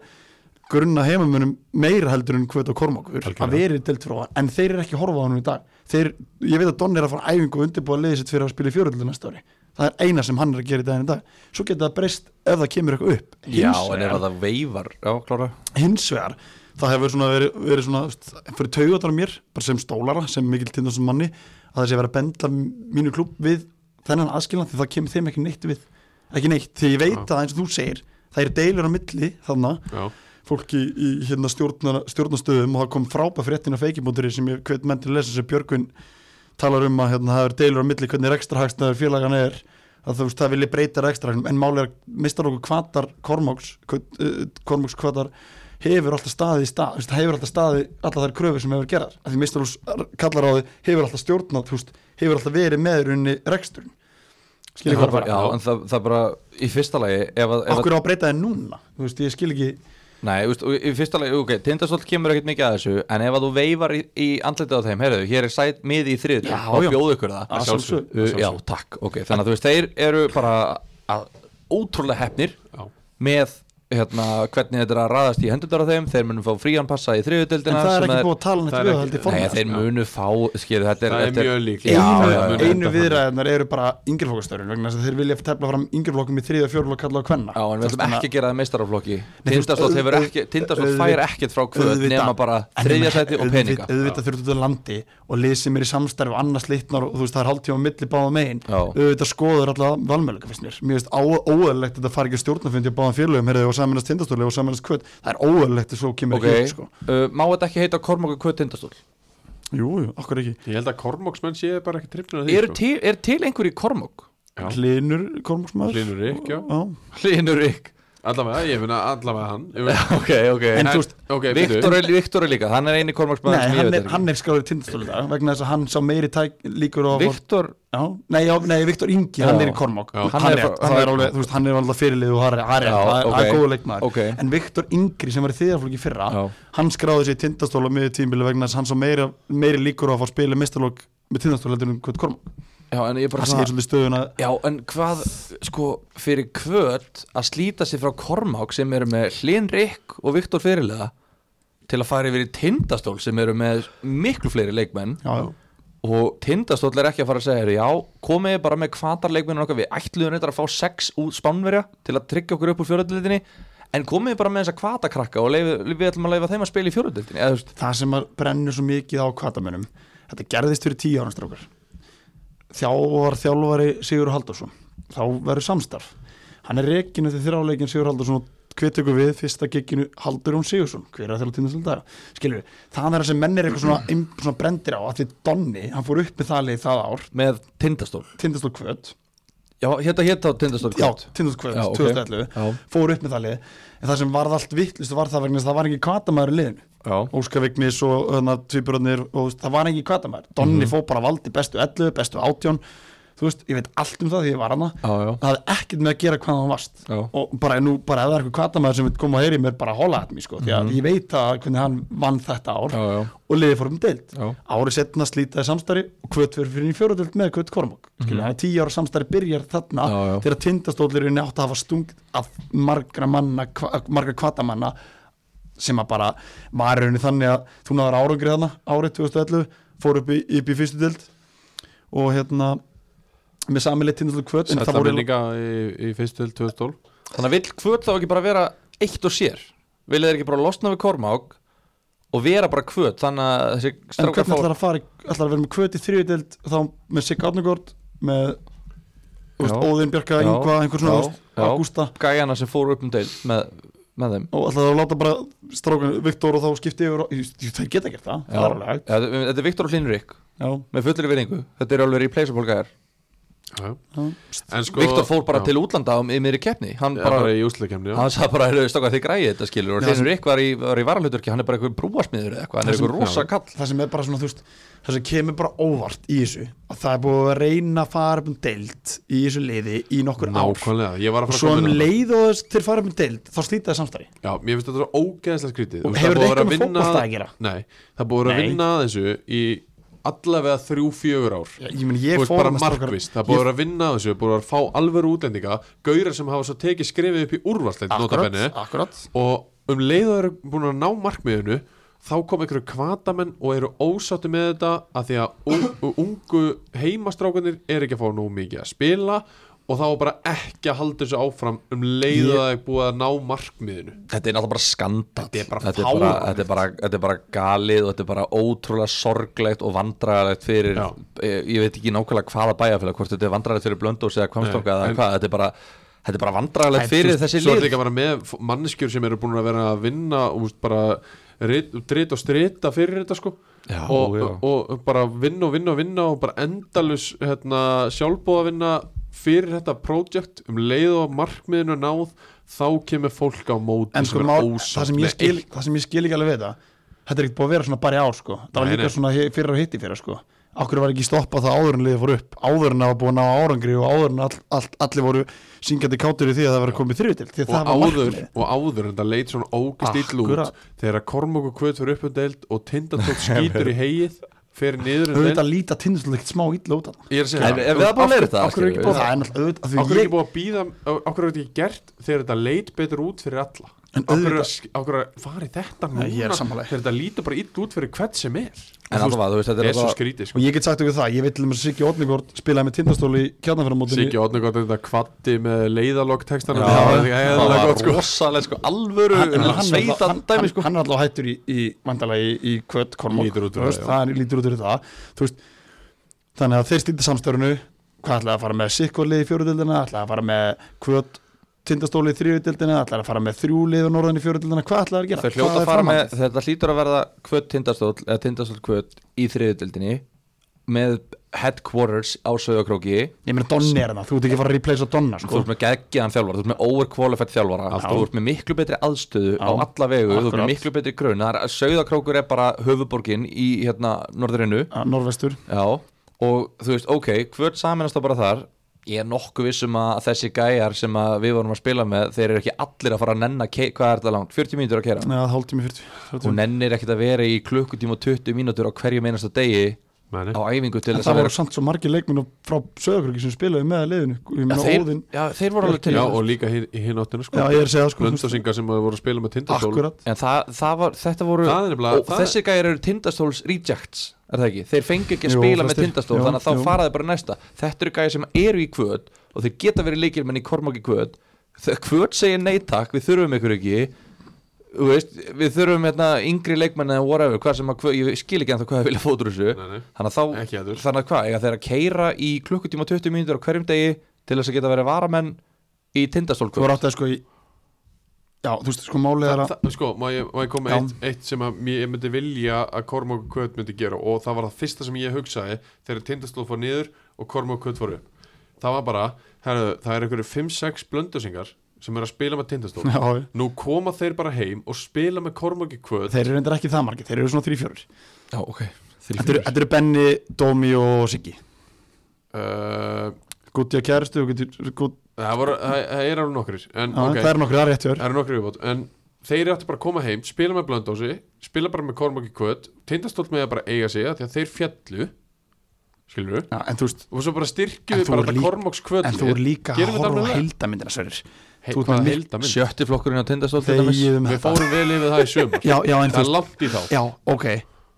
Speaker 3: grunna heimamönum meira heldur en kvöt og kormákur
Speaker 1: Algjörlega.
Speaker 3: að verið delt frá en þeir eru ekki að horfa á hann í dag þeir, ég veit að Donni er að fara á æfingu og undirbúa liðið sitt fyrir að spila í fjóröldu næsta ári það er eina sem hann er að gera í daginn í dag svo getur það breyst ef það kemur eitthvað upp
Speaker 2: Já,
Speaker 3: Hins
Speaker 2: en ef
Speaker 3: vegar-
Speaker 2: að það veifar Já, klára
Speaker 3: hins vegar það hefur svona verið, verið svona st- fyrir taugatar mér, bara sem stólara sem mikil tindarsson manni, að það sé verið að benda mínu klúb við þennan aðskilna því það kemur þeim ekki neitt við ekki neitt, því ég veit að eins og þú segir það eru deilur á milli þannig
Speaker 1: já,
Speaker 3: fólki í hérna stjórnar, stjórnastöðum og það kom frábæð fréttin á feikibónduri sem ég hvet menn til að lesa sem Björgun talar um að hérna, það eru deilur á milli hvernig rekstrahagstnaður félagan er að þú veist það vilji breyta rekstrahagnum en máli er að mistar okkur kvatar Kormáks Kut- uh, Kormáks kvatar hefur alltaf staði í stað, þú veist, það hefur alltaf staði alltaf þær kröfur sem hefur gerar að því mistar okkur kallar á því hefur alltaf stjórnað þú veist, hefur alltaf verið með í rauninni reksturinn skilja
Speaker 2: það
Speaker 3: hvað það
Speaker 2: bara,
Speaker 3: bara
Speaker 2: Já, en það, það bara Í fyrsta lagi ef að, ef að,
Speaker 3: okkur á að breyta þeim núna, þú veist, ég skil ekki
Speaker 2: Nei, þú veist, og í fyrsta lagi Ok, tindastóll kemur ekkert mikið að þessu En ef að þú veifar í, í andlitið á þeim Herðu, hér er sæt miði í þriðið
Speaker 3: Já,
Speaker 2: Og
Speaker 3: já.
Speaker 2: bjóðu ykkur það
Speaker 3: Að sjálfsögðu,
Speaker 2: Uh, Já, takk, ok Þannig að þú veist, þeir eru bara að, Ótrúlega hefnir
Speaker 1: já,
Speaker 2: Með hérna, hvernig þetta er að raðast í hendurnar á þeim Þeir munum fá frían passa í
Speaker 3: en
Speaker 2: þriðudeldina
Speaker 3: það er
Speaker 2: sem
Speaker 3: ekki búið að tala
Speaker 1: það
Speaker 3: nættu
Speaker 1: er
Speaker 3: við
Speaker 1: ekki-
Speaker 3: held ég
Speaker 2: Nei,
Speaker 3: formlega,
Speaker 2: þeir
Speaker 1: Já.
Speaker 2: munu fá, skilur, þetta er
Speaker 1: Það er
Speaker 2: þetta
Speaker 1: mjög líklegt.
Speaker 2: Já,
Speaker 1: Einu-
Speaker 2: já, já,
Speaker 1: munu
Speaker 3: einu, einu
Speaker 1: enda
Speaker 3: viðræðunar eru bara yngjörflokkastörun vegna þess að þeir vilja tefla fram yngjörflokkum í þriða fjórflokk kalla á kvenna
Speaker 2: Já, en við ætlum ekki að gera það meistaraflokki
Speaker 3: þú veist,
Speaker 2: Tindastótt hefur
Speaker 3: auð-
Speaker 2: ekki, Tindastótt
Speaker 3: auðvitað-
Speaker 2: fær ekkert frá kvöð nema bara þriðja sæti og peninga
Speaker 3: auðvitað þurftu út á landi og lið sem er í samstarfi og annars litnar og þú veist það er hálftíma á milli báða megin
Speaker 2: Já.
Speaker 3: auðvitað skoður alltaf valmöðlega finnst mér mér finnst óæðilegt að það fari ekki stjórnafundi á báðan félögum heyrðu, og saminast tindastóli og saminast kvöt það er óæðilegt að svo kemur
Speaker 2: Ok,
Speaker 3: ekki upp sko.
Speaker 2: uh, má þetta ekki heita Kormáku kvöð Tindastóll?
Speaker 3: jú, jú, okkur ekki
Speaker 1: ég held að Kormoksmenn sé bara ekki tripnir að því sko.
Speaker 2: Er til, er til einhver í Kormák?
Speaker 1: Já.
Speaker 3: hlinur, kormóksmaður
Speaker 1: Hlynur Rikk, já.
Speaker 2: Hlinur Rík
Speaker 1: allavega, ég finna allavega hann Ég meina-
Speaker 2: Ok, ok
Speaker 3: En þú veist,
Speaker 1: ok, byrju.
Speaker 2: Viktor er, Viktor er líka, hann er eini Kormáksmaður
Speaker 3: Nei,
Speaker 2: sem ég
Speaker 3: hann
Speaker 2: veit
Speaker 3: er, hann er skráður tindastóli dag vegna þess að hann sá meiri tæk, líkur á að fá-
Speaker 2: Viktor,
Speaker 3: Já, nei, já, nei, Viktor Ingi, hann
Speaker 2: Já.
Speaker 3: er í Kormák
Speaker 1: Já.
Speaker 3: hann,
Speaker 2: Hann er
Speaker 3: er,
Speaker 2: frá-
Speaker 3: hann
Speaker 2: það-
Speaker 3: er alveg, þú veist, hann er alveg fyrirlið og hann er, hann er,
Speaker 2: Já,
Speaker 3: hann er,
Speaker 2: ok.
Speaker 3: hann er góð leikmaður
Speaker 2: Ok.
Speaker 3: en Viktor Ingri sem var í þriðarflokki í fyrra
Speaker 2: Já.
Speaker 3: hann skráði sér í tindastóla með tímbili vegna þess að hann svo meiri, meiri líkur á að fá að spila mistalók með tindastóla heldur en hvað Kormák
Speaker 2: já, en ég bara
Speaker 3: það segir svolítið stöðuna
Speaker 2: Já, en hvað, sko, fyrir kvöld að slíta sig frá Kormák sem eru með Hlinn Rikk og Viktor Fyrirlega til að fara yfir í Tindastól sem eru með miklu fleiri leikmenn
Speaker 3: já, já.
Speaker 2: og Tindastóll er ekki að fara að segja þér já, komið þið bara með kvatarleikmennir okkar við ætluðum reyndar að fá sex út spánverja til að tryggja okkur upp úr fjöröldildinni en komið þið bara með þessa kvatakrakka og leif, við ætlum að leifa þeim að spila í fjöröldildinni eða þú veist,
Speaker 3: það sem að brennur svo mikið á kvatamönum þetta gerðist fyrir tíu ára strókar þjálfar þjálfari Sigur Haldursson þá verður samstarf hann er reikinu þegar þrjáleikin Sigur Haldursson og hvet ykkur við fyrsta gikkinu Haldur Jón Sigursson hver er að þjálfa tindastóla daga skilur við, það er það sem menn er eitthvað svona, ein- svona brendir á að því Donni, hann fór upp með það leið það ár
Speaker 2: með Tindastól
Speaker 3: tindastóla kvöt
Speaker 2: já, hérna hétt á Tindastóll
Speaker 3: já,
Speaker 2: kvöld.
Speaker 3: tindastóla
Speaker 2: Já,
Speaker 3: kvöt,
Speaker 2: ok.
Speaker 3: 2011
Speaker 2: já,
Speaker 3: fór upp með það leið, en það sem varð allt vittlust var það vegna þess að það var ekki kvatamæður í liðinu
Speaker 2: já,
Speaker 3: Óskavignis og öðna tvíburarnir og þú veist, það var ekki hvað það var Donni
Speaker 2: Mhm.
Speaker 3: fó bara valdi bestu 11, bestu 18 þú veist, ég veit allt um það því ég var hana
Speaker 2: já, já,
Speaker 3: það hafði ekkert með að gera hvað hann varst
Speaker 2: já.
Speaker 3: og bara nú, bara ef það er eitthvað kvatamaður sem vil koma að heyri mér bara hola að mér sko, því að ég veit að hvernig hann vann þetta ár
Speaker 2: Mhm. Já, já.
Speaker 3: og liðið fór um deild
Speaker 2: Já.
Speaker 3: árið setna slítaði samstarfi og kvöt fyrir fyrir í fjóradöld með kvöt Kormok skilja, þannig að tíu ára samstarfi byrjar þarna
Speaker 2: Mhm. Já, já.
Speaker 3: þegar tindastólirinn átt að hafa stungt af margra manna, hva, margra kvatamanna sem að bara var í rauninni þannig að þú náður árangri þarna árið 2011, fór upp í, upp í fyrstu deild og hérna með samilegt tindastóli kvöt en
Speaker 1: Sætla
Speaker 3: voru-
Speaker 1: minninga í, í fyrstu til 2012
Speaker 2: þannig að vill kvöld þá ekki bara vera eitt og sér vilja þeir ekki bara losna við Kormák og vera bara kvöld þannig að þessi
Speaker 3: En
Speaker 2: strákar
Speaker 3: hvernig
Speaker 2: fá-
Speaker 3: ætlar að fara, ætlar að vera með kvöt í þriðdelt þá með Sigga Árnugord með þú veist,
Speaker 2: Já.
Speaker 3: Óðinn Bjarka,
Speaker 2: Já.
Speaker 3: Yngva, einhver svona
Speaker 2: Já.
Speaker 3: þú veist,
Speaker 2: Já.
Speaker 3: Ágústa
Speaker 2: gæjana sem fóru upp um deil með, með þeim
Speaker 3: og ætlar að láta bara strákan Viktor og þá skipti yfir og, jú, jú, þeir geta gert það, það er alveg hægt
Speaker 2: Já, þetta þetta er Viktor og Hlinrik
Speaker 3: Já,
Speaker 2: með fullri vinningu, þetta er alveg replaceable gæjar
Speaker 1: já, já.
Speaker 3: já.
Speaker 1: En sko,
Speaker 2: Viktor fór bara
Speaker 1: já.
Speaker 2: til útlanda um, í meiri keppni hann
Speaker 1: Já,
Speaker 2: bara,
Speaker 1: bara í úslakefni
Speaker 2: hann sagði bara, hefur stokkað þig græði þetta skilur og
Speaker 3: Já, það-
Speaker 2: Hlinrik var í, var í varalhuturki, hann er bara eitthvað brúasmiður eða eitthvað, hann er
Speaker 3: Það
Speaker 2: eitthvað rosa
Speaker 1: já.
Speaker 2: kall
Speaker 3: það sem er bara svona, þú veist það sem kemur bara óvart í þessu að það er búið að reyna að fara upp um deild í þessu liði í nokkur ár
Speaker 1: Nákvæmlega, ég var að
Speaker 3: og
Speaker 1: fara
Speaker 3: svo
Speaker 1: að koma
Speaker 3: um
Speaker 1: inn á það.
Speaker 3: leið og þess- þeir fara upp um deild þá slíta það samstarfi
Speaker 1: Já, mér finnst þetta svo ógeðslega skrítið
Speaker 3: Og
Speaker 1: Þú veist,
Speaker 3: hefur
Speaker 1: það er búið
Speaker 3: þetta
Speaker 1: að
Speaker 3: eitthvað með
Speaker 1: vinna-
Speaker 3: fótbolta að gera?
Speaker 1: Nei, það er búið að
Speaker 3: Nei.
Speaker 1: vinna að þessu í allavega þrjú, fjögur ár
Speaker 3: ég, ég, meni,
Speaker 1: Þú
Speaker 3: ég
Speaker 1: veist,
Speaker 3: fór
Speaker 1: bara
Speaker 3: þarna, strákar,
Speaker 1: markvist, það er búið að
Speaker 3: ég-
Speaker 1: vera að vinna á þessu búið að vera að fá alveru útlendinga gaurar sem hafa svo tekið skrifið upp í úrvarsleind
Speaker 3: Akkurat,
Speaker 1: notabenni
Speaker 3: akkurat
Speaker 1: og um leið og eru búin að ná markmiðinu þá kom einhverju kvatamenn og eru ósátti með þetta að því að un- ungu heimastrákunir er ekki að fá nú mikið að spila og þá er bara ekki að halda þessu áfram um leið og það er búið að ná markmiðinu
Speaker 2: Þetta er náttúrulega bara skandal Þetta er
Speaker 1: bara
Speaker 2: þetta er bara,
Speaker 1: fáránlegt.
Speaker 2: þetta er bara, þetta er bara galið og þetta er bara ótrúlega sorglegt og vandræðalegt fyrir
Speaker 1: Já.
Speaker 2: ég, ég veit ekki nákvæmlega hvaða bæjarfélag hvort þetta er vandræðalegt fyrir Blöndós eða Kvamstokka
Speaker 1: Nei,
Speaker 2: eða
Speaker 1: en-
Speaker 2: hvað, þetta er bara þetta er bara vandræðalegt fyrir þessi
Speaker 1: Svo er
Speaker 2: lið
Speaker 1: líka bara með f- manneskjur sem eru búin að vera að vinna og úst, bara dritt og strita fyrir þetta sko
Speaker 2: Já,
Speaker 1: og,
Speaker 2: já.
Speaker 1: og, bara vinna og vinna og vinna og bara endalus hérna, sjálfbóða vinna fyrir þetta projekt um leið og markmiðinu er náð þá kemur fólk á móti
Speaker 3: en sko
Speaker 1: er
Speaker 3: mál,
Speaker 1: ósátt
Speaker 3: það sem
Speaker 1: með
Speaker 3: ég skil
Speaker 1: eitt.
Speaker 3: það sem ég skil ekki alveg við þetta þetta er ekkert búið að vera svona bara í ár sko það var
Speaker 1: Nei,
Speaker 3: líka
Speaker 1: nei.
Speaker 3: svona hi- fyrir og hitti fyrir sko okkur var ekki stoppað það áður en liðið fór upp áður en það var búið að ná árangri og áður en all, all, allir voru syngjandi kátur í því að það var komið þriðutild því að
Speaker 1: og
Speaker 3: það var
Speaker 1: áður,
Speaker 3: markmiðið.
Speaker 1: og áður en það leit svona ógist ill út
Speaker 3: Akkurat.
Speaker 1: þegar Kormok og Kvöt fyrir uppundeld og Tindatótt skýtur í heið fyrir niður um deild
Speaker 3: auðvitað líta tindastóð ekkert smá illa út af það
Speaker 1: Ég er að segja
Speaker 2: En
Speaker 1: það.
Speaker 2: ef við það búin að leira þetta
Speaker 1: Af hverju er ekki
Speaker 2: skilur
Speaker 1: búið
Speaker 2: við?
Speaker 1: að-
Speaker 3: það er náttúrulega auðvitað-
Speaker 1: Okkur
Speaker 3: því
Speaker 1: er
Speaker 3: ég-
Speaker 1: ekki búið að býða Okkur er þetta ekki gert þegar þetta leit betur út fyrir alla
Speaker 3: En
Speaker 1: Okkur
Speaker 3: auðvitað-
Speaker 1: er að fara í þetta núna
Speaker 3: Nei, ég er sammála.
Speaker 1: Þegar þetta lítur bara ill út fyrir hvert sem er
Speaker 2: En allavega, þú veist, þetta er
Speaker 1: Þetta er svo
Speaker 2: allavega-
Speaker 1: skrítið
Speaker 3: og
Speaker 1: sko.
Speaker 3: ég get sagt okkur það ég veit til dæmis að Siggi Odnigord spilaði með tindastóli í kjarnanfjörðamótinu
Speaker 1: Siggi Odnegótt þetta kvatti með leiðalokk textana
Speaker 2: það
Speaker 1: það
Speaker 2: var
Speaker 1: gott sko
Speaker 2: rosalegt sko, alvöru
Speaker 3: hann, hann, hann, er alltaf-
Speaker 2: sveitan
Speaker 3: hann,
Speaker 2: dæmi
Speaker 3: hann,
Speaker 2: sko
Speaker 3: hann er alltaf hættur í, í vandalagi í, í kvöt kormok
Speaker 1: Lítur út fyrir það, já.
Speaker 3: það er lítur út úr það þú veist, þannig að þeir stýta samstörunu hvað ætlaði að fara með sikkvalið í fjóruðildina ætlaði að fara með kvöt tindastóli í þrjúðildina ætlaði að fara með þrjúlið og norðan í fjóruðildina hvað ætlaði að gera
Speaker 2: Þau hljóta
Speaker 3: Hvað
Speaker 2: að
Speaker 3: er
Speaker 2: fara með,
Speaker 3: framhaldið?
Speaker 2: þetta hlýtur að verða kvöt tindastóll eða tindastóll kvöt í þriðutildinni með headquarters á Söðakróki
Speaker 3: ég meina Donni er hana, þú ert ekki að fara að replace á Donna
Speaker 2: þú
Speaker 3: sko.
Speaker 2: ert með geggjaðan þjálfara, þú ert með overqualified þjálfara
Speaker 3: Alltaf.
Speaker 2: þú ert með miklu betri aðstöðu á alla vegu þú ert
Speaker 3: Akkurat.
Speaker 2: með miklu betri grun Söðakrókur er bara höfuborgin í hérna norðurinnu
Speaker 3: Að norðvestur
Speaker 2: Já, og þú veist, ok, hvern saminast það bara þar Ég er nokkuð vissum að þessi gæjar sem að við vorum að spila með þeir eru ekki allir að fara að nenna kei- hvað er þetta langt, 40 mínútur að kera
Speaker 3: neða hálftími 40, 40.
Speaker 2: og nennir ekkert að vera í klukkutíma og 20 mínútur á hverju meinasta degi
Speaker 1: Nei, nei.
Speaker 2: á æfingu til
Speaker 3: En
Speaker 2: þess
Speaker 3: það
Speaker 2: að
Speaker 3: voru
Speaker 2: vera
Speaker 3: samt svo margir leikmenn frá Söðakröki sem spilaði með liðinu ég meina
Speaker 2: þeir,
Speaker 3: Óðinn
Speaker 2: já, þeir voru alveg til
Speaker 1: Já
Speaker 2: þess.
Speaker 1: og líka hin- í hinn áttinu
Speaker 3: Já,
Speaker 1: sko
Speaker 3: ég er að segja það, sko, þú veist.
Speaker 1: Blöndasinga sem voru að spila með tindastól
Speaker 3: akkurat
Speaker 2: En það, það var, þetta voru
Speaker 1: Það er nefnilega-
Speaker 2: og
Speaker 1: það er-
Speaker 2: þessir gæjar eru tindastóls rejects er það ekki, þeir fengi ekki að
Speaker 3: Jú,
Speaker 2: spila með
Speaker 3: flestir.
Speaker 2: tindastól
Speaker 3: Jú,
Speaker 2: þannig að þá
Speaker 3: jú.
Speaker 2: faraði bara í næsta þetta eru gæjar sem eru í kvöt og þeir geta verið leikir menn í kormáki kvöt Þegar kvöt segir nei takk, við þurfum ykkur ekki þú veist, við þurfum hérna, yngri leikmenn eða whatever hvað sem að kvöt, ég skil ekki ennþá hvað það vilja fótur þessu
Speaker 1: Nei, nei.
Speaker 2: þannig að
Speaker 1: Ekki
Speaker 2: þá,
Speaker 1: heldur.
Speaker 2: þannig að hvað, eiga þeir að keira í klukkutíma og 20 mínútur á hverjum degi til þess að geta verið varamenn í tindastól
Speaker 3: þú voru átt að sko í já, þú veist sko málið er
Speaker 1: Þa-
Speaker 3: að
Speaker 1: það- Sko, má ég, má ég koma með
Speaker 3: Já.
Speaker 1: eitt, eitt sem að mér- ég myndi vilja að Kormák og Kvöt myndi gera og það var það fyrsta sem ég hugsaði þegar Tindaslóf fór niður og Kormák og Kvöt fór upp það var bara, herðu, það er einhverju 5-6 blöndusingar sem eru að spila með Tindaslóf
Speaker 3: Já, já.
Speaker 1: nú koma þeir bara heim og spila með Kormák og Kvöt
Speaker 3: Þeir eru reyndar ekki það margir, þeir eru svona 3-4
Speaker 2: Já, ok, Þrír,
Speaker 3: Þetta eru-
Speaker 2: fjórir.
Speaker 3: þetta eru Benny, Dómi og Siggi
Speaker 1: uh,
Speaker 3: Gutti og kæristu og Gutti gut,
Speaker 1: það, voru, það, það er alveg nokkrir en,
Speaker 3: okay.
Speaker 1: ok,
Speaker 3: Það er nokkur, það er rétt hjá
Speaker 1: það eru nokkrir viðbót en þeir áttu bara að koma heim, spila með blöndósi spila bara með Kormák og Kvöt Tindaslóf með að bara eiga sig af því að þeir fjallu skilur
Speaker 3: Já, En þú veist,
Speaker 1: og svo bara styrkjum
Speaker 3: En
Speaker 1: við
Speaker 3: þú
Speaker 1: bara
Speaker 3: er
Speaker 1: þetta
Speaker 3: líka-
Speaker 1: Kormáks kvöld
Speaker 3: en þú er líka að
Speaker 1: gerum við
Speaker 3: horfa á
Speaker 1: þetta alveg
Speaker 3: heildamindina Sverir
Speaker 1: Hei,
Speaker 3: þú ert
Speaker 1: hvaða
Speaker 3: með
Speaker 1: heildamynd?
Speaker 2: sjötti flokkurinn á tindastól til dæmis.
Speaker 3: Þegið um
Speaker 1: við
Speaker 3: þetta
Speaker 1: fórum vel yfir það í sömur
Speaker 3: Já, já, en
Speaker 1: það
Speaker 3: þú
Speaker 1: er
Speaker 3: veist
Speaker 1: langt í þá
Speaker 3: Já, ok,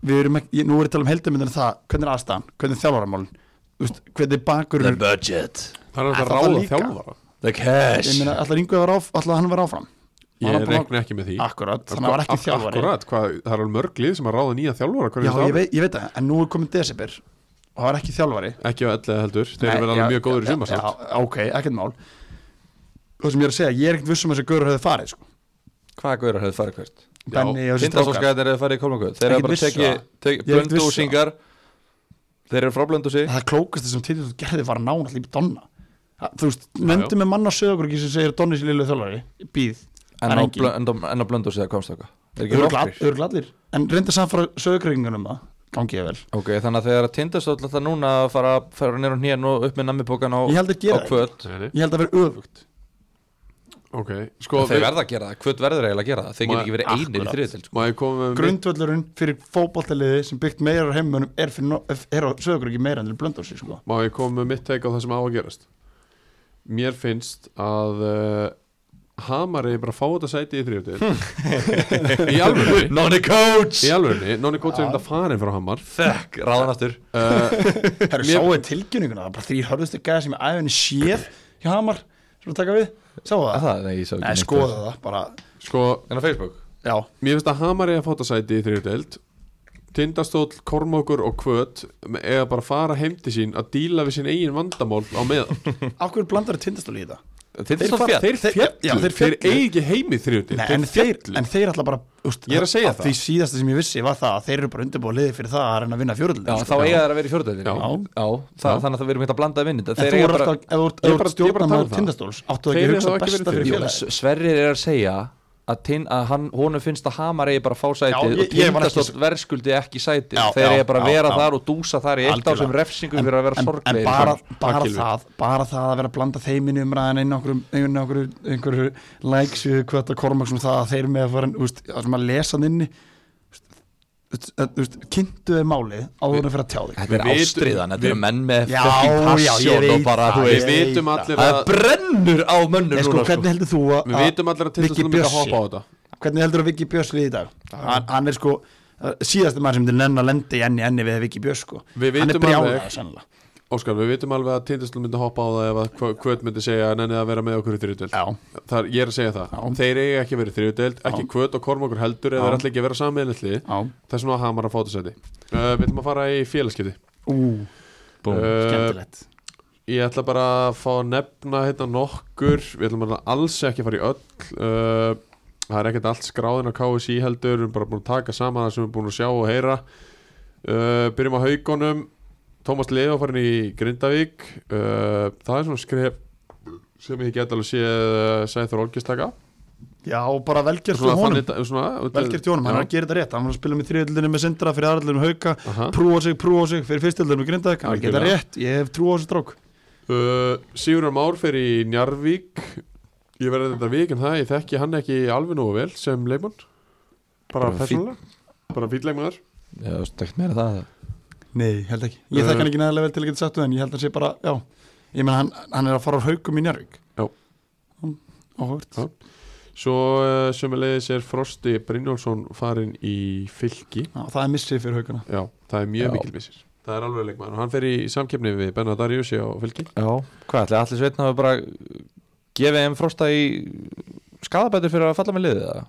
Speaker 3: við erum ekki, ég- nú er ég að tala um heildamindina það Hvernig er aðstæðan, hvernig er þjálfaramálin Þú veist, hvernig er
Speaker 2: The
Speaker 3: bakurinn
Speaker 2: budget
Speaker 1: það er
Speaker 3: Er
Speaker 1: alltaf
Speaker 3: það
Speaker 1: ráða
Speaker 3: líka?
Speaker 1: þjálfara
Speaker 2: The cash
Speaker 3: Ég meina, allar yngu að vera áf- ætlar hann að vera áfram Var
Speaker 1: ég
Speaker 3: hann búinn að-
Speaker 1: regna ekki með því
Speaker 3: Akkurat, þannig að hann var ekki
Speaker 1: Ak-
Speaker 3: þjálfari
Speaker 1: akkurat, hvað, það er alveg mörg lið sem að ráða nýja þjálfara hverju
Speaker 3: Já,
Speaker 1: ári.
Speaker 3: ég veit, ég veit það, en nú er komin desember og það var ekki þjálfari
Speaker 1: ekki á ellega heldur, þeir
Speaker 3: Nei,
Speaker 1: eru verið
Speaker 3: já,
Speaker 1: alveg mjög góður í
Speaker 3: já,
Speaker 1: sömur
Speaker 3: já, ok, ekkert mál það sem ég er að segja, ég er ekkert vissum að þessi gaur hefði farið sko.
Speaker 2: Hvaða gauður hefði farið hvert?
Speaker 3: Benny og þessi strákar
Speaker 2: Tindastólskæðir hefði farið í Kolmangöð Þeir
Speaker 3: Ekkert
Speaker 2: hefði bara
Speaker 3: vissu
Speaker 2: tekið
Speaker 3: það.
Speaker 2: teki,
Speaker 3: Ég er ekkert vissu
Speaker 2: blöndúsingar Þeir eru frá blöndúsi
Speaker 3: það klókast sem Tindur gerði var að ná náttúrulega í Donna Það- þú veist, nefndi
Speaker 1: já.
Speaker 3: með mann á sögurki sem segir Donni sér liðlega þjálfari, ég býð
Speaker 2: En
Speaker 3: það
Speaker 2: á
Speaker 3: er
Speaker 2: blö- en á- en á blöndúsi það komst okkar Er ekki nokkrir?
Speaker 3: engin örgladlir, en reynda samt frá sögurkringunum það, gangi ég vel
Speaker 2: Ok, þannig að þegar Tindastól ætla núna að fara, fara nýra hnén og upp með nammipokan á,
Speaker 3: Ég held að
Speaker 2: á
Speaker 3: gera það.
Speaker 2: kvöld
Speaker 1: já,
Speaker 3: ég held að vera öfugt
Speaker 1: ok sko,
Speaker 2: Þeir verða að gera það, hvort verður eiginlega að gera það Þeir
Speaker 1: Ma-
Speaker 2: getur ekki verið einir í sko.
Speaker 1: akkurat.
Speaker 2: þriðutild
Speaker 1: Má ég koma með mitt?
Speaker 3: grundvöllurinn fyrir fótballtaliði sem byggt meira á heimönum er, fyrir no- er á sögur ekki meira en til blönda sig sko.
Speaker 1: Má ég koma með mitt teik á það sem á að gerast Mér finnst að uh, Hamar eigi bara að fá þetta sæti í þrjótið Í alvörni
Speaker 2: Nonni coach
Speaker 1: Í alvörni, Nóni Kóts er þetta farin frá Hamar Eh,
Speaker 2: Fuck, ráðan aftur
Speaker 3: Það eru sáið tilgjöninguna, það er bara þrýr hörðustu gæða sem ég æfinni séð hjá Hamar sem að taka við, sáu
Speaker 2: Að
Speaker 3: það?
Speaker 2: Það, nei, ég sá ekki
Speaker 3: Nei,
Speaker 2: neitt
Speaker 3: skoða
Speaker 2: þar.
Speaker 3: það, bara,
Speaker 1: Sko,
Speaker 2: En á Facebook
Speaker 3: já
Speaker 1: mér finnst að Hamar eigi að fá þetta sæti í þrjótið Tindastóll, Kormokur og Kvöt eða bara að fara heim til sín að díla við sín eigin vandamál á meðan
Speaker 3: Af hverju blandar þið tindastóli í þetta?
Speaker 2: Þeir
Speaker 3: fara-
Speaker 2: fara
Speaker 1: Þeir
Speaker 3: Þeir-
Speaker 1: fjallu,
Speaker 3: já, þeir
Speaker 1: þeir,
Speaker 3: féllu.
Speaker 1: eigi ekki heim í þrjótið
Speaker 3: Nei, en, þeir, en þeir alltaf bara úst,
Speaker 1: Ég er að segja það.
Speaker 3: Því síðasta sem ég vissi var það að þeir eru bara undirbúið liðið fyrir það að reyna að vinna sko.
Speaker 2: Sko, Já,
Speaker 3: fjóruðlega
Speaker 2: þá eiga þeir að vera í fjórðutöldinni
Speaker 1: Já.
Speaker 2: það, Þannig að það verðum hérna að blanda að vinna
Speaker 3: En þú er alltaf,
Speaker 1: Ég er bara- ég er bara að
Speaker 3: ef þú ert- ef þú ert
Speaker 1: tala um það.
Speaker 3: stjórnamaður tindastóls áttu
Speaker 1: Þeir
Speaker 3: ekki að
Speaker 1: eru
Speaker 3: hugsa
Speaker 1: þá ekki verið
Speaker 3: besta fyrir
Speaker 1: fyrir-
Speaker 2: Jú,
Speaker 3: félagið
Speaker 2: S- Sverrir er að segja að, tind, að hann, honum finnst að Hamar eigi bara að fá sæti
Speaker 3: Já,
Speaker 2: og
Speaker 3: ég- ég var ekki
Speaker 2: tindastótt verðskuldi ekki sæti
Speaker 3: Já,
Speaker 2: þeir
Speaker 3: já,
Speaker 2: eigi bara að
Speaker 3: já,
Speaker 2: vera
Speaker 3: já.
Speaker 2: þar og dúsa þar í eitt á sem
Speaker 3: Algjörlega.
Speaker 2: refsingu fyrir að vera
Speaker 3: en, en
Speaker 2: sorglegir
Speaker 3: bara, bara,
Speaker 1: Pakkilvið.
Speaker 3: það, bara það að vera að blanda þeim inn í umræðan inn okkur, inn okkur einhverju likes við hvað það kormaksum um það að þeir með að fara úst, að sem að lesa hann inni úst, úst, úst, kynntu þeir málið áður en að fyrir að tjá þig
Speaker 2: Þetta er
Speaker 1: Við vitum-
Speaker 2: ástriðan, þetta eru
Speaker 1: við-
Speaker 2: menn með
Speaker 3: Já,
Speaker 2: fucking
Speaker 3: já, ég
Speaker 2: passion
Speaker 3: veit
Speaker 2: og bara,
Speaker 3: það,
Speaker 2: þú
Speaker 1: Við
Speaker 3: ég
Speaker 2: veist
Speaker 3: veit
Speaker 1: vitum
Speaker 3: það.
Speaker 1: allir
Speaker 2: Það
Speaker 1: að
Speaker 2: brennur á mönnum
Speaker 3: Nei, sko, hvernig heldur þú að
Speaker 1: Við vitum allir að
Speaker 3: Viggi
Speaker 1: Tindastóll myndi að
Speaker 3: Bjössi.
Speaker 1: hoppa á þetta
Speaker 3: hvernig heldur að Viki Björns liði í dag hann, hann er sko uh, síðasti maður sem til nenn að lendi enni enni við Viki Björns sko
Speaker 1: Við
Speaker 3: hann er
Speaker 1: vitum alveg-
Speaker 3: brjálaður sennilega
Speaker 1: Óskar, við vitum alveg að Tindastóll myndi hoppa á það ef að Kvö- Kvöt myndi segja að nennið að vera með okkur í þriðutöld
Speaker 3: já,
Speaker 1: Þar, Ég er að segja það,
Speaker 3: Já.
Speaker 1: þeir eiga ekki að vera í þriðutöld ekki Kvöt og Kormokur heldur eða
Speaker 3: Já.
Speaker 1: þeir ætla ekki að vera sammeinlitli
Speaker 3: já,
Speaker 1: þess vegna á Hamar að fóta sæti uh, Við ætlum að fara í félagskipti
Speaker 3: ú,
Speaker 1: uh,
Speaker 3: skemmtilegt
Speaker 1: Ég ætla bara að fá að nefna hérna nokkur Við ætlum að alls ekki að fara í öll uh, Það er ekkert allt skráðin á KSI heldur Við erum bara búin að taka saman það sem við erum búin að sjá og heyra uh, Byrjum á haugunum Tómas Leo farin í Grindavík uh, Það er svona skref sem ég get alveg séð uh, Sæður Olgis taka
Speaker 3: já, og bara velgjert hjá
Speaker 1: Svona
Speaker 3: honum
Speaker 1: þannig- svona-
Speaker 3: velgjert hjá honum, hann er að gera þetta rétt hann var að spila með þriðildinu með sindra fyrir aðrildinu með hauka
Speaker 1: Aha.
Speaker 3: prúa sig, prúa sig, fyrir fyrstildinu með grindaðik hann er að gera
Speaker 1: Algjörlega.
Speaker 3: rétt, ég hef trú á þessu drók
Speaker 1: Uh, Sigurður Már fer í Njarvík Ég verði þetta vik en það Ég þekki hann ekki alveg nógu vel sem leikmann Bara
Speaker 2: Bara fínn.
Speaker 1: persónulega Bara fýll leikmannar
Speaker 2: Já, þú veist, ekkert meira það
Speaker 3: nei, held ekki, ég
Speaker 1: Uh,
Speaker 3: þekk hann ekki neðarlega vel til að geta sagt það en ég held að sé bara, já ég menn hann, hann er að fara á haukum í Njarvík
Speaker 1: Já.
Speaker 3: Hann- áhugavert.
Speaker 1: Já. Svo uh, sömulegis er Frosti Brynjólfsson farin í fylki
Speaker 3: Já, það er missið fyrir haukana
Speaker 1: Já, það er mjög
Speaker 2: Já.
Speaker 1: mikil vissir Það er alveg leikmann og hann fer í samkeppni við Benna Darjusi á fylki
Speaker 2: Já, hvað ætli, allir sveitna hafa bara gefið þeim frosta í skadabætur fyrir að falla með liðið það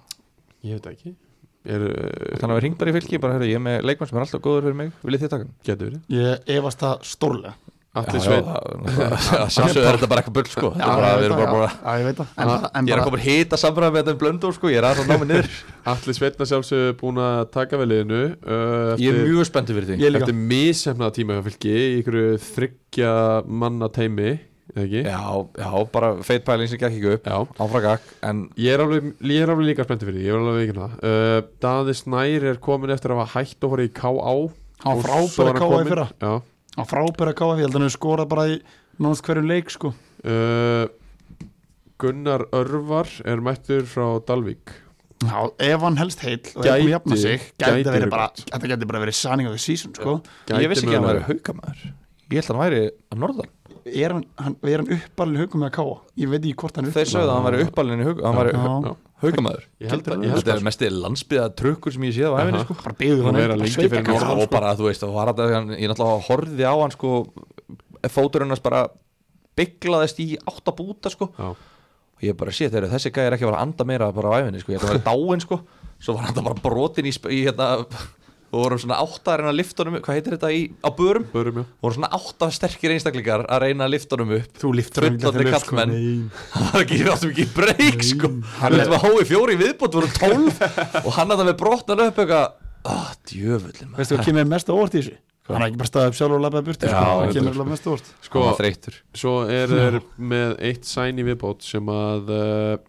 Speaker 1: Ég veit ekki er, uh,
Speaker 2: Þannig að við ringt bara í fylki, bara heyrðu, ég er með leikmann sem er alltaf góður fyrir mig, viljið þið taka hann?
Speaker 1: Getur verið
Speaker 3: Ég efast það stórlega
Speaker 1: Atli
Speaker 2: Já, já,
Speaker 1: Sveinn
Speaker 2: það- það- Sjálfsögðu er þetta bara eitthvað bull sko Þetta er bara, við erum bara búin að
Speaker 3: Já, ég veit það En,
Speaker 1: Ah,
Speaker 3: en
Speaker 2: Ég er að
Speaker 3: bara,
Speaker 2: koma að hita samræða með þetta um blöndur sko, ég er aðeins að ná mig niður
Speaker 1: Atli Sveinn að sjálfsögðu búin að taka vel liðinu uh,
Speaker 2: Ég er
Speaker 1: eftir-
Speaker 2: mjög spenntur fyrir því
Speaker 3: Ég líka
Speaker 1: Þetta er mishefnaða tíma hjá fylki í ykkur þryggja manna teimi eða ekki?
Speaker 2: Já, já, bara feit pæling sem gekk ekki upp
Speaker 1: Já.
Speaker 2: Áfragak, en
Speaker 1: Ég er, alveg, ég er alveg líka spennti fyrir því, ég er alveg ekki það uh, Daði Snær er komin eftir að hafa hætt og horið í K.A.
Speaker 3: hann
Speaker 1: og
Speaker 3: var
Speaker 1: svo er
Speaker 3: frábæra
Speaker 1: hann
Speaker 3: káa í
Speaker 1: kominn-
Speaker 3: fyrra
Speaker 1: Já
Speaker 3: Hann var frábæra káa í fyrra, ég held að hann hefur skorað bara í nánast hverjum leik sko
Speaker 1: uh, Gunnar Örvar er mættur frá Dalvík
Speaker 3: Já, ef hann helst heill og er búin að jafna
Speaker 1: Gæti-
Speaker 3: sig
Speaker 1: gæti
Speaker 3: Gæti það verið
Speaker 1: verið
Speaker 3: bara,
Speaker 1: gott.
Speaker 3: þetta gæti bara verið sanning á því season sko
Speaker 2: ég vissi ekki að hann væri
Speaker 1: mögulega.
Speaker 2: haukamæður Ég held að hann væri af norðan
Speaker 3: Er hann, hann, er hann uppalinn haukum með að káa? Ég veit ekki hvort hann er
Speaker 2: Þeir sögðu að hann væri uppalinn í haug, hann væri
Speaker 3: Já.
Speaker 1: Já.
Speaker 2: haukamæður
Speaker 1: Ég held að, ég held
Speaker 2: Þetta
Speaker 1: að
Speaker 2: er mest landsbyða trukkur sem ég séð á æfinni
Speaker 1: Aha.
Speaker 2: sko
Speaker 3: Bara byggðu
Speaker 1: Hann
Speaker 3: hann
Speaker 1: er að lengi fyrir
Speaker 2: Já,
Speaker 1: norðan,
Speaker 3: sko.
Speaker 2: og bara, þú veist, þá var þetta hann- ég náttúrulega horfði á hann sko fótur hennars bara bygglaðist í átta búta sko
Speaker 1: Já.
Speaker 2: og ég bara sé þeirra, þessi gæði er ekki að vera að anda meira bara á æfinni sko, ég ætla að vera dáin sko svo var hann það bara brotin í, sp- í hérna og vorum svona átta að reyna að lifta honum upp- hvað heitir þetta í, á börum
Speaker 1: Börum já
Speaker 2: voru svona átta sterkir einstaklingar að reyna að lifta honum upp
Speaker 3: Þú liftur hann
Speaker 2: Fullorðnir
Speaker 3: ekki upp, sko.
Speaker 2: karlmenn.
Speaker 3: Nei.
Speaker 2: það var ekki rátt mikið breyk sko
Speaker 3: Hann
Speaker 2: hann er með hói fjóri viðbútt voru tólf og hann að það með brotnan upp eitthvað ah, djöfullin maður
Speaker 3: Veistu hvað kemur mest á orð í þessu? Hann er ekki bara staðið upp sjálf og labbaði burti
Speaker 2: Já,
Speaker 3: sko,
Speaker 2: þetta
Speaker 3: hann
Speaker 2: er-
Speaker 3: kemur alveg mest á orð
Speaker 1: Sko,
Speaker 2: Hann var þreyttur
Speaker 1: Svo er þeir með eitt sæn í viðbót sem að uh,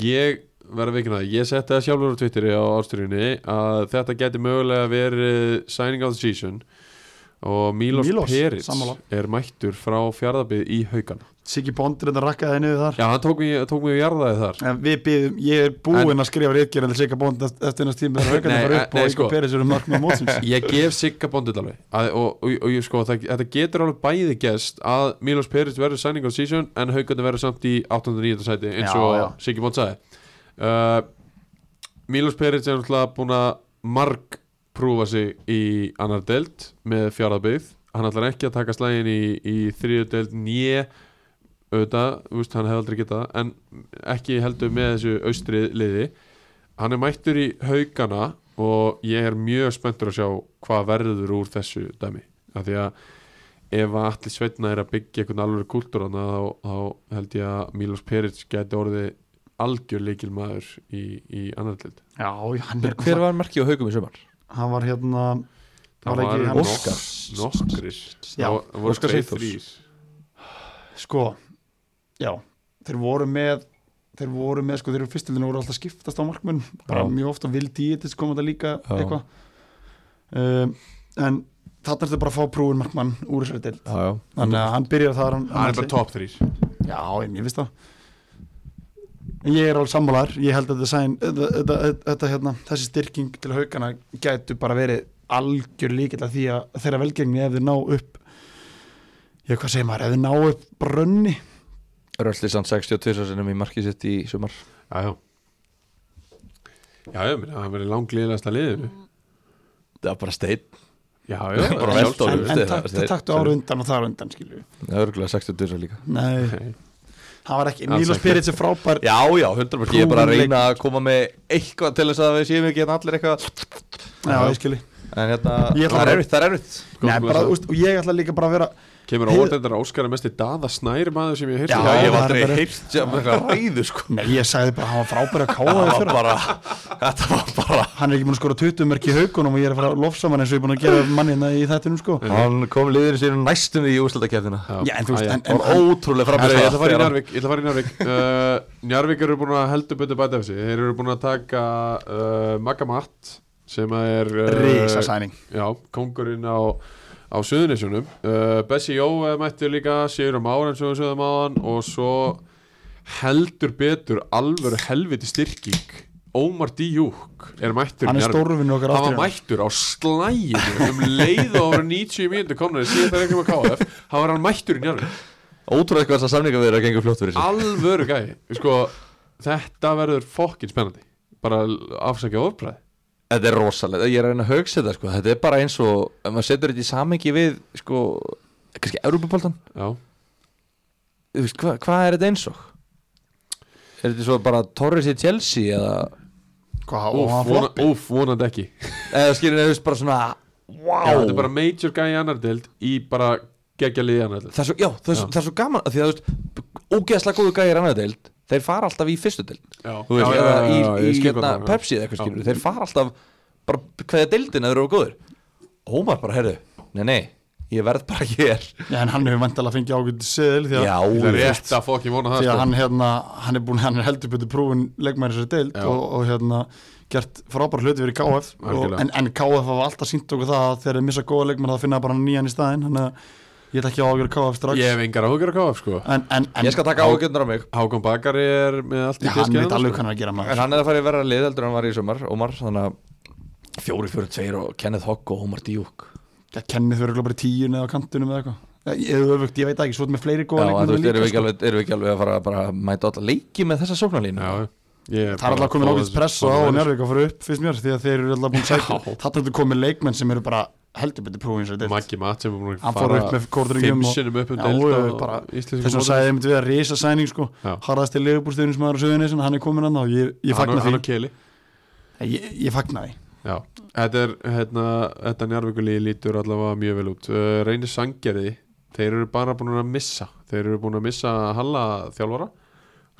Speaker 1: ég verða vikina, ég setti það sjálfur á Twitteri á ástyrjunni að þetta geti mögulega verið signing of the season og Milos,
Speaker 3: Milos,
Speaker 1: Perits
Speaker 3: sammála.
Speaker 1: er mættur frá fjárðabíð í haugana
Speaker 3: Siggi Bondur þetta rakkaði henni þar
Speaker 1: Já, hann tók mig, tók mig í jarðaði þar
Speaker 3: En við byggum, ég er búinn að skrifa reitgerðan til Sigga Bond eftir eftir ennast tíma þegar haugarnir
Speaker 1: Nei,
Speaker 3: fara
Speaker 1: eh,
Speaker 3: upp
Speaker 1: nei,
Speaker 3: og Íko
Speaker 1: sko.
Speaker 3: Peris eru markmið mótsins
Speaker 1: Ég gef Sigga bondið alveg að, og, og, og ég sko, það, þetta getur alveg bæði gest að Milos Peris verður signing on season en haugandi verður samt í 809. sæti eins
Speaker 3: Já, já.
Speaker 1: og Siggi Bond sagði uh, Milos Peris er náttúrulega búin að marg prúfa sig í annar deild með fjárðabeyð hann ætlar ekki að taka slægin í, í þriðu deild nýja auðvitað, þú veist, hann hefði aldrei getað það, en ekki heldur með þessu austri liði hann er mættur í haugana og ég er mjög spenntur að sjá hvað verður úr þessu dæmi af því að ef að allir sveitna er að byggja einhvern alveg kultúr hana, þá, þá held ég að Milos Peric gæti orðið algjör leikil maður í, í annar hlut
Speaker 3: Já, hann er
Speaker 2: Hver var markið á haugum í sumar?
Speaker 3: Hann var hérna Var ekki hann-
Speaker 1: Óskar Óskar
Speaker 3: Já,
Speaker 2: Óskar
Speaker 1: Óskar
Speaker 2: Sigþórs.
Speaker 1: Sigþórs
Speaker 3: Sko, já Þeir voru með Þeir voru með, sko, þeir eru fyrstildinu voru alltaf að skiptast á markminn Bara
Speaker 2: Já.
Speaker 3: mjög ofta vild í þetta kom þetta líka
Speaker 2: Já.
Speaker 3: eitthvað um, En þarna er þetta bara að fá prúin markmann úr þessari deild
Speaker 2: Já, já
Speaker 3: Þannig að hann byrjar þar hann,
Speaker 1: hann er bara top 3
Speaker 3: Já, ég, ég veist það En Ég er alveg sammálar, ég held að þetta, sæn, þetta, þetta, þetta hérna, þessi styrking til haugana gætu bara verið algjör líkilega því að þeirra velgengni ef þeir ná upp já, hvað segir maður, ef þeir ná upp brönni,
Speaker 2: Röllisand 62 sinum í markið sitt í sumar
Speaker 1: já já já, ég meina, hann verður langliðilegasta liðinu
Speaker 2: Það var bara stein
Speaker 1: já, já,
Speaker 2: Bara
Speaker 1: já,
Speaker 2: vel
Speaker 1: sjálfsögðu.
Speaker 3: en,
Speaker 2: veist
Speaker 3: en
Speaker 2: þið,
Speaker 3: takt,
Speaker 2: veist þið,
Speaker 3: taktu ára undan og þar á undan, skilju
Speaker 2: Það er örgulega 62 líka
Speaker 3: Nei,
Speaker 1: Nei.
Speaker 3: það var ekki,
Speaker 1: Alls
Speaker 3: Mílo
Speaker 1: ekki.
Speaker 3: Spirits er frábær
Speaker 2: Já, já, 100% Ég er bara að
Speaker 3: Prúin
Speaker 2: reyna að koma með eitthvað til þess að við séum ekki hérna allir eitthvað
Speaker 3: Já, ég skilji
Speaker 2: En hérna,
Speaker 3: Ég ætla
Speaker 2: það er
Speaker 3: að-
Speaker 2: erfitt, það er erfitt
Speaker 1: Góð
Speaker 3: Nei, bara,
Speaker 1: blessa.
Speaker 3: úst, og ég ætla líka bara að vera
Speaker 1: Kemur
Speaker 3: Heyrðu-
Speaker 1: óvart þetta Óskar er mest í daða snæri maður sem ég hef
Speaker 3: Já,
Speaker 2: Já, ég hef
Speaker 3: það er
Speaker 2: aldrei
Speaker 3: bara-
Speaker 2: heyrt sem eitthvað ræðu sko
Speaker 3: Nei, ég sagði bara, hann var frábær að káa
Speaker 2: Það
Speaker 3: þau
Speaker 2: var
Speaker 3: fyrra
Speaker 2: bara, þetta var bara
Speaker 3: hann er ekki búin að skora 20 mörk í haugunum og ég er að fara að lofsa mann eins og ég er búin að gera mannina í þettinum sko
Speaker 2: Hann kom liðinu sínum næstum í úrslutakefnina
Speaker 3: Já, en þú veist, en-
Speaker 2: Það var ótrúlega
Speaker 1: Herru, ég ætla að fara í Njarvík, ég ætla að
Speaker 2: framist
Speaker 1: fara í Njarvík uh, Njarvík eru búin að heldur betur bæta af sig Þeir eru búin að taka uh, Magga Matt sem að er uh,
Speaker 3: Rísa sæning
Speaker 1: Já, kongurinn á, á Suðunisjónum uh, Bessi Jó eh, mættu líka Sigur á Máren sem við sögðum á hann og svo heldur betur alvöru helviti styrking Ómar D. Júk er mættur í
Speaker 3: Hann er
Speaker 1: Njarðvík.
Speaker 3: stórvinn okkar
Speaker 1: hann var
Speaker 3: aftur
Speaker 1: mættur á slæginu um leið og voru 90 mínútur komnaði síðan það er ekki um að KF hann var hann mættur í Njarvík
Speaker 2: Ótrúlega hvað þessar samninga við erum að gengur fljótt fyrir sig
Speaker 1: alvöru gæi sko, þetta verður fokkin spennandi bara afsækja ofpræði
Speaker 2: Þetta er rosalega, ég er að reyna að hugsa þetta sko. Þetta er bara eins og, ef maður setur þetta í samengi við sko, kannski Európa-boltan
Speaker 1: já,
Speaker 2: Þú veist, hva- hvað er þetta eins og? Er þetta svo bara Torres í Chelsea eða,
Speaker 3: Hvað, og
Speaker 1: úf,
Speaker 3: hann
Speaker 1: vona,
Speaker 3: floppi
Speaker 1: úf, vonandi ekki
Speaker 2: eða skilur þú veist bara svona wow.
Speaker 1: já, þetta er bara major gæi í annar deild í bara geggja liði í annar deild
Speaker 2: það er svo, já, það er, svo,
Speaker 1: Já.
Speaker 2: það er svo gaman af því að þú veist, ógeðslega góðu gæðir annar deild þeir fara alltaf í fyrstu deild
Speaker 1: já,
Speaker 2: þú veist, eða í, í,
Speaker 1: ég skil hvað
Speaker 2: hérna,
Speaker 1: það er.
Speaker 2: Pepsi eða eitthvað skilur þeir fara alltaf bara hvaða deildin að þeir eru góður Ómar bara, herru, nei, nei ég verð bara hér
Speaker 3: Já, en hann hefur vantilega fengið ágætið seðil því að,
Speaker 1: það er
Speaker 2: þú veist.
Speaker 1: rétt að fokkin vona það
Speaker 3: því að
Speaker 1: sko.
Speaker 3: hann, hérna, hann er búin, hann er heldur betur prófin leikmæri sér deild
Speaker 1: Já.
Speaker 3: og, og hérna gert frábæra hluti fyrir KF og,
Speaker 1: Algjörlega.
Speaker 3: en, en KF hafa alltaf sínt okkur það að þegar þeir missa góða leikmæri það finna bara nýjan í staðinn þannig að ég ætla ekki að ágjöra KF strax
Speaker 1: ég hef engar áhugjur að KF sko
Speaker 3: en, en, en
Speaker 2: ég skal taka ágjörnur á mig
Speaker 1: Hákon Bakari er með allt í
Speaker 3: Já, hann
Speaker 1: diskinn
Speaker 3: veit
Speaker 1: hann,
Speaker 3: alveg
Speaker 1: sko.
Speaker 3: hvað
Speaker 2: hérna, en hann
Speaker 3: hann er að gera maður
Speaker 2: er að fara í verra lið heldur en hann var í sumar Ómar, þannig að fjóri, fjóri, tveir og Kenneth Hogg og Ómar Díuk
Speaker 3: Ég kennið þau eru bara í tíun eða á kantunum eða eitthvað Ég, öfugt, ég veit það ekki, svo er með fleiri
Speaker 2: Já,
Speaker 3: góða
Speaker 2: en þú
Speaker 3: leikmenn sko.
Speaker 2: veist, erum við, ekki alveg, erum við ekki alveg að fara að bara mæta alltaf leiki með þessa sóknarlínu
Speaker 1: já, ég
Speaker 3: Það er alltaf komin ákveðs press á Njárvík að fara upp finnst mér því að þeir eru alltaf búin að sækja
Speaker 1: Já.
Speaker 3: Þetta er þetta komið leikmenn sem eru bara heldur betur prófin sér deilt
Speaker 1: Maggi Matt sem er búin að
Speaker 3: Hann fór upp með kórdringjum
Speaker 1: fimm
Speaker 3: og
Speaker 1: sinnum upp um
Speaker 3: Já,
Speaker 1: deild
Speaker 3: já,
Speaker 1: á
Speaker 3: bara-
Speaker 1: íslenskum
Speaker 3: þess að
Speaker 1: móti.
Speaker 3: sagði einmitt við að risa sæning sko
Speaker 1: Já.
Speaker 3: harðast til leifubúrstuðinu sem aðra söðinni hann er komin hann og ég, ég
Speaker 1: Hann
Speaker 3: fagna
Speaker 1: og- hann
Speaker 3: því
Speaker 1: og Keli
Speaker 3: ég, ég fagna því
Speaker 1: Já, þetta er hérna, þetta njárvíkulí lítur allavega mjög vel út uh, reynir sangjariði, þeir eru bara búin að missa, þeir eru búin að missa Halla þjálfara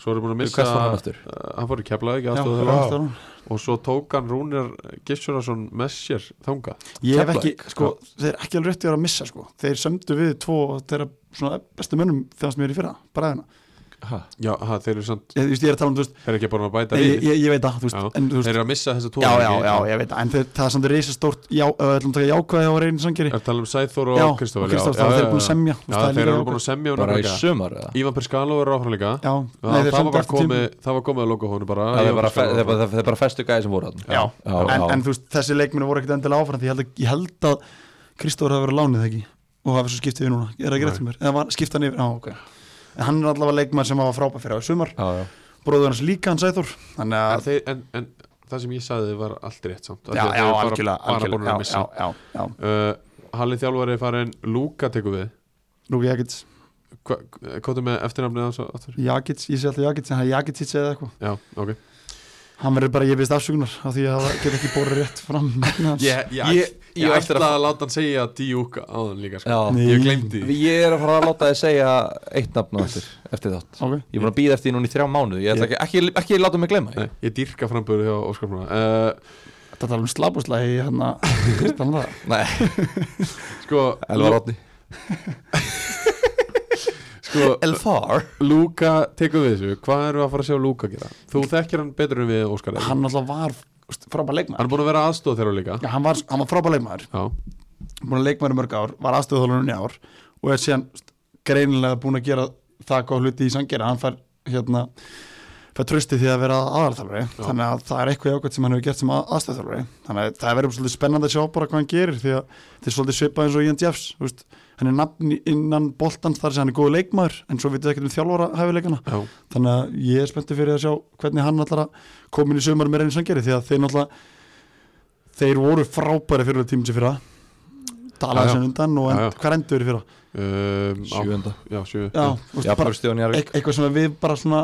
Speaker 1: svo eru búin að missa,
Speaker 2: Hvert fór hann aftur?
Speaker 1: Uh, hann fór í Keflavík
Speaker 3: Já,
Speaker 1: aðstoðarþjálfara.
Speaker 3: já, já.
Speaker 1: og svo tók hann Rúnir Gissurason með sér þanga
Speaker 3: Ég hef ekki,
Speaker 2: Keflavík,
Speaker 3: sko, þeir ekki alveg rétti að vera að missa sko þeir sömdu við tvo þeirra svona bestu mönnum þegar sem ég er í fyrra, bræðina
Speaker 2: Ha?
Speaker 1: Já, ha, þeir eru samt,
Speaker 3: ég, þú veist, ég er að tala um, þú veist,
Speaker 1: þeir eru ekki búin að bæta
Speaker 3: ég,
Speaker 1: liðið.
Speaker 3: ég, ég veit það, þú
Speaker 1: Já.
Speaker 3: veist, en þú
Speaker 1: Þeir
Speaker 3: veist
Speaker 1: eru að missa þessa tvo
Speaker 3: já, já,
Speaker 1: leiki.
Speaker 3: já, ég veit það, en þeir, það er samt reisa stórt, já, ef við ætlum að taka jákvæði á reyni sangeri,
Speaker 1: Er að tala um Sæþór
Speaker 3: já,
Speaker 1: og
Speaker 3: og
Speaker 1: Kristofur
Speaker 3: Kristofur, það þeir eru búin að semja, þú
Speaker 1: Já,
Speaker 3: veist, það er
Speaker 1: þeir
Speaker 3: líka
Speaker 1: eru
Speaker 3: jákvætt.
Speaker 1: búin að semja um
Speaker 2: Bara í
Speaker 1: náttúrulega.
Speaker 2: sumar eða?
Speaker 1: Ívan Perskalo er áfram líka
Speaker 3: já,
Speaker 1: Já, það,
Speaker 3: þeir
Speaker 1: var
Speaker 3: sendu
Speaker 1: bara
Speaker 3: eftir
Speaker 1: komið,
Speaker 3: tímabil.
Speaker 1: það var komið að loka honum bara
Speaker 2: Það er
Speaker 1: Ívan
Speaker 2: bara,
Speaker 1: Perskalo.
Speaker 2: þeir, bara, þeir bara festu gæði sem voru hann
Speaker 3: já, en,
Speaker 2: já.
Speaker 3: en þú veist, þessi leikmenn voru ekkert endilega áfram því ég held að, ég held að Kristóður hafi verið lánið ekki og hafi svo skiptið yfir núna, ég er að gera
Speaker 1: Nei.
Speaker 3: eftir mér eða var, skipta hann yfir, á, ok en hann er allavega leikmann sem hafa frábæð fyrir á í sumar
Speaker 2: Já, já.
Speaker 3: bróður hans líka, hann Sæþór þannig
Speaker 1: en,
Speaker 3: að,
Speaker 1: þeir, en, en það sem ég sagði var allt rétt samt af
Speaker 3: já,
Speaker 1: því að
Speaker 3: já,
Speaker 1: þeir eru bara-
Speaker 3: algjörlega
Speaker 1: bara búin að
Speaker 3: algjörlega, já, já,
Speaker 1: missa
Speaker 3: já, já,
Speaker 1: uh, Hallið þjálfari er farin Lúka tekur við
Speaker 3: Lúki Jakits
Speaker 1: Hva- hvað er með eftirnafnið hans aftur?
Speaker 3: Jakits, ég sé alltaf Jakits, en hann Jakits eða eitthvað
Speaker 1: já, ok
Speaker 3: hann verður bara, ég veist afsökunar af því að það get ekki borðið rétt fram nafnið hans.
Speaker 2: Ég, ég,
Speaker 1: ég, ég,
Speaker 2: ég,
Speaker 1: ætla
Speaker 2: ætla
Speaker 1: að, láta hann segja díúk áðan líka sko.
Speaker 2: að,
Speaker 3: Nei.
Speaker 1: ég glemdi því.
Speaker 2: já, ég er að fara að láta þið segja eitt nafn á eftir, eftir þátt
Speaker 3: ok,
Speaker 2: Ég er búin að býða eftir því núna í þrjá mánuð Ég ætla ekki, ekki, ekki láta mig glemma
Speaker 1: Nei, ég dýrka framböru hjá Óskar Mána uh,
Speaker 3: þetta tala um slabúslægi hann að, hann að
Speaker 2: Nei,
Speaker 1: sko,
Speaker 2: Elvar Átni
Speaker 1: sko
Speaker 2: Elfar
Speaker 1: Lúka tekur við þessu, hvað erum við að fara að sjá Lúka gera? þú þekkir hann betur en við Óskar ekki?
Speaker 3: hann alltaf var frábæð leikmaður
Speaker 1: hann er búin að vera aðstóð þeirra líka
Speaker 3: Já, hann var, hann var frábæð leikmaður
Speaker 1: já,
Speaker 3: búin að leikmaður í mörg ár, var aðstöðuþólunum í ár og er síðan st- greinilega búin að gera það góð hluti í sangera hann fær hérna fær trösti því að vera aðalþjálfari þannig að það er eitthvað jákvæmt sem hann hefur gert sem aðstöðuþjálfari þannig að það verður svolítið spennandi að sjá bara hvað hann gerir því að þetta er svolítið svipað eins og Ian Jeffs þú veist, hann er nafn í- innan boltans þar sem hann er góð leikmaður en svo vitið ekkert um þjálfara hæfileikana
Speaker 1: já,
Speaker 3: þannig að ég er spenntið fyrir að sjá hvernig hann allar að koma inn í sömur með reynir sangeri því að þeir náttúrulega þeir voru frábæri fyrir tímum sem fyrir að
Speaker 1: Já,
Speaker 3: talaði
Speaker 1: já.
Speaker 3: sem undan og
Speaker 1: Já,
Speaker 3: end,
Speaker 1: já.
Speaker 3: hvað endur fyrir að
Speaker 1: um, á-
Speaker 2: Sjúenda
Speaker 1: já, sjö
Speaker 3: já, þú
Speaker 2: Já,
Speaker 3: veist, bara,
Speaker 2: bara Stjón Jarvik
Speaker 3: eit- eitthvað sem við bara svona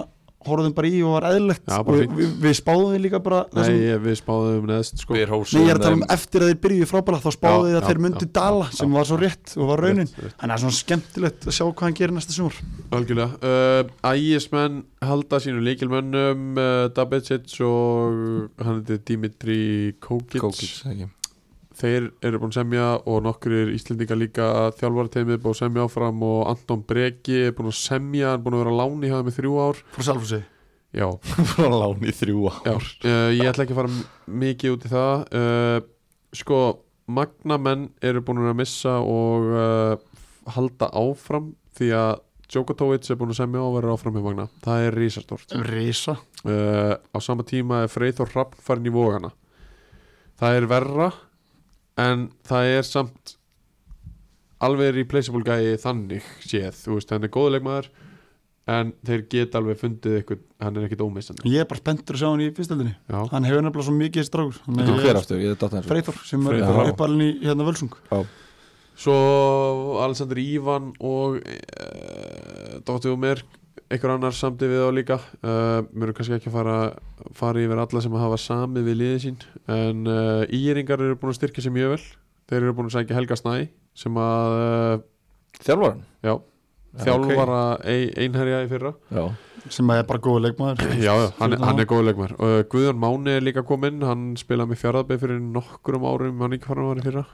Speaker 3: horfðum bara í og var eðlilegt
Speaker 1: Já,
Speaker 3: og
Speaker 1: bara
Speaker 3: við,
Speaker 1: fínt.
Speaker 3: við- við spáðum því líka bara
Speaker 1: Nei,
Speaker 3: þessum,
Speaker 1: ég, við spáðum neðst sko
Speaker 2: Við
Speaker 3: nei,
Speaker 2: hrósum
Speaker 3: ég er að tala um
Speaker 2: þeim.
Speaker 3: eftir að þeir byrjuði frábæla þá spáðu
Speaker 1: Já,
Speaker 3: því að
Speaker 1: já,
Speaker 3: þeir myndu
Speaker 1: já,
Speaker 3: dala
Speaker 1: já,
Speaker 3: sem var svo rétt og var raunin
Speaker 1: Rétt, rétt.
Speaker 3: þannig að það er svona skemmtilegt að sjá hvað hann gerir næsta sumar
Speaker 1: Algjörlega uh, Ægismenn halda sínu leikilmönnum uh, Dabicic og hann heitir Dimitri Kókic.
Speaker 2: Kókits, ekki.
Speaker 1: Þeir eru búin að semja og nokkrir Íslendingar líka þjálfarateimið er búin að semja áfram og Anton Breki er búin að semja, hann er búin að vera á láni hjá þeim í þrjú ár
Speaker 3: frá Salfúsi
Speaker 1: Já,
Speaker 2: Frá lán í þrjú ár
Speaker 1: já uh, Ég ætla ekki að fara m- mikið út í það uh, Sko, magnamenn eru búin að missa og uh, halda áfram því að Djokotovic er búin að semja og vera áfram hjá Magna Það er rísastort
Speaker 3: Risa
Speaker 1: uh, á sama tíma er Freyþór Hrafn farin í vógana það er verra en það er samt alveg replaceable gæi þannig séð, þú veist, hann er góðulegmaður en þeir geta alveg fundið eitthvað, hann er ekkit ómissandi
Speaker 3: ég er bara spenntur að sjá hann í fyrstöldinni
Speaker 1: já,
Speaker 3: hann hefur nefnilega svo mikið þessi strákur Hann
Speaker 2: Þetta
Speaker 3: er-
Speaker 2: er hver aftur, ég er datt hans
Speaker 3: Freyþór sem er
Speaker 1: Freyþór,
Speaker 2: já.
Speaker 3: uppalinn í hérna Völsung
Speaker 1: svo Alexander Ívan og uh, Dóttir og mér einhver annar samtið við þá líka uh, mér erum kannski ekki að fara, fara yfir alla sem hafa samið við liðið sín en uh, íringar eru búin að styrkja sér mjög vel þeir eru búin að sækja Helga Snæ sem að uh,
Speaker 2: Þjálfaran
Speaker 1: já, þjálfara okay. einherja í fyrra
Speaker 2: Já,
Speaker 3: sem er bara góð leikmaður
Speaker 1: já, já, hann, er- hann er góðleikmar uh, Guðjón Máni er líka kominn, hann spilaði með fjaraðbeð fyrir nokkrum árum, hann ekki farin að var í fyrra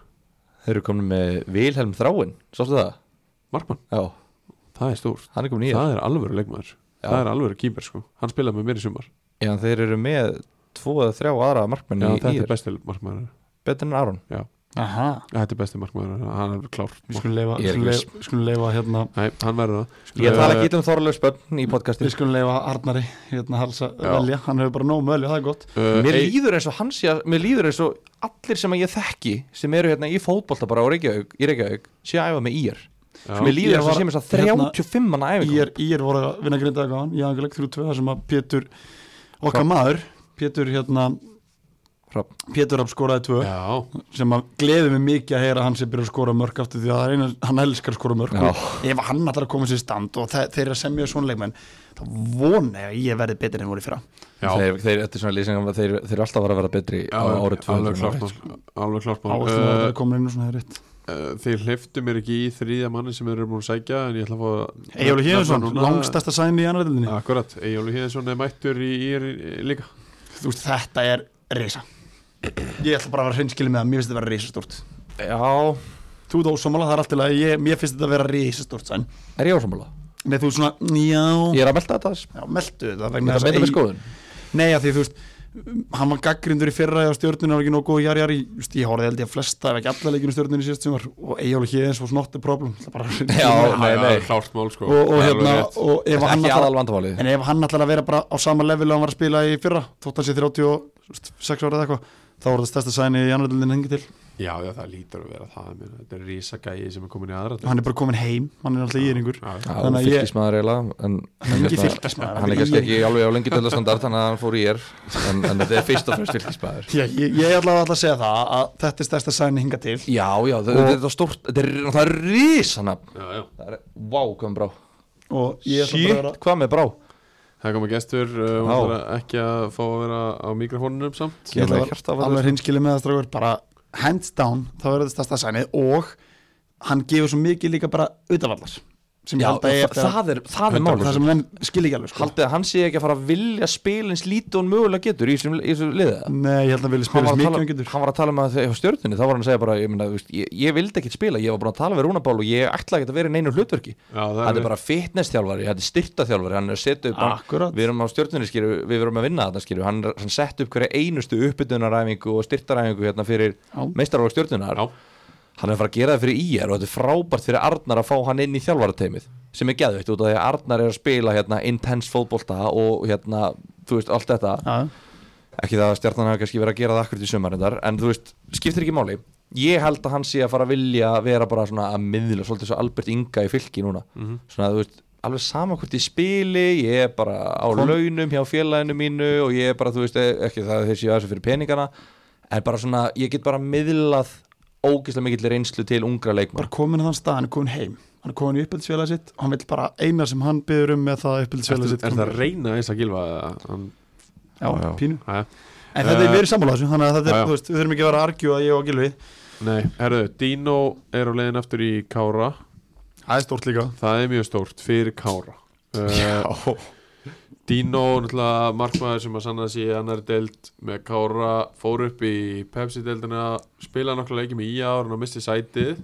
Speaker 2: þeir eru komin með Vilhelm Þráin Sástu það?
Speaker 1: Markmann,
Speaker 2: Já,
Speaker 1: það er stórt
Speaker 2: hann er komin í
Speaker 1: það er alvöru leikmaður
Speaker 2: Já.
Speaker 1: það er alvöru kýper sko, hann spilaði með mér í sumar
Speaker 2: Já, þeir eru með tvo eða þrjá aðra markmenn
Speaker 1: já,
Speaker 2: í
Speaker 1: þetta
Speaker 2: í
Speaker 1: er besti markmaður
Speaker 2: betur en Aron
Speaker 3: Aha,
Speaker 1: þetta er besti markmaður, hann er klár
Speaker 3: við skulum leifa,
Speaker 2: Ég er
Speaker 3: skulum
Speaker 2: ekki
Speaker 3: leifa, skulum leifa hérna,
Speaker 1: nei, hann verður það
Speaker 2: Ég tala
Speaker 1: Eh,
Speaker 2: ekki um Þorlaug Spönn í
Speaker 3: við
Speaker 2: podcastin
Speaker 3: skulum leifa Arnari hérna halsa
Speaker 1: Já.
Speaker 3: velja, hann hefur bara nóg með velja, það er gott
Speaker 1: uh,
Speaker 2: Mér
Speaker 1: Ei-
Speaker 2: líður eins og hans ég, mér líður eins og allir sem að ég þekki sem eru hérna í fótbolta bara á Reykjavík, í Reykjavík sé að æfa með ír
Speaker 1: Já.
Speaker 2: Mér líður
Speaker 3: Ég
Speaker 2: eins og
Speaker 3: var-
Speaker 2: sem þess að
Speaker 3: hérna-
Speaker 2: 35 manna æfingar
Speaker 3: ég er, ég er voru að vinna grinda eitthvað hann, ég hafði leik 3-2 þar sem að Pétur okkar maður, Pétur hérna
Speaker 2: Hrafn.
Speaker 3: Pétur hafði skoraði 2
Speaker 1: já,
Speaker 3: sem að gleði mig mikið að heyra að hann sem byrja að skora mörg aftur því að það er eina, hann elskar að skora mörg
Speaker 2: Já.
Speaker 3: og ef hann allar að koma sér í stand og þe þeir eru að semja svona leikmenn þá vona ég að ég verði betur en voru í fyrra
Speaker 1: já
Speaker 2: þeir, þeir, Þetta er svona lýsingum að þeir, þeir eru alltaf að vera að vera betri á árið 200
Speaker 1: alveg klart
Speaker 2: sko.
Speaker 1: mál, alveg klart mál.
Speaker 3: áherslu að það komin inn og svona er rétt
Speaker 1: Uh, þeir hliftu mér ekki í þriðja manni sem þeir eru búin að sækja en ég ætla að fá
Speaker 3: Egilur Híðarsson,
Speaker 1: nefna núna-
Speaker 3: langstasta sæni í annaðildinni
Speaker 1: akkurat, Egilur Híðarsson er mættur í, í, í líka
Speaker 3: Þú veist, þetta er reysa Ég ætla bara að vera hreinskilið með það, mér finnst þetta að vera reysastort
Speaker 2: Já,
Speaker 1: sko.
Speaker 3: Þú þá sammála, það er allt í lagi, ég, mér finnst þetta að vera reysastort sæn
Speaker 2: er ég ásammála?
Speaker 3: Nei, þú veist svona, já,
Speaker 2: Ég er að melda þetta þess
Speaker 3: já meldu þetta
Speaker 2: Ég er
Speaker 3: vegna
Speaker 2: að melda
Speaker 3: að
Speaker 2: með skoðun
Speaker 3: Nei, að því þú veist hann var gaggrindur í fyrra eða stjórninu var ekki nógu góð jari jari, just, ég horfði held ég að flesta ef ekki alla leikinu stjórninu síðast sem var og Eyjálu Híðins var snott the problem Það bara,
Speaker 2: Já, nei,
Speaker 1: það
Speaker 2: nei.
Speaker 1: er klárt mál sko
Speaker 3: og,
Speaker 1: Það
Speaker 3: og
Speaker 1: er
Speaker 3: hérna
Speaker 1: alveg rétt.
Speaker 3: og ef
Speaker 2: Þetta er
Speaker 3: hann
Speaker 2: ekki aðal
Speaker 3: ætlar,
Speaker 2: vandamálið
Speaker 3: en ef hann ætlar að vera bara á sama level að hann var að spila í fyrra þótt hann sé 36 ára eða eitthvað þá voru það stærsta sæni í annaðlindin hengi til
Speaker 1: Já, já, það lítur að vera það ég meina, Þetta er risagæi sem er komin í aðra
Speaker 3: hann er bara komin heim, hann er alltaf í yringur
Speaker 1: Já,
Speaker 2: Já,
Speaker 3: Þannig að ég-
Speaker 2: fylgismæður eiginlega en, en
Speaker 3: hann er ekki
Speaker 2: hérna,
Speaker 3: fylgismæður
Speaker 2: Hann er kannski ekki alveg á lengi döldastandard þannig að hann fór í er en, en þetta er fyrst og fremst fylgismæður
Speaker 3: Já, ég, ég ætla að segja það að þetta er stærsta sæni hinga til
Speaker 2: Já, já, það, og, þetta er stórt Þetta er, það er risanafn
Speaker 1: já, já
Speaker 2: Það er, vá, hvað með brá
Speaker 3: og ég ætla bara að
Speaker 2: Shit,
Speaker 3: vera
Speaker 2: hvað með brá
Speaker 1: Það kom að gestur, uh, hún
Speaker 2: Já.
Speaker 1: ætlar að- ekki að fá að vera á mikrofónunum samt
Speaker 3: ég
Speaker 2: Ég
Speaker 3: ætla
Speaker 2: ætla
Speaker 3: að
Speaker 2: hjarta að
Speaker 3: vera
Speaker 2: vera
Speaker 3: alveg hinskilið með það strafur bara hands down, þá verður þetta stærsta sænið og hann gefur svo mikið líka bara utavallar sem
Speaker 2: Já,
Speaker 3: ég held að ég
Speaker 2: það,
Speaker 3: eftir að
Speaker 2: það er, það er málið
Speaker 3: það sem menn skil ekki alveg sko.
Speaker 2: Haldið að hann sé ekki að fara að vilja spila eins lítið og hann mögulega getur í þessum- í þessu liða
Speaker 3: Nei, ég held að vilja
Speaker 2: hann
Speaker 3: spila
Speaker 2: var, að
Speaker 3: þess mikið
Speaker 2: tala,
Speaker 3: hann getur
Speaker 2: hann var að tala um að þegar stjórninni þá var hann að segja bara, ég, myna, veist, ég, ég vildi ekkert spila ég var búin að tala við Rúnabál og ég ætla ekkert að vera í neinu hlutverki
Speaker 1: Já, það
Speaker 2: hann
Speaker 1: er
Speaker 2: er bara fitness-þjálfari, hann er styrtaþjálfari hann er að setja upp,
Speaker 3: Akkurat.
Speaker 2: hann, við erum á stjórninni skýru, við erum að vinna þarna skýru, hann, hann sett upp hverja einustu uppbytunaræfingu og styrtaræfingu hérna fyrir
Speaker 3: Já.
Speaker 2: meistarálag stjórnunar
Speaker 1: Já,
Speaker 2: hann er að fara að gera það fyrir IR og þetta er frábært fyrir Arnar að fá hann inn í þjálfarateymið sem er geðveikt út af því að Arnar er að spila hérna, intense fótbolta og hérna, þú veist, allt þetta
Speaker 3: Já,
Speaker 2: ekki það að stjarnan hafa kannski verið að gera það akkurat í sumarindar en þú veist, skiptir ekki máli ég held að hann sé að fara að vilja vera bara svona að miðla, svolítið svo Albert Inga í fylki núna, svona þú veist alveg sama hvort ég spili, ég er bara á launum hjá félaginu mínu og ég er bara, þú veist, e- ekki það að þeir séu aðeins fyrir peningana, en bara svona ég get bara miðlað ógeðslega mikill reynslu til ungra leikmann
Speaker 3: bara komin að þann stað, hann er komin heim hann er komin í uppbyldisfélagi sitt og hann vil bara eina sem hann byður um með það
Speaker 1: er,
Speaker 3: uppbyldisfélagi sitt
Speaker 1: er það að reyna eins að gilfa það? Hann,
Speaker 3: Já,
Speaker 2: Já.
Speaker 3: pínu
Speaker 1: aðja
Speaker 3: En þetta
Speaker 1: Eh,
Speaker 3: er verið sammála þessu, þannig að
Speaker 1: já,
Speaker 3: þetta er,
Speaker 1: já.
Speaker 3: þú veist, við þurfum ekki að vera að argjú að ég og Gilvi
Speaker 1: Nei, herðu, Dino er á leiðin aftur í Kára
Speaker 3: Það er stórt líka
Speaker 1: Það er mjög stórt fyrir Kára uh, Dino, náttúrulega markmaður sem að sanna sig í annar deild með Kára fór upp í Pepsi-deildina spilaði nokkla leiki með E IA og misti sætið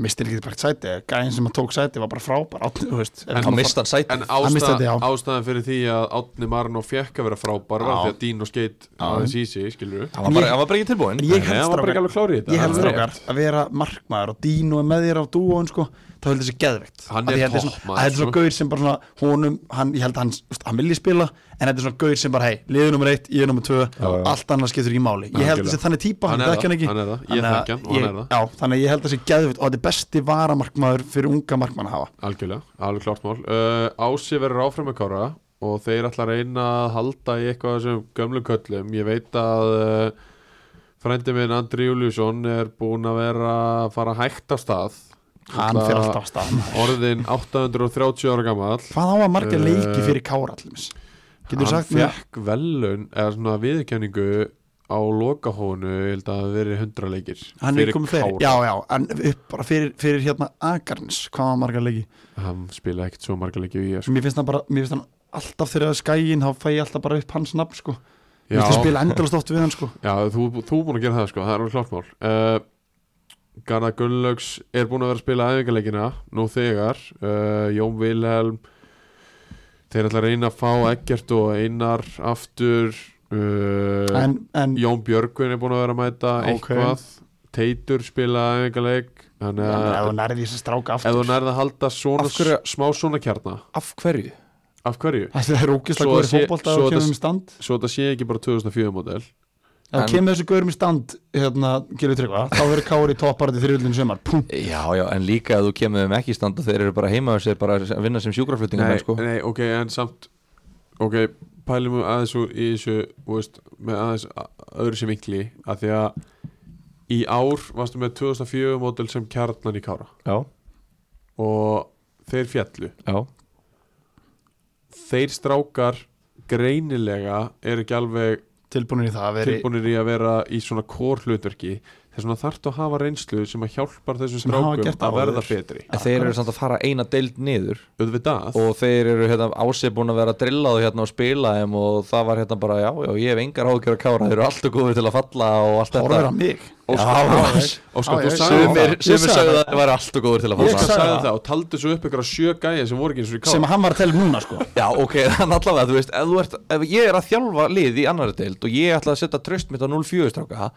Speaker 3: Mistir ekki bara sæti, gæðin sem að tók sæti var bara frábær, átni, þú veist ef
Speaker 1: En-
Speaker 2: þá
Speaker 3: hann var-
Speaker 2: mist hann sæti
Speaker 1: En
Speaker 3: Hann
Speaker 1: ásta,
Speaker 3: missti þetta, já.
Speaker 1: ástæðan fyrir því að Átni Marno fekk að vera frábær var
Speaker 3: Já.
Speaker 1: því að Dino skeitt aðeins í sig, skilur við
Speaker 2: hann var bara, hann var bara ekki tilbúin
Speaker 3: En ég
Speaker 1: Nei, hann
Speaker 3: held
Speaker 1: var bara ekki
Speaker 3: strákar
Speaker 1: alveg klár í þetta.
Speaker 3: Ég
Speaker 1: Hann
Speaker 3: held
Speaker 1: er
Speaker 3: strákar að vera markmaður og Dino er með þér á dúón sko þá held þessi geðveikt
Speaker 1: Hann
Speaker 3: Af
Speaker 1: er
Speaker 3: því þetta svona-
Speaker 1: toppmaður,
Speaker 3: að Þetta er svona
Speaker 1: sko.
Speaker 3: gaur sem bara svona honum, hann, ég held að hann, veist, hann vilji spila en þetta er svona gaur sem bara hei, liður nummer eitt, ég er nummer tvö
Speaker 2: já.
Speaker 3: allt annað skiptur ekki máli Ég held
Speaker 1: Algjörlega.
Speaker 3: þessi þannig típa,
Speaker 1: Hann
Speaker 3: hann
Speaker 1: er
Speaker 3: þekki
Speaker 1: það,
Speaker 3: hann ekki
Speaker 1: hann er það. Ég
Speaker 3: Þannig að
Speaker 1: þekki hann og hann
Speaker 3: ég-
Speaker 1: er það.
Speaker 3: Já, þannig að ég held þessi geðveikt og þetta er besti varamarkmaður fyrir unga markmann að hafa
Speaker 1: Algjörlega, alveg klart mál uh, Ási verður áfram með Kára og þeir ætla að reyna að halda í eitthvað af þessum gömlu köllum ég veit að uh, frændi minn Andri Júliusson er búin að vera að fara hægt af stað
Speaker 3: Hann
Speaker 1: Ætla-
Speaker 3: fyrir alltaf á stað maður.
Speaker 1: orðinn 830 ára gamall
Speaker 3: Hvað á að marga
Speaker 1: Eh,
Speaker 3: leiki fyrir Kára allumis?
Speaker 1: hann
Speaker 3: Getur sagt mér?
Speaker 1: fekk velun eða svona viðurkenningu á lokahónu, ég held að það hafi verið 100 leikir
Speaker 3: Hann er komið fyrir,
Speaker 1: Kára.
Speaker 3: já já, en upp bara fyrir, fyrir hérna Akarnes, hvað á að marga leiki?
Speaker 1: hann spilaði ekkert svo marga leikir í sko. ég
Speaker 3: mér finnst hann bara, mér finnst hann alltaf þegar það er skæin, þá fæ ég alltaf bara upp hans nafn sko, mér
Speaker 1: Já.
Speaker 3: finnst að spila endalast oft við hann sko,
Speaker 1: Já, þú, þú er búin að gera það sko, það er alveg klart mál uh, Garðar Gunnlaugs er búin að vera að spila æfingarleikina nú þegar uh, Jón Vilhelm þeir ætla að reyna að fá Eggert og Einar aftur uh,
Speaker 3: en, en
Speaker 1: Jón Björgvin er búin að vera að mæta
Speaker 3: Ókei.
Speaker 1: eitthvað Teitur spila æfingarleik þannig
Speaker 3: en ef
Speaker 1: að
Speaker 3: þú nærði þessi stráka
Speaker 1: ef þú
Speaker 3: aftur,
Speaker 1: nærði að halda svona,
Speaker 2: Af hverju-
Speaker 1: smá svona kjarna
Speaker 2: af hverju?
Speaker 1: af hverju?
Speaker 3: það er ógislega
Speaker 1: Svo
Speaker 3: góður
Speaker 1: sé-
Speaker 3: fótbolta
Speaker 1: svo
Speaker 3: að kemur
Speaker 1: þetta-
Speaker 3: um stand,
Speaker 1: Svo þetta sé ekki bara 2004 model
Speaker 3: ef þú
Speaker 2: En-
Speaker 3: kemur þessu góður um stand, hérna, gilur tryggva, þá verður Kári topparði þriðlun sömar, pum,
Speaker 2: Já, já, en líka að þú kemur þeim ekki í stand og þeir eru bara heima og þeir bara að vinna sem sjúkraflutningar
Speaker 1: nei,
Speaker 2: sko.
Speaker 1: nei, ok, en samt ok, pælum við aðeins úr í þessu, þú veist, með aðeins a- öðru sem vinkli, að því að í ár varstu með 2004 módel sem kjarnan í kára
Speaker 2: Já,
Speaker 1: og þeir fjallu
Speaker 2: já
Speaker 1: þeir strákar greinilega er ekki alveg
Speaker 3: tilbúinir í það að veri,
Speaker 1: tilbúinir í að vera í svona kór hlutverki þess vegna þarftu að hafa reynslu sem að hjálpar þessum
Speaker 3: Sem hafa
Speaker 1: strákum
Speaker 3: gert
Speaker 1: að
Speaker 3: áður.
Speaker 1: verða betri
Speaker 2: En þeir eru samt að fara eina deild niður
Speaker 1: auðvitað,
Speaker 2: og þeir eru hérna ásið búin að vera drillað hérna og spila þeim og það var hérna bara já, já, ég hef engar ágjör að kára þeir eru alltaf góðir til að falla og allt
Speaker 3: Horfir á
Speaker 2: þetta
Speaker 3: mig
Speaker 2: Já,
Speaker 1: Óskar, þú
Speaker 3: Já,
Speaker 1: sagði
Speaker 3: já, sumir-
Speaker 1: það
Speaker 2: sumir
Speaker 3: Ég
Speaker 2: sumir sagði
Speaker 3: sagði það.
Speaker 2: að þeir væri alltaf góðir til að
Speaker 1: Óskar
Speaker 3: Ég
Speaker 2: falla
Speaker 3: sagði
Speaker 1: sagði
Speaker 3: það.
Speaker 1: það og taldi svo upp ykkur að sjö gæja sem voru ekki eins og í
Speaker 3: sem
Speaker 1: káð
Speaker 3: hann var að tella um núna sko
Speaker 2: Já, ok, þannig allavega, þú veist, ef þú ert, ef ég er að þjálfa lið í annari deild og ég ætla að setja tröst mitt á 0-4 stráka,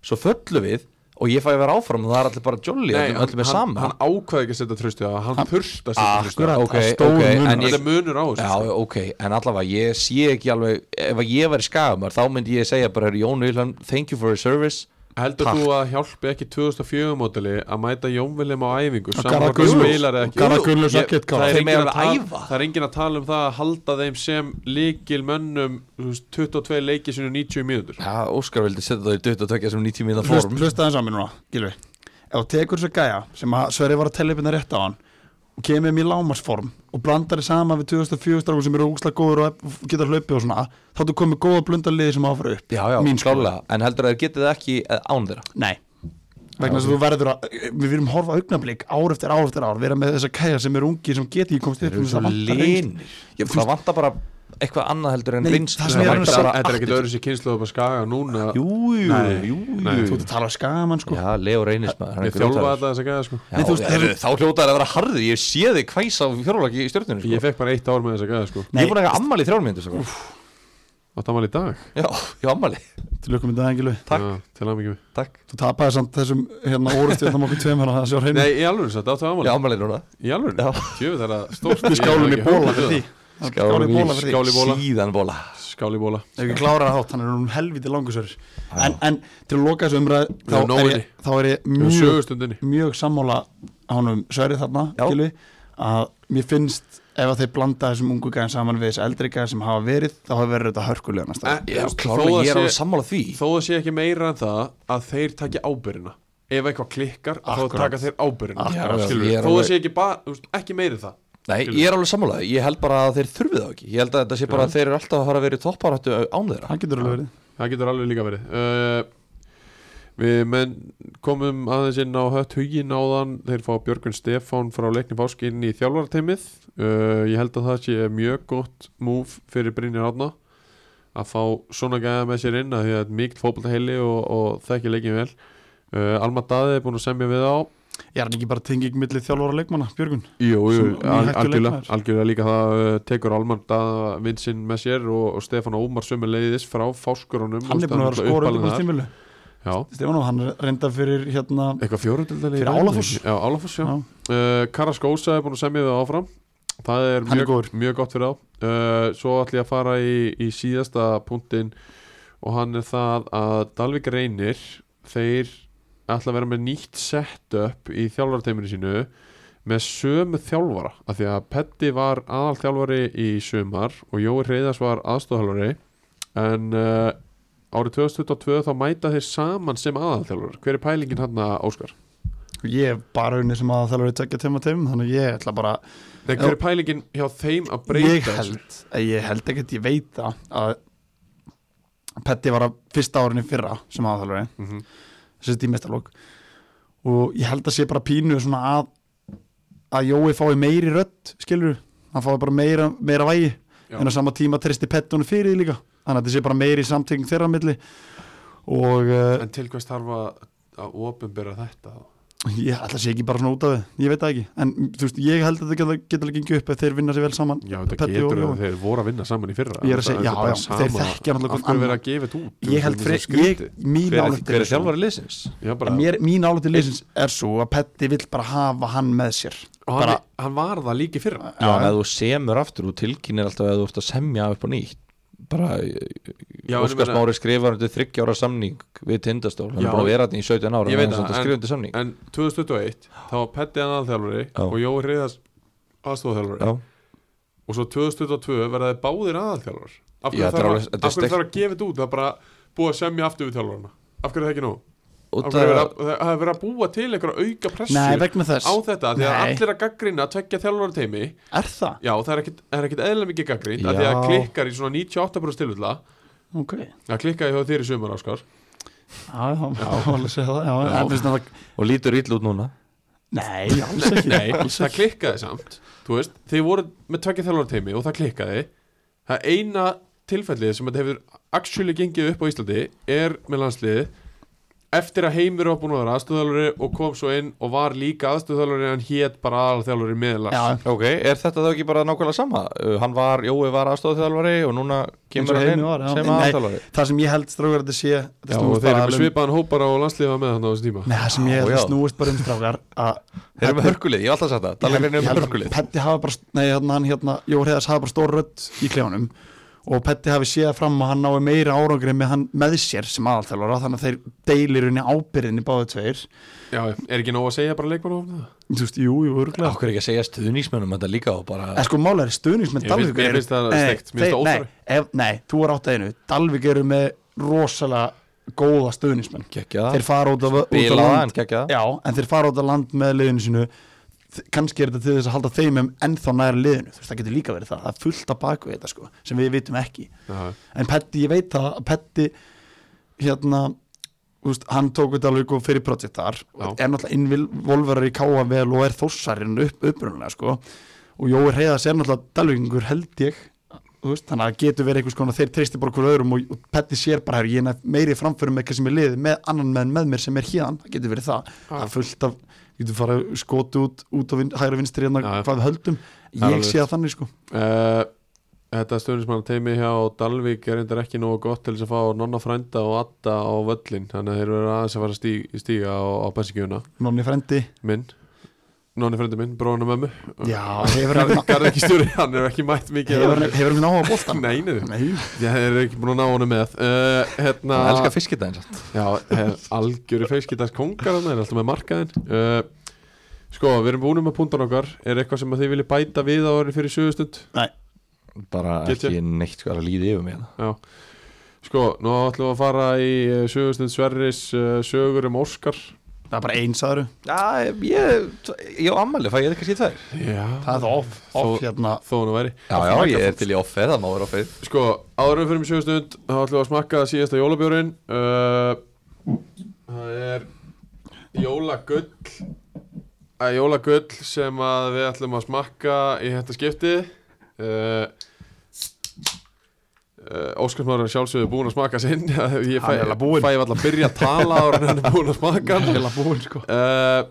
Speaker 2: svo föllu við og ég fæ að vera áfram og það er allir bara jolly,
Speaker 1: Nei,
Speaker 2: öllum, öllum er
Speaker 1: hann,
Speaker 2: sama.
Speaker 1: hann ákvaði ekki að setja tröstu að hann þurft að setja tröstu
Speaker 3: Akkurat,
Speaker 2: ok,
Speaker 3: það er stór
Speaker 2: ok,
Speaker 3: munur.
Speaker 2: en
Speaker 1: þetta
Speaker 2: ég,
Speaker 1: er munur á þessu
Speaker 2: Já,
Speaker 1: sko.
Speaker 2: já, ok, en allavega ég sé ekki alveg, ef að ég væri skafumar þá myndi ég segja bara, "Heyrðu, Jón Vilhelm, thank you for your service
Speaker 1: Heldur
Speaker 2: Takk.
Speaker 1: þú að hjálpi ekki 2004 mótali að mæta Jónviljem á æfingu
Speaker 3: Og
Speaker 1: saman
Speaker 3: Garðar
Speaker 1: hvort þú
Speaker 3: Gunnlaugs.
Speaker 1: spilar eða
Speaker 3: Og
Speaker 1: ekki
Speaker 3: Garðar
Speaker 1: Jú,
Speaker 3: Gunnlaugs
Speaker 1: ég-
Speaker 3: og Kit Ká.
Speaker 1: það er
Speaker 2: Þeir
Speaker 1: enginn
Speaker 2: mega
Speaker 1: að
Speaker 2: vera að
Speaker 1: tala-
Speaker 2: æfa.
Speaker 1: það er enginn að tala um það að halda þeim sem líkil mönnum þú veist, 22 leiki sinni 90 mínútur
Speaker 2: Já, Óskar vildi setja það í 22 sem 90 minna
Speaker 3: Hlust,
Speaker 2: form
Speaker 3: hlusta þess að mér núna, Gilvi ef þú tekur þessu gæja sem að Sverri var að tella upp hérna rétt á hann og kemur mér í lámarsform og blandar þið sama við 2004 strákur sem eru úkslega góður og ef- geta hlaupið og svona þá þú komið góða blunda liði sem áfara upp
Speaker 2: Já, já,
Speaker 3: Mín skoðun.
Speaker 2: klálega, en heldur að þeir getið það ekki eh, án þeirra
Speaker 3: Nei vegna þess að þú verður að, við erum horfa augnablík ár eftir ár eftir ár, vera með þessa kæja sem eru ungi sem geti ekki komst upp
Speaker 2: Þeir eru
Speaker 3: með
Speaker 2: svo
Speaker 3: það vantar reynslu.
Speaker 2: linir
Speaker 3: Já, þú
Speaker 2: Það vantar bara eitthvað annað heldur en
Speaker 3: Nei,
Speaker 2: reynslu
Speaker 3: það sem ég er að
Speaker 2: vantar
Speaker 3: reyna
Speaker 2: bara
Speaker 1: Þetta er ekkit
Speaker 2: attitude.
Speaker 1: öðru sér kynslu upp að skaga núna
Speaker 2: Jú, jú,
Speaker 1: Nei,
Speaker 2: jú,
Speaker 1: nei.
Speaker 2: jú
Speaker 3: Þú ert að tala skaman sko
Speaker 2: Já, Leo Reynis maður hann er
Speaker 1: Ég þjálfa
Speaker 2: grjótharður.
Speaker 1: alltaf þess að gæða sko
Speaker 2: Já,
Speaker 3: Nei, þú veist,
Speaker 2: heyrðu, Þá hljótaði að vera harður, ég sé þig hvæsa á fjárlaki í stjórnunni sko.
Speaker 1: Ég fekk bara eitt ár með þess að gæða sko
Speaker 2: Ég er búin að hafa ammali í þrjármyndu sko.
Speaker 1: Og það var í dag
Speaker 2: Já, ég á ammali
Speaker 3: Til okkur með það engilu
Speaker 2: Takk.
Speaker 1: Já, Til að mikið
Speaker 2: Takk,
Speaker 3: Þú tapaði samt þessum hérna orðstjórnum okkur tveim hérna það sjá hreinu
Speaker 1: Nei, í alveg satt, áttu
Speaker 2: ég á
Speaker 1: aðmáli
Speaker 2: ammali núna
Speaker 1: Í alveg,
Speaker 2: Já.
Speaker 1: tjöfu það er að stórt
Speaker 3: Við skálum í bóla fyrir því Skálum í bóla fyrir því
Speaker 1: Skál í bóla.
Speaker 2: Síðan bóla
Speaker 1: Skál í bóla
Speaker 3: Ef ekki klárar að hátt, hann er um helviti langur en, en til að loka þessu umræð þá,
Speaker 1: Já, nóg
Speaker 3: er
Speaker 1: inni.
Speaker 3: ég- þá er ég
Speaker 1: Við
Speaker 3: mjög,
Speaker 1: sögustundinni
Speaker 3: mjög sammála honum Sverri þarna
Speaker 2: Já.
Speaker 3: Gylfi, að mér finnst ef að þeir blanda þessum ungu gæðin saman við þessi eldri gæðin sem hafa verið þá hafa verið þetta hörkulega næsta ári.
Speaker 1: Þú Eh,
Speaker 2: Já,
Speaker 1: veist, þó að
Speaker 2: klálega, ég er
Speaker 1: sé-
Speaker 2: alveg sammála því
Speaker 1: þó það sé ekki meira en það að þeir taki ábyrðina ef eitthvað klikkar
Speaker 3: Akkurat.
Speaker 1: þá taka þeir ábyrðina
Speaker 3: Akkurat.
Speaker 1: Skilurðu?
Speaker 2: Ég er
Speaker 1: þó það
Speaker 2: alveg-
Speaker 1: sé ekki, ba, þú veist, ekki meira en það
Speaker 2: Nei, ég er alveg sammála, því. ég held bara að þeir þurfið það ekki Ég held að þetta sé bara að þeir eru alltaf að fara að vera í topparættu án þeirra
Speaker 3: það getur alveg verið
Speaker 1: það getur alveg líka verið uh, við menn komum aðeins inn á hött hugin áðan þeir fá Björgun Stefán frá leikni Fásk inn í þjálfarateymið uh, ég held að það sé mjög gott múf fyrir Brynjar Átna að fá svona gæða með sér inn að því að þetta er mikill fótbolta og, og þekki leikin vel uh, Alma Daði er búin að semja við á
Speaker 3: Ég er hann ekki bara tengið milli þjálfóra leikmanna, Björgun
Speaker 1: Jú, jú
Speaker 3: Sem
Speaker 1: al-
Speaker 3: nýhættur
Speaker 1: algjörlega,
Speaker 3: leikmaður.
Speaker 1: algjörlega líka það uh, tekur Almand að vinsinn með sér og, og Stefán Ómar sömu leiðis frá fáskurunum
Speaker 3: Hann er búin að vera að skora undir hans tímilu
Speaker 1: Já,
Speaker 3: Stefán og hann er reynda fyrir hérna
Speaker 1: eitthvað fjórundildalegi
Speaker 3: Fyrir Álafoss.
Speaker 1: Já, Álafoss, já,
Speaker 3: Já.
Speaker 1: Uh, Karas Gósa er búin að semja við áfram Það er
Speaker 3: Hann er
Speaker 1: mjög,
Speaker 3: góður.
Speaker 1: mjög gott fyrir þá uh, Svo ætlum ég að fara í, í síðasta punktinn og hann er það að Dalvik reynir þeir ætla að vera með nýtt setup í þjálfarteiminu sínu með sömu þjálfara af því að Petti var aðal þjálfari í sömar og Jói Reyðars var aðstofþjálfari en uh, árið 2022 þá mæta þeir saman sem aðal þjálfari hver er pælingin hann að Óskar?
Speaker 3: Ég hef bara unni sem að þjálfóra tekja teima teim þannig að ég ætla bara
Speaker 1: Nei, hver er pælingin hjá þeim að breyta
Speaker 3: ég held, eh, ég held ekkert, ég veit það að Petti var að fyrsta árinni fyrra sem aðalþjálfari
Speaker 1: Mhm.
Speaker 3: þessi tímestalók og ég held að sé bara pínu svona að að Jói fái meiri rödd skilur, hann fái bara meira, meira vægi
Speaker 1: Já.
Speaker 3: en á sama tíma tristi Petti honum fyrir því líka þannig að þetta sé bara meiri samtenging þeirra á milli og uh,
Speaker 1: En til hvers þarf að, að ofinbera þetta?
Speaker 3: ég ætla að sé ekki bara svona út af það ég veit það ekki, en þú veist, ég held að þetta getur- getur ekki gengið upp ef þeir vinna sér vel saman
Speaker 1: Já, þetta
Speaker 3: Petti og
Speaker 1: getur
Speaker 3: Jói.
Speaker 1: að þeir voru að vinna saman í fyrra
Speaker 3: Ég er að segja,
Speaker 1: Þetta
Speaker 3: já,
Speaker 1: bara
Speaker 3: já,
Speaker 1: sama.
Speaker 3: þeir þekkja náttúrulega
Speaker 1: Af hverju
Speaker 3: hvern
Speaker 1: vera að gefa þetta út?
Speaker 3: ég held
Speaker 1: Þetta er
Speaker 3: fyrir,
Speaker 1: svo skrítið.
Speaker 3: ég, mín
Speaker 2: Hver er,
Speaker 3: ályktun
Speaker 2: hver
Speaker 3: er
Speaker 2: er
Speaker 3: sú-
Speaker 2: þjálfari liðsins?
Speaker 1: Já, bara,
Speaker 3: En mér, mín álítið liðsins er svo að Petti vill bara hafa hann með sér
Speaker 1: og hann,
Speaker 3: bara-
Speaker 1: hann var það líki fyrra
Speaker 2: Já, en ef þú semur aftur, þú tilkynir alltaf að þú ert að semja upp á nýtt bara,
Speaker 1: Já, en ég
Speaker 2: Óskars
Speaker 1: meina-
Speaker 2: Mári skrifar undir 30 ára samning við Tindastól, hann
Speaker 1: Já.
Speaker 2: er búin að vera þetta í 17 ára
Speaker 1: Ég veit það,
Speaker 2: það,
Speaker 1: en-
Speaker 2: skrifa undir samning
Speaker 1: En 2021, þá var Petti hann aðalþjálfari
Speaker 2: Já.
Speaker 1: og Jói Hreiðars aðstofþjálfari
Speaker 2: Já,
Speaker 1: og svo 2022 verða þeir báðir aðalþjálfar Af
Speaker 2: Já,
Speaker 1: hverju
Speaker 2: þetta er
Speaker 1: þarf að-
Speaker 2: alveg- þetta er
Speaker 1: af hverju
Speaker 2: steikt-
Speaker 1: þarf að gefa þetta út? Það er bara búið að semja aftur við þjálfarana Af hverju er það ekki nú?
Speaker 2: og
Speaker 1: Af hverju
Speaker 2: það
Speaker 1: er verið að- það það er verið að búa til einhverja auka pressu
Speaker 3: Nei, vegna þess
Speaker 1: á þetta því að
Speaker 3: Nei.
Speaker 1: allir að gaggrina að tvekja þjálfara teimi
Speaker 3: Er það?
Speaker 1: já það er ekkit, það er ekkit eðla mikið gaggrind að því
Speaker 2: Já.
Speaker 1: að klikkar í svona 98% tilvilla
Speaker 3: Ok
Speaker 1: það klikkaði hjá þér í sumar áskar
Speaker 3: já, já, það var alveg að segja það já,
Speaker 2: Já.
Speaker 3: En, þú veist, það var,
Speaker 2: og lítur ítl út núna
Speaker 3: Nei, alls ekki
Speaker 1: Nei, það klikkaði samt Þú veist, þið voru með tvekja þjálfara teimi og það klikkaði Það eina tilfellið sem þetta hefur actually gengið upp á Íslandi er með landsliði eftir að heimir var búin að vera aðstöðalari og kom svo inn og var líka aðstöðalari en hann hét bara aðalþjálfari með lands
Speaker 3: Já,
Speaker 2: ok, er þetta þá ekki bara nákvæmlega sama Uh, hann var, Jói var aðstofþjálfari og núna
Speaker 3: Eins og
Speaker 2: kemur hann inn
Speaker 3: Heimir var, já.
Speaker 2: sem
Speaker 3: Nei.
Speaker 2: aðstofþjálfari
Speaker 3: það sem ég held strákar að þetta sé þetta
Speaker 1: Já, og
Speaker 3: snúist
Speaker 1: þeir eru
Speaker 3: bara
Speaker 1: með
Speaker 3: alveg um-
Speaker 1: svipaðan hópar á landsliði var með hann á þessu tíma
Speaker 3: Nei, það sem ég
Speaker 2: Já,
Speaker 3: held að
Speaker 2: já.
Speaker 3: snúist bara um strákar að
Speaker 2: þeir eru með hörkulið, ég hef alltaf sagt það
Speaker 3: Ég
Speaker 2: tala
Speaker 3: held-
Speaker 2: greinu
Speaker 3: ég
Speaker 2: um
Speaker 3: held að
Speaker 2: hörkulið
Speaker 3: Petti hafa bara, nei hérna hann hérna Jó Hreðars hafa bara stór rödd í klefánum og Petti hafi séð fram að hann nái meira árangri með hann með sér sem aðalþjálfara þannig að þeir deilir henni ábyrðinni báðu tveir
Speaker 1: Já, er ekki nóg að segja bara leikmannahófna?
Speaker 3: Þú veist, jú, jú, örgulega
Speaker 2: okkur ekki að segja stuðningsmönnum þetta líka og bara
Speaker 3: En sko mála er stuðningsmenn
Speaker 1: Ég finnst-
Speaker 3: Dalvík
Speaker 1: mér finnst það steikt, mér finnst það óþarfi.
Speaker 3: óþar Nei, þú er átt að einu Dalvík eru með rosalega góða stuðningsmenn
Speaker 2: gekkja
Speaker 3: Þeir fara út af, út af
Speaker 2: bilaðan, gekkja
Speaker 3: Já, en þeir fara út á land með liðinu sínu Þ- kannski er þetta til þess að halda þeim um ennþá næra liðinu, þú veist, það getur líka verið það það er fullt að baku þetta sko, sem við vitum ekki
Speaker 1: Já,
Speaker 3: en Petti, ég veit það að Petti hérna úst, hann tók þetta alveg og fyrir projekt þar
Speaker 1: Já.
Speaker 3: er náttúrulega innvolverar í káa vel og er þóssarinn upp, upprunalega sko og Jói Reyðas er náttúrulega dalvíkingur held ég þú veist, þannig að það getur verið einhvers konar þeir treysti bara okkur öðrum og, og Petti sér bara "Herru, ég er næ- meiri framförum með hvað sem er liðið með annan menn með mér sem er hérðan, það getur verið það það er fullt af, ég getur farið skotu út út á vin, hægra vinstri hérna
Speaker 1: Já, já.
Speaker 3: hvað við höldum,
Speaker 1: Það er
Speaker 3: ég
Speaker 1: alveg
Speaker 3: sé það þannig sko
Speaker 1: Uh, þetta stöðnismann teimi hjá Dalvík er reyndar ekki nógu gott til þess að fá Nonna Frænda og Atta á völlin þannig að þeir eru aðeins að fara að stíga, stíga á, á bensinkjöfuna
Speaker 3: Nonni frendi,
Speaker 1: minn Nonni Frændi minn, bróðan og mömmu
Speaker 3: já, hefur hann
Speaker 1: Garð ekki stjóri, hann er ekki mætt mikið
Speaker 3: hefur hann- hefur hann áhuga á boltan
Speaker 1: Nei, nei,
Speaker 3: Nei,
Speaker 1: ég er ekki búin að ná honum með uh, Hérna
Speaker 2: Það elskar fiskita eins og
Speaker 1: Já, hef, algjöru feiskitars kongar hann er alltaf með markaðin uh, Sko, við erum búin með púntan okkar Er eitthvað sem að þið vilji bæta við á orðin fyrir sögustund?
Speaker 2: bara
Speaker 1: Get
Speaker 2: ekki neitt sko að líði yfir mig
Speaker 1: Já Sko, nú ætlum við að fara í eh, sögustund Sverris eh, sögur um Óskar
Speaker 3: það er bara eins aðru
Speaker 2: Já, ég, ég á ammali, fæ ég þetta kannski tvær
Speaker 1: Já
Speaker 3: Það er það off, off
Speaker 1: Þó-
Speaker 3: hérna
Speaker 1: Þó nú væri
Speaker 2: Já, já, ég er til í offið, það má vera offið
Speaker 1: Sko, áður en við fyrir um sögustund þá ætlum við að smakka síðasta jólabjórin uh, Það er jólagull að jólagull sem að við ætlum að smakka í þetta skipti uh, uh, Óskarsmaður er sjálfsögðu búin að smakka sinn ég
Speaker 3: Hann er
Speaker 1: fæ,
Speaker 3: alveg búinn.
Speaker 1: fæ alltaf að byrja að tala ára en hann er búin að smakka hann
Speaker 3: Heila búinn sko
Speaker 1: uh,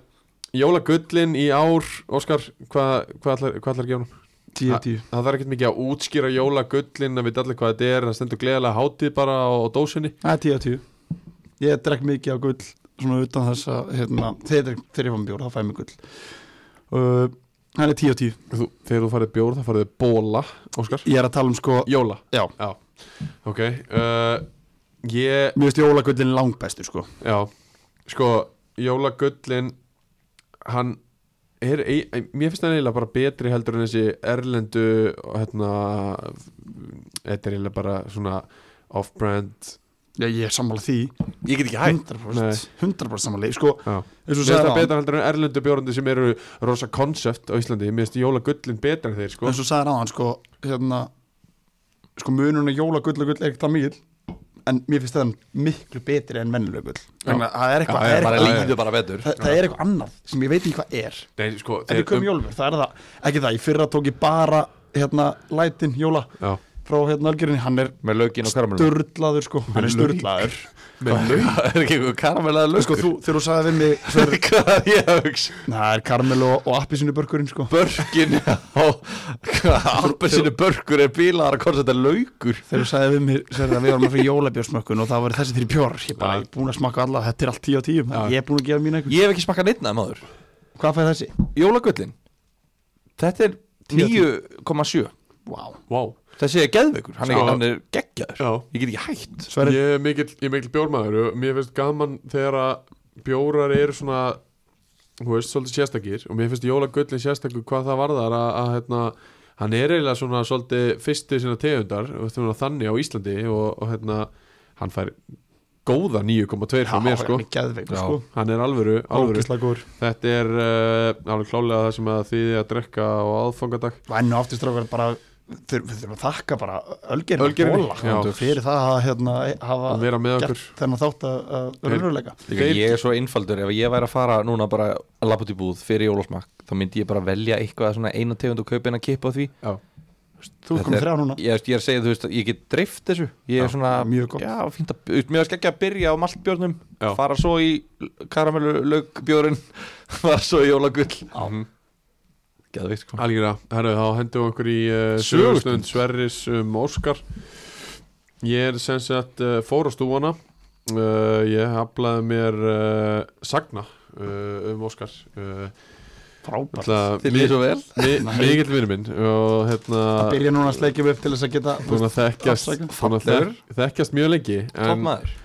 Speaker 1: Jólagullin í ár Óskar, hvað hva ætlar, hva ætlar að gefa hann?
Speaker 3: 10-10
Speaker 1: Það þarf ekkert mikið að útskýra jólagullin að við allir hvað þetta er, það stendur gleðilega hátíð bara á, á dósinni
Speaker 3: Það er 10-10 Ég drekk mikið á gull Svona utan þess að hérna, Þegar ég- þegar ég fann bjór, þá fæ ég mig gull uh, Það er 10-10
Speaker 1: þú, Þegar þú farið bjór, þá farið þið bóla Óskar,
Speaker 3: Ég er að tala um sko
Speaker 1: jóla
Speaker 3: Já.
Speaker 1: Ok uh, Ég,
Speaker 3: Mér veist jólagullin langbæstu sko
Speaker 1: já Sko, jólagullin Hann er, ei- ei- mér finnst það eiginlega bara betri heldur en þessi erlendu hérna, þetta er eiginlega bara svona off-brand
Speaker 3: Já, ég er sammála því
Speaker 2: Ég get ekki
Speaker 3: 100% 100% sammála því Sko,
Speaker 1: Já.
Speaker 3: eins og
Speaker 1: Mér finnst það
Speaker 3: sagði
Speaker 1: betra heldur en erlendu bjórandi sem eru rosa koncept á Íslandi Mér finnst jóla gullin betra en þeir sko
Speaker 3: eins og sagði ráðan sko hérna sko munurinn að jólagull og gull er ekki það mýl en mér finnst það miklu betri en vennileg gull þannig að það er eitthvað
Speaker 1: Já,
Speaker 3: það er
Speaker 2: Bara
Speaker 3: eitthvað
Speaker 2: líður
Speaker 3: annað.
Speaker 2: bara betur
Speaker 3: Það- það er eitthvað annað sem ég veit ekki hvað er
Speaker 1: Nei, sko
Speaker 3: en við komum jólfur, það er það ekki það, í fyrra tók ég bara hérna lætin jóla
Speaker 1: Já,
Speaker 3: frá hérna algjörinni, hann er
Speaker 2: Með lögin og karamellu
Speaker 3: sturlaður sko, hann er sturlaður
Speaker 2: Með lögin? Það er ekki eitthvað karamellaða
Speaker 3: sko
Speaker 2: lögur
Speaker 3: þú, þegar þú sagði við mig svo er-
Speaker 2: Hvað er ég að hugsa?
Speaker 3: Nei, það er karmel og, og appisinu börkurinn sko
Speaker 2: Börkin Appelsinu börkur er bílaðar að hvort þetta er lögur
Speaker 3: þegar þú sagði við mig sér það við varum að fyrir jólabjörsmökkun og það var þessi þrjir bjór ég bara,
Speaker 1: Já.
Speaker 3: ég er búin að smakka alla, þetta er allt 10 á
Speaker 1: Já.
Speaker 3: 10 ég er búin að gefa mín einhver
Speaker 2: Ég hef ekki smakkað neittnaði maður
Speaker 3: hvað fæði þessi?
Speaker 2: Jólagullin Þetta er 9,7
Speaker 3: Wow.
Speaker 1: wow
Speaker 2: Þessi er geðveikur, hann,
Speaker 1: Sko-
Speaker 2: er- hann er geggjaður
Speaker 1: Já.
Speaker 2: Ég get ekki hætt
Speaker 3: Sverri,
Speaker 1: Ég er mikill, ég er mikill bjórmaður og Mér finnst gaman þegar að bjórar eru svona Þú veist, svolítið sérstakir Og mér finnst jóla gullin sérstakur hvað það varðar að, að hérna Hann er eiginlega svona svolítið fyrsti sinna tegundar og svona Þannig á Íslandi og, og hérna Hann fær góða 9,2 frá mér sko
Speaker 3: geðveik
Speaker 2: Já.
Speaker 3: sko
Speaker 1: Hann er alvöru, alvöru
Speaker 3: ógislega góður
Speaker 1: Þetta eh, er uh, alveg klálega það sem að þýði að drekka á aðfangadag
Speaker 3: og enn og aftur strákar bara þeir, við þurfum að þakka bara Ölgerinu
Speaker 1: Ölgerinu, já.
Speaker 3: Bóla sko. fyrir það að hérna,
Speaker 2: Ah,
Speaker 3: hafa
Speaker 1: Að vera með
Speaker 3: gert
Speaker 1: okkur.
Speaker 3: þennan þátt að, að
Speaker 1: Þeir-
Speaker 3: raunveruleika
Speaker 2: Líka,
Speaker 1: Þeir-
Speaker 2: ég er svo einfaldur, ef ég væri að fara núna bara að lappa út í búð fyrir jólasmakk þá myndi ég bara velja eitthvað svona eina tegund og kaupa eina kippa á því
Speaker 1: Já.
Speaker 3: Þú
Speaker 2: Þetta
Speaker 3: ert komið
Speaker 2: er-
Speaker 3: þrjá núna
Speaker 2: ég, veist, ég er að segja, þú veist, ég get dreift þessu ég er
Speaker 1: Já,
Speaker 2: svona,
Speaker 3: mjög gott.
Speaker 2: já, fínt að, veist, mér er skeggja að byrja á maltbjörnum
Speaker 1: Já.
Speaker 2: fara svo í karamellu lögbjörn fara svo í jólagull
Speaker 1: Mhm.
Speaker 2: geðveikt sko
Speaker 1: Algjörða, herru, þá hendum við okkur í uh,
Speaker 2: Sögustund.
Speaker 1: sögustund Sverris um Óskar Ég er sem sagt uh, fór á stúana uh, Ég haflaði mér uh, sagna uh, um Óskar uh,
Speaker 3: Frábært
Speaker 2: Þið líður svo vel
Speaker 1: Mikill vinur minn og hérna
Speaker 3: Það byrja núna að sleikjum upp til þess að geta þú
Speaker 1: búin
Speaker 3: veist,
Speaker 1: að þekkjast búin
Speaker 3: afsaka.
Speaker 1: að
Speaker 2: Fallegur.
Speaker 1: þek- þekkjast mjög lengi
Speaker 2: topp
Speaker 1: en,
Speaker 2: maður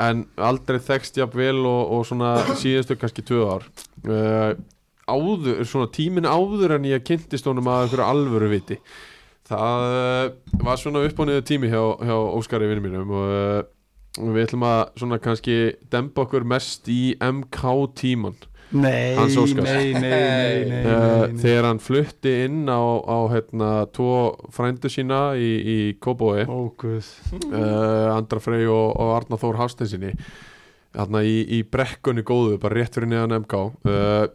Speaker 1: en aldrei þekkst jafn vel og, og svona síðustu kannski tvö ár uh, áður, svona tímin áður en ég kynntist honum að einhverju alvöru viti það uh, var svona upp og niður tími hjá, hjá Óskari vinnum mínum og uh, við ætlum að svona kannski dempa okkur mest í MK tíman
Speaker 3: Nei,
Speaker 1: Hans
Speaker 3: nei,
Speaker 1: Óskars.
Speaker 3: nei, nei, nei, nei,
Speaker 1: Eh,
Speaker 3: nei, nei.
Speaker 1: þegar hann flutti inn á, á hérna, tvo frændu sína í, í Kóbói
Speaker 3: Ó, guð
Speaker 1: uh, Andra Frey og, og Arna Þór Hafsteinsinni þarna í, í brekkunni góðu bara rétt fyrir neðan MK uh,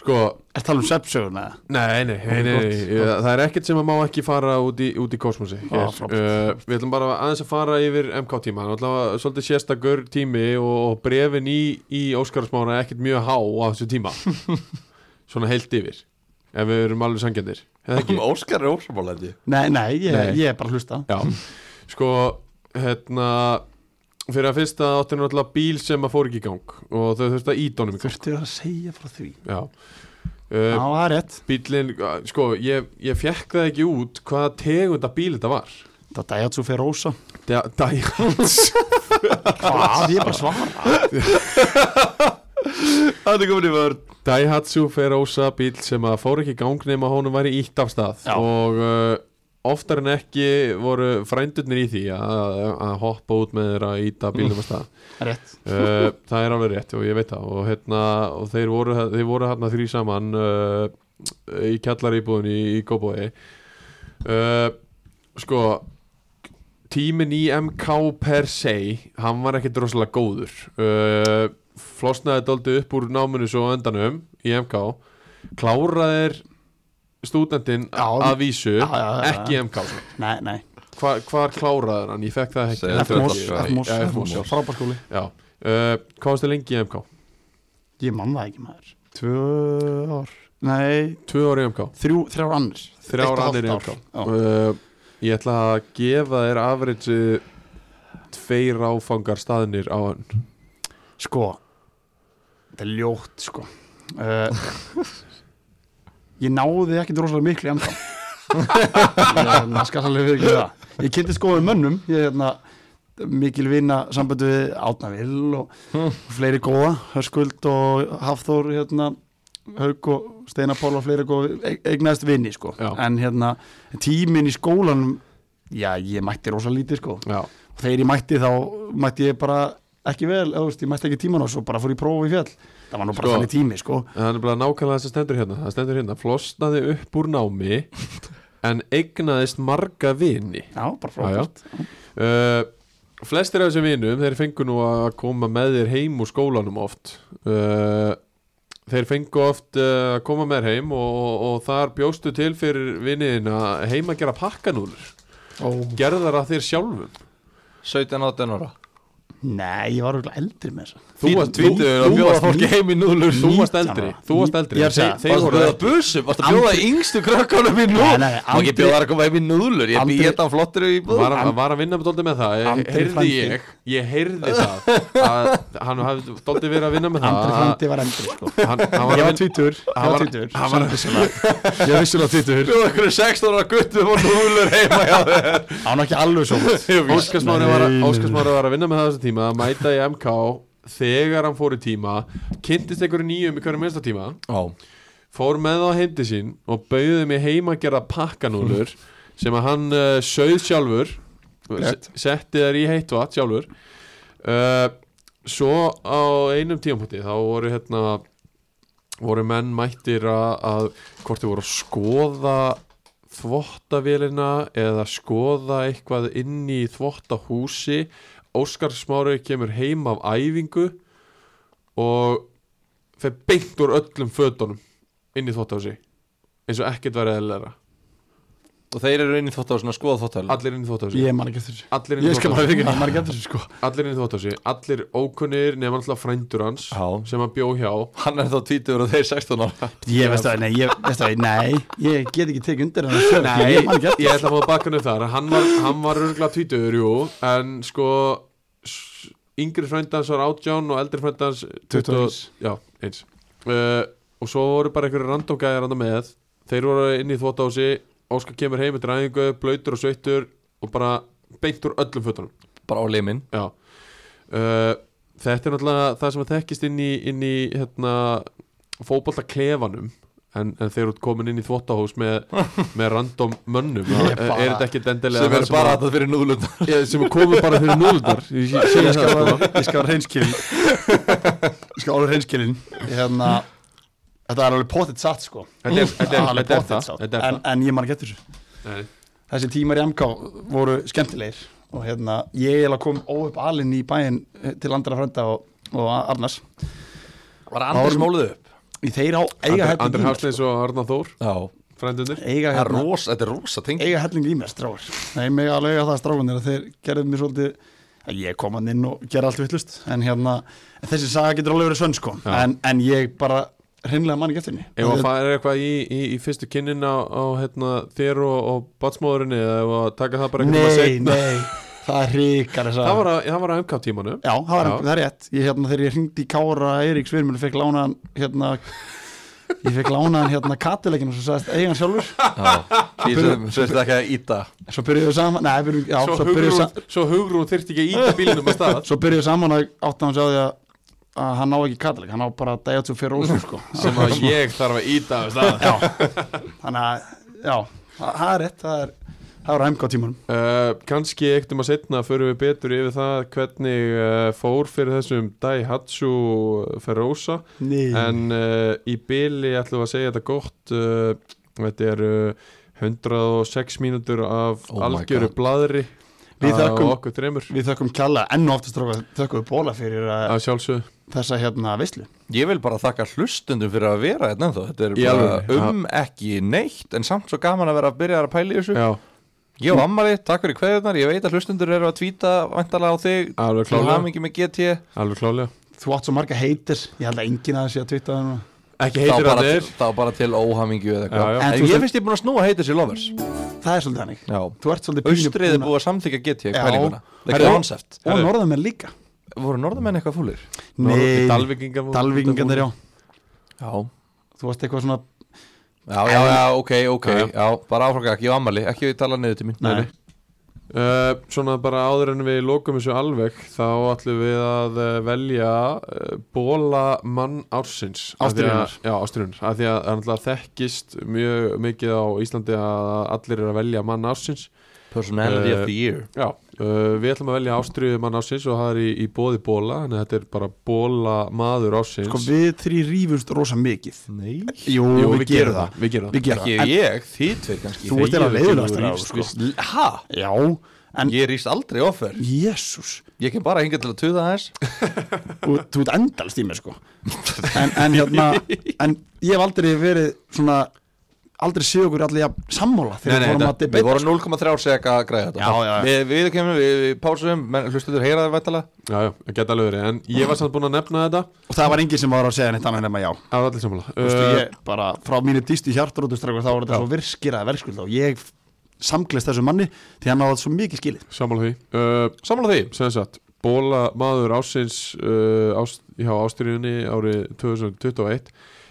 Speaker 1: sko
Speaker 3: Er það um sepsöguna?
Speaker 1: nei, nei, nei, nei, nei uh, það er ekkert sem að má ekki fara út í, út í kosmosi
Speaker 3: Á,
Speaker 1: hér.
Speaker 3: frábært.
Speaker 1: uh, við ætlum bara aðeins að fara yfir MK tíma, þannig að svolítið sérstakur tími og, og brefin í, í Óskarsmána er ekkert mjög há á þessu tíma svona heilt yfir ef við erum alveg sangjandir eða ekki
Speaker 2: Óskar er ósamálandi
Speaker 3: Nei, nei, ég,
Speaker 1: Nei.
Speaker 3: ég er bara að hlusta
Speaker 1: Já, sko hérna fyrir að fyrsta áttu hann alltaf bíl sem að fór ekki í gang og þau þurftu að íta honum í gang
Speaker 3: Þurftu að segja frá því Já,
Speaker 1: Já uh,
Speaker 3: það er rétt
Speaker 1: Bílinn, uh, sko, ég, ég fekk það ekki út hvaða tegunda bíl þetta var
Speaker 3: Það er Daihatsu Ferosa
Speaker 1: Da- Daihatsu
Speaker 3: Hvað, ég er bara að svara
Speaker 2: Það er komin í vörð
Speaker 1: Daihatsu Ferosa bíl sem að fór ekki í gang nema honum væri ítt af stað
Speaker 3: Já.
Speaker 1: og uh, oftar en ekki voru frændurnir í því að, að hoppa út með þeirra að íta bílnum af stað
Speaker 3: Rétt
Speaker 1: Uh, það er alveg rétt og ég veit það og, hérna, og þeir voru, þeir voru hérna þrý saman uh, í kjallaríbúðin í, í Kópói uh, sko tímin í MK per se hann var ekkert rosalega góður uh, flosnaði dálítið upp úr náminu svo á endanum í MK kláraðir stúdentinn
Speaker 3: Já.
Speaker 1: að vísu
Speaker 3: Já, já, já, já.
Speaker 1: ekki í MK
Speaker 3: Nei, nei
Speaker 1: Hva, hvar kláraðir hann, ég fekk það ekki
Speaker 2: Segðu
Speaker 3: F-mós,
Speaker 2: þetta-
Speaker 3: F-mós,
Speaker 1: Já,
Speaker 3: F-mós
Speaker 1: F-mós.
Speaker 3: Frábær skóli
Speaker 1: Já, uh, hvað varstu lengi í MK?
Speaker 3: Ég man það ekki maður Tvö ár Nei,
Speaker 1: Tvö ári MK
Speaker 3: þrjú, þrjár annir Eitt og
Speaker 1: Þrjár annir
Speaker 3: hálft
Speaker 1: MK
Speaker 3: ár. Já.
Speaker 1: uh, Ég ætla að gefa þér afriðsi tveir áfangar staðnir á hann
Speaker 3: Sko Þetta er ljótt sko uh, Ég náði ekki rosalega miklu í enda Ég hérna, skal alveg við ekki það Ég kynnti skoðið mönnum Ég er hérna mikil vina sambandi við Átna Vil og, og fleiri góða Hörskuld og Hafþór hérna, Hauk og Steinar Pál og fleiri góða eig- eignaðist vini sko
Speaker 1: Já.
Speaker 3: en hérna tíminn í skólanum já ég mætti rosa lítið sko
Speaker 1: Já,
Speaker 3: og þegar ég mætti þá mætti ég bara ekki vel, eða, þú veist, ég mætti ekki tíman og svo bara fór ég prófa í fjall það var nú bara
Speaker 1: Sko.
Speaker 3: þannig tími sko
Speaker 1: en það er bara nákvæmlega þess að stendur hérna Það stendur hérna, flosnaði upp úr námi en eignaðist marga vini
Speaker 3: já, bara frábært
Speaker 1: uh, Flestir af þessum vinum, þeir fengu nú að koma með þér heim úr skólanum oft uh, Þeir fengu oft uh, að koma með þér heim og, og þar bjóstu til fyrir viniðin að heima gera pakkanúlur
Speaker 3: og
Speaker 1: gerðar að þér sjálfum
Speaker 2: 17-18 ára
Speaker 3: nei, ég var auðvitað eldri með þess
Speaker 1: Þú varst tvítið að
Speaker 2: Þú
Speaker 1: bjóða
Speaker 2: varst
Speaker 1: fólki
Speaker 2: fólki heim í núðlur
Speaker 1: Þú varst
Speaker 3: Nítján
Speaker 1: eldri,
Speaker 3: ára.
Speaker 1: þú varst eldri
Speaker 3: Ég er að segja,
Speaker 1: þeir, þeir
Speaker 2: Varstu að
Speaker 1: voru
Speaker 2: bjóða
Speaker 1: eldri
Speaker 2: busum, varstu að bjóða yngstu krakkanum í núl
Speaker 3: Nei, nei,
Speaker 2: Má ekki
Speaker 3: aldrei-
Speaker 2: bjóða þær að koma heim í núðlur Ég
Speaker 3: Aldrei-
Speaker 2: býð þetta flottir í búð
Speaker 1: var, að- var að vinna dóldi með það Ég-
Speaker 3: Andri
Speaker 1: Heyrði
Speaker 3: frændi.
Speaker 1: ég, ég heyrði það að Hann hafði dóldi verið að vinna með það
Speaker 3: andri
Speaker 1: að-
Speaker 3: frændi var eldri sko
Speaker 1: hann, hann var að
Speaker 3: ég var
Speaker 1: vinna
Speaker 3: tvítur, ég
Speaker 1: Hann
Speaker 3: var
Speaker 1: var-
Speaker 3: tvítur
Speaker 1: hann var-
Speaker 3: samvissulega. ég er vissulega tvítur
Speaker 2: Bjóða ykkur 16 ára guttum og núðlur heima hjá þér
Speaker 3: hann var ekki alveg svo
Speaker 1: Óskarsmári var,
Speaker 3: Nei, nei, nei.
Speaker 1: Óskarsmári var að vinna með það þessu tíma mæta í MK þegar hann fór í tíma kynntist einhverju nýjum í hverju minnsta tíma
Speaker 2: Já,
Speaker 1: fór með það heimdi sín og bauði mig heima að gera pakkanúlur sem að hann uh, sögð sjálfur
Speaker 3: Rétt.
Speaker 1: se- setti þær í heitt vatn sjálfur uh, svo á einum tímpúti þá voru hérna voru menn mættir að, að hvort þið voru að skoða þvottavélina eða skoða eitthvað inn í þvottahúsi Óskar Smári kemur heim af æfingu og fer beint úr öllum fötunum inn í þvottahúsi eins og ekkert væri eðlera
Speaker 2: og þeir eru inn í þvóttahúsin að skoða þvóttahúsin
Speaker 1: allir inn í þvottahúsi
Speaker 3: ég man ekki eftir þessu
Speaker 1: allir inn í
Speaker 3: ég skal bara
Speaker 1: þvottahúsi
Speaker 3: veikin ég man ekki eftir þessu sko
Speaker 1: allir inn í þvottahúsi allir ókunnir nema alltaf frændur hans
Speaker 2: Já.
Speaker 1: sem að bjó hjá
Speaker 2: hann er þá tvítur og þeir 16 ára
Speaker 3: ég veist það nei ég veist það nei ég get ekki tekið undir hann sjálf
Speaker 1: Nei,
Speaker 3: ég man ekki eftir
Speaker 1: ég ætla að fá bakkanum þar hann var, hann var rönglega tvítur, jú en sko s- yngri frændans var átján og eldri frændans
Speaker 3: 21.
Speaker 1: já, eins uh, og svo voru bara einhverju randomgæðar hann með þeir voru inn í þvótási Óskar kemur heim með dræðingu, blöytur og sveittur og bara beint úr öllum fötunum
Speaker 2: bara á limin
Speaker 1: já uh, þetta er náttúrulega það sem að þekkist inn í, inn í hérna, fótbolta en, en þeir eru komin inn í þvóttahús með, með random mönnum
Speaker 3: Ég
Speaker 1: það
Speaker 3: bara-
Speaker 1: er þetta ekki dendilega
Speaker 2: sem
Speaker 1: það
Speaker 2: eru bara að það fyrir núðlund
Speaker 1: að, ég, sem komur bara fyrir núðundar ég ég segi
Speaker 3: ég
Speaker 1: það
Speaker 3: skal
Speaker 1: sko
Speaker 3: vera ég skal vera reynskilin ég skal vera reynskilin hérna þetta er alveg potið satt sko
Speaker 1: Þetta er- þetta er-
Speaker 3: Alveg
Speaker 1: þetta er
Speaker 3: pottþétt
Speaker 1: það,
Speaker 3: satt.
Speaker 1: þetta er
Speaker 3: En- en ég man ekki eftir þessu
Speaker 1: Nei.
Speaker 3: þessi tímar í MK voru skemmtilegir og hérna, ég eiginlega kom óöpp alinn í bæinn eh, til andra frænda og, og Arnars
Speaker 2: var Andri
Speaker 3: Árum-
Speaker 2: smóluð upp
Speaker 3: í þeir á eiga
Speaker 1: Andri-
Speaker 3: helling
Speaker 1: Andri
Speaker 3: í mér,
Speaker 1: Hafsleins og Arna Þór
Speaker 2: já
Speaker 1: frændunir
Speaker 2: það
Speaker 3: eiga,
Speaker 2: er
Speaker 3: hérna,
Speaker 2: rosa þetta er rosa tengi
Speaker 3: eiga helling í mér stráður nei, mig alveg eiga það stráðunir þeir gerðu mér svolítið að ég kom hann inn og gera allt vittlust en hérna, en þessi saga getur alveg verið sönn sko
Speaker 1: Já.
Speaker 3: en, en ég bara hreinlega man ekki eftir henni
Speaker 1: ef að fara eitthvað í, í, í fyrstu kynnin á, á hérna, þér og, og batsmóðurinni eða ef að taka það bara eitthvað
Speaker 3: nei, nei, það er ríkar
Speaker 1: það var að, það var að MK tímanu
Speaker 3: Já, það, var,
Speaker 1: Já.
Speaker 3: það er rétt ég, hérna, Þegar ég hringdi í Kára Eiríks Virmur fekk lánaðan hérna, ég fekk lánaðan hérna katilegin og svo sagðist eigan sjálfur
Speaker 2: því sem sem þetta ekki að íta
Speaker 3: svo byrjuðu saman nei, byrjuðu, já,
Speaker 1: svo
Speaker 3: svo, byrjuðu sa,
Speaker 1: hugrún, svo hugrún þyrfti ekki að íta bílinum að stað
Speaker 3: svo byrjuðu saman að átta hans á því að, að hann ná ekki katileg hann ná bara Dayotsu Ferrosu sko.
Speaker 1: sem að ég þarf að íta af stað
Speaker 3: Já, þannig að já, það það er rétt það er, það er hæmka á tímanum
Speaker 1: uh, Kanski eitt um að setna förum við betur yfir það hvernig uh, fór fyrir þessum Daihatsu Ferosa
Speaker 3: Nei,
Speaker 1: en uh, í byli ætlum við að segja þetta gott uh, þetta eh, eru 106 mínútur af
Speaker 2: Oh my
Speaker 1: algjöru
Speaker 2: God.
Speaker 1: bladri
Speaker 3: Við
Speaker 1: af
Speaker 3: þökkum-
Speaker 1: okkur þreymur
Speaker 3: Við þökkum kjalla enn og oftast stróka þökkum við bóla fyrir að,
Speaker 1: að sjálfsögðu
Speaker 3: þessa hérna veislu
Speaker 2: Ég vil bara þakka hlustundum fyrir að vera hérna ennþá Þetta er
Speaker 1: Í
Speaker 2: bara
Speaker 1: alvöru,
Speaker 2: um ekki neitt En samt svo gaman að vera að byrja að pæla í þessu
Speaker 1: Já,
Speaker 2: Ég og Ammali, takk fyrir kveðunar Ég veit að hlustundur eru að tvíta Væntalega á þig
Speaker 1: Alveg
Speaker 2: Til
Speaker 1: klárlega.
Speaker 2: hamingi með GT
Speaker 1: alveg klálega
Speaker 3: Þú átt svo marga heitir, ég held að enginn að um sé að tvitta hann
Speaker 1: Ekki
Speaker 2: Þá
Speaker 1: heitir
Speaker 2: bara,
Speaker 1: að þeir
Speaker 2: þá bara til óhamingju eða
Speaker 1: Já, já.
Speaker 2: eitthvað
Speaker 3: En
Speaker 2: En
Speaker 3: þú
Speaker 2: ég
Speaker 3: sem-
Speaker 2: finnst ég búin að snúa heitir sér lovers
Speaker 3: Það er svolítið hannig
Speaker 2: Já
Speaker 3: Þú ert svolítið
Speaker 2: Austrið er búið að samþykja GT
Speaker 3: Já.
Speaker 2: pælinguna Það
Speaker 3: Herðu-
Speaker 2: er koncept Eh,
Speaker 3: Og norðamenn líka
Speaker 2: Voru norðamenn eitthvað fúlir?
Speaker 3: Nei,
Speaker 1: Dalvíkingar voru-
Speaker 3: Dalvíkingarnir já
Speaker 2: Já
Speaker 3: Þú varst eitthvað svona
Speaker 2: Já, já, já, ok, ok
Speaker 1: Já,
Speaker 2: Já,
Speaker 1: já.
Speaker 2: bara áfraka ekki og Ammali Ekki tala niður til mín
Speaker 3: Nei,
Speaker 1: Uh, svona bara áður en við lokum þessu alveg þá ætlum við að uh, velja uh, bóla mann ársins Af því að-
Speaker 3: Ástríðunnar.
Speaker 1: Já, ástriðunar af því að það náttúrulega þekkist mjög mikið á Íslandi að allir eru að velja mann ársins
Speaker 2: Personality
Speaker 1: Eh,
Speaker 2: of the year
Speaker 1: Já, uh, við ætlum að velja ástriðu mann ársins og það er í, í bóði bóla en þetta er bara bóla maður ársins
Speaker 3: Sko við þrý rífumst rosa mikið
Speaker 2: Nei
Speaker 3: Jú,
Speaker 1: Jú, við gerum það, Við gerum það.
Speaker 3: Við gerum
Speaker 2: Ekki
Speaker 3: það En
Speaker 2: ég, þið tveir kannski
Speaker 3: Þú ert eiginlega leiðilegastur á
Speaker 2: sko.
Speaker 3: sko.
Speaker 2: Hæ?
Speaker 3: Já, en
Speaker 2: Ég rýst aldrei offer
Speaker 3: Jésús
Speaker 2: Ég kem bara hingað til að tuða aðeins
Speaker 3: Þú þú ert endalst í mér sko en, en hérna En ég hef aldrei verið svona Aldrei séu okkur allir jafn sammála Þegar við vorum að
Speaker 2: Við
Speaker 3: debata
Speaker 2: vorum 0,3 seka að græða þetta
Speaker 3: Já, já, já.
Speaker 2: Við, við kemum, við, við pásum menn Hlustuður heyra það vettala
Speaker 1: Já, já, það geta alveg verið en ég var samt búin að nefna þetta
Speaker 3: Og það var enginn sem var að segja neitt annað nema já
Speaker 1: að allir sammála
Speaker 3: Þú veist,
Speaker 1: Uh,
Speaker 3: ég bara frá mínu dýstu hjartarótustrækur þá var þetta svo virskiraði verkskulda og ég samglist þessu manni því hann áðað svo mikið skilið
Speaker 1: Sammála því uh,
Speaker 2: Sammála því
Speaker 1: sem sagt, bóla maður ásins uh, ást, hjá ástriðunni árið 2021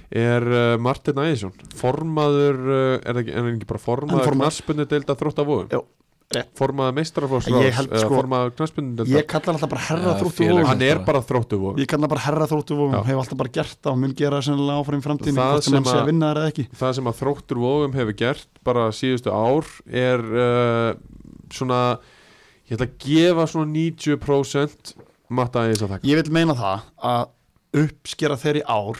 Speaker 1: er uh, Martin Ægisson formaður, uh, er það ekki, er hann ekki bara
Speaker 3: Hann er
Speaker 1: formaður
Speaker 3: formaður.
Speaker 1: knarspunni deilda þrótt af vóðum
Speaker 3: Jó, rétt.
Speaker 1: formaður meistrarflóks
Speaker 3: Ég held, sko,
Speaker 1: formaður knarspunni
Speaker 3: ég
Speaker 1: deilda
Speaker 3: kalla hann alltaf bara herra
Speaker 2: Já,
Speaker 3: þróttu
Speaker 2: félag.
Speaker 3: vóðum
Speaker 1: hann er bara þróttu vóðum
Speaker 3: ég kalla hann bara herra þróttu vóðum
Speaker 1: Já.
Speaker 3: hef alltaf bara gert það og mun gera sennilega áfram í framtíðin
Speaker 1: Það
Speaker 3: hvort sem
Speaker 1: sem
Speaker 3: hann sé
Speaker 1: að-
Speaker 3: að vinna þar eða ekki
Speaker 1: það sem að þróttur vóðum hefur gert bara síðustu ár er uh, svona ég ætla að gefa svona 90% Matta Ægis að þakka
Speaker 3: ég vil meina það að uppskera þeirri ár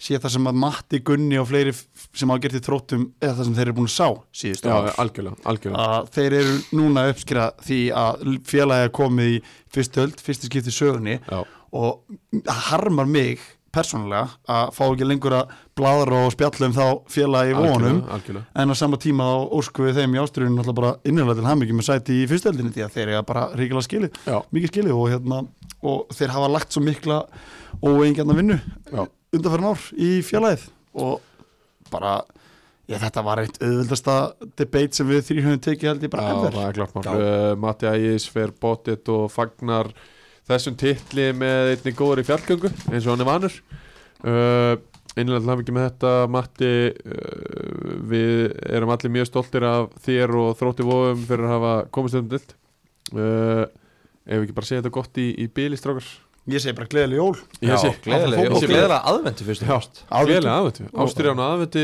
Speaker 3: sé það sem að Matti Gunni og fleiri f- sem hafa gert í þróttum eða það sem þeir eru búin að sá síðust
Speaker 1: Já, algjörlega, algjörlega
Speaker 3: að þeir eru núna að uppskera því að félagi er komið í fyrstu öld, fyrstu skipti í sögunni
Speaker 1: Já.
Speaker 3: og það harmar mig persónulega að fá ekki lengur að bladra og spjalla um þá félagi í vonum
Speaker 1: Algjörlega, algjörlega.
Speaker 3: en á sama tíma á ósku við þeim í ástriðinu náttúrulega bara innlega til hamingjum með sæti í fyrstu öldinni því að þeir eru bara ríkilega skilið
Speaker 1: Já.
Speaker 3: mikið skilið og, hérna, og þeir hafa lagt svo mikla óeingjarna vinnu
Speaker 1: Já.
Speaker 3: undanferðan ár í félagið og bara ég, þetta var eitt auðvöldasta debate sem við þrý höfum tekið held ég bara
Speaker 1: Já,
Speaker 3: hefðar
Speaker 1: það er klart mál
Speaker 2: Já.
Speaker 1: uh, Matti Ægis fer bóttið og fagnar þessum titli með einni góður í fjallgöngu eins og hann er vanur uh, innlega til hafingi með þetta Matti uh, við erum allir mjög stoltir af þér og þrótti vofum fyrir að hafa komist um dild uh, ef við ekki bara segja þetta gott í, í bíli strákar
Speaker 3: ég segi bara gleðileg jól
Speaker 1: Ég sé-
Speaker 2: gleðilega
Speaker 1: Ég
Speaker 2: og
Speaker 1: sé-
Speaker 2: gleðilega aðvendu fyrst og fyrst
Speaker 1: Gleðilega aðventu, ástyrjána aðventu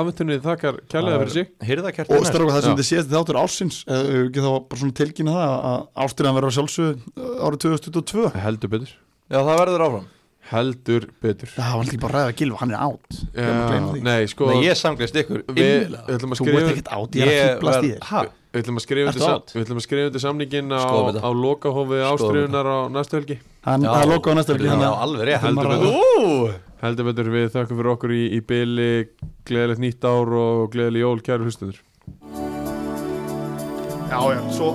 Speaker 1: aðventunni þakkar kærlega fyrir sig
Speaker 2: Hirðakertin
Speaker 3: og starfa það sem
Speaker 1: Já.
Speaker 3: þið séðast þáttur ársins eða ekki þá bara svona tilkynna það að ástriðan verður að sjálfsögðu eh, árið 2022
Speaker 1: heldur betur
Speaker 2: Já, það verður áfram
Speaker 1: heldur betur
Speaker 3: það var líka bara að ræða gilva, hann er átt
Speaker 1: Já, nei sko
Speaker 2: Nei, ég samgleðst ykkur
Speaker 1: við
Speaker 2: innilega.
Speaker 1: ætlum að
Speaker 3: þú ert
Speaker 1: skrifa
Speaker 3: ekkert átt, ég er að fýblast
Speaker 2: verð-
Speaker 3: í þér
Speaker 2: Ha?
Speaker 1: Við ætlum að skrifa
Speaker 2: Ertu
Speaker 1: undir sam-
Speaker 2: out?
Speaker 1: við ætlum að skrifa undir samningin á,
Speaker 2: Skoðum þetta.
Speaker 1: á lokahófi
Speaker 2: Skoðum
Speaker 1: ástriðunar á næstu helgi
Speaker 3: hann
Speaker 2: Já.
Speaker 3: það er lokað á næsta helgi
Speaker 2: Já,
Speaker 3: þannig að-
Speaker 2: alveg rétt
Speaker 1: Heldur betur.
Speaker 2: Ú!
Speaker 1: Heldur betur við þökkum fyrir okkur í, í byli gleðilegt nýtt ár og gleðileg jól kæru hlustundur
Speaker 3: já, já, svo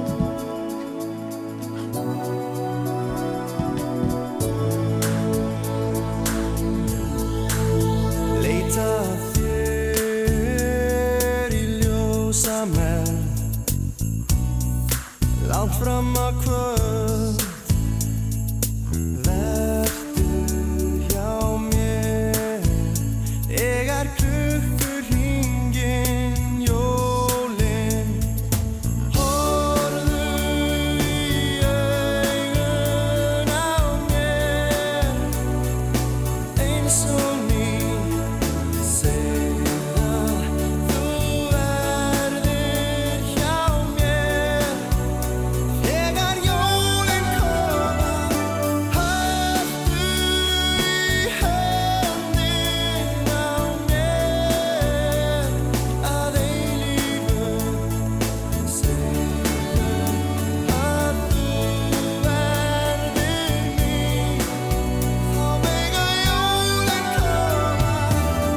Speaker 4: Leita að þér í ljósa mell Langt fram að kvöld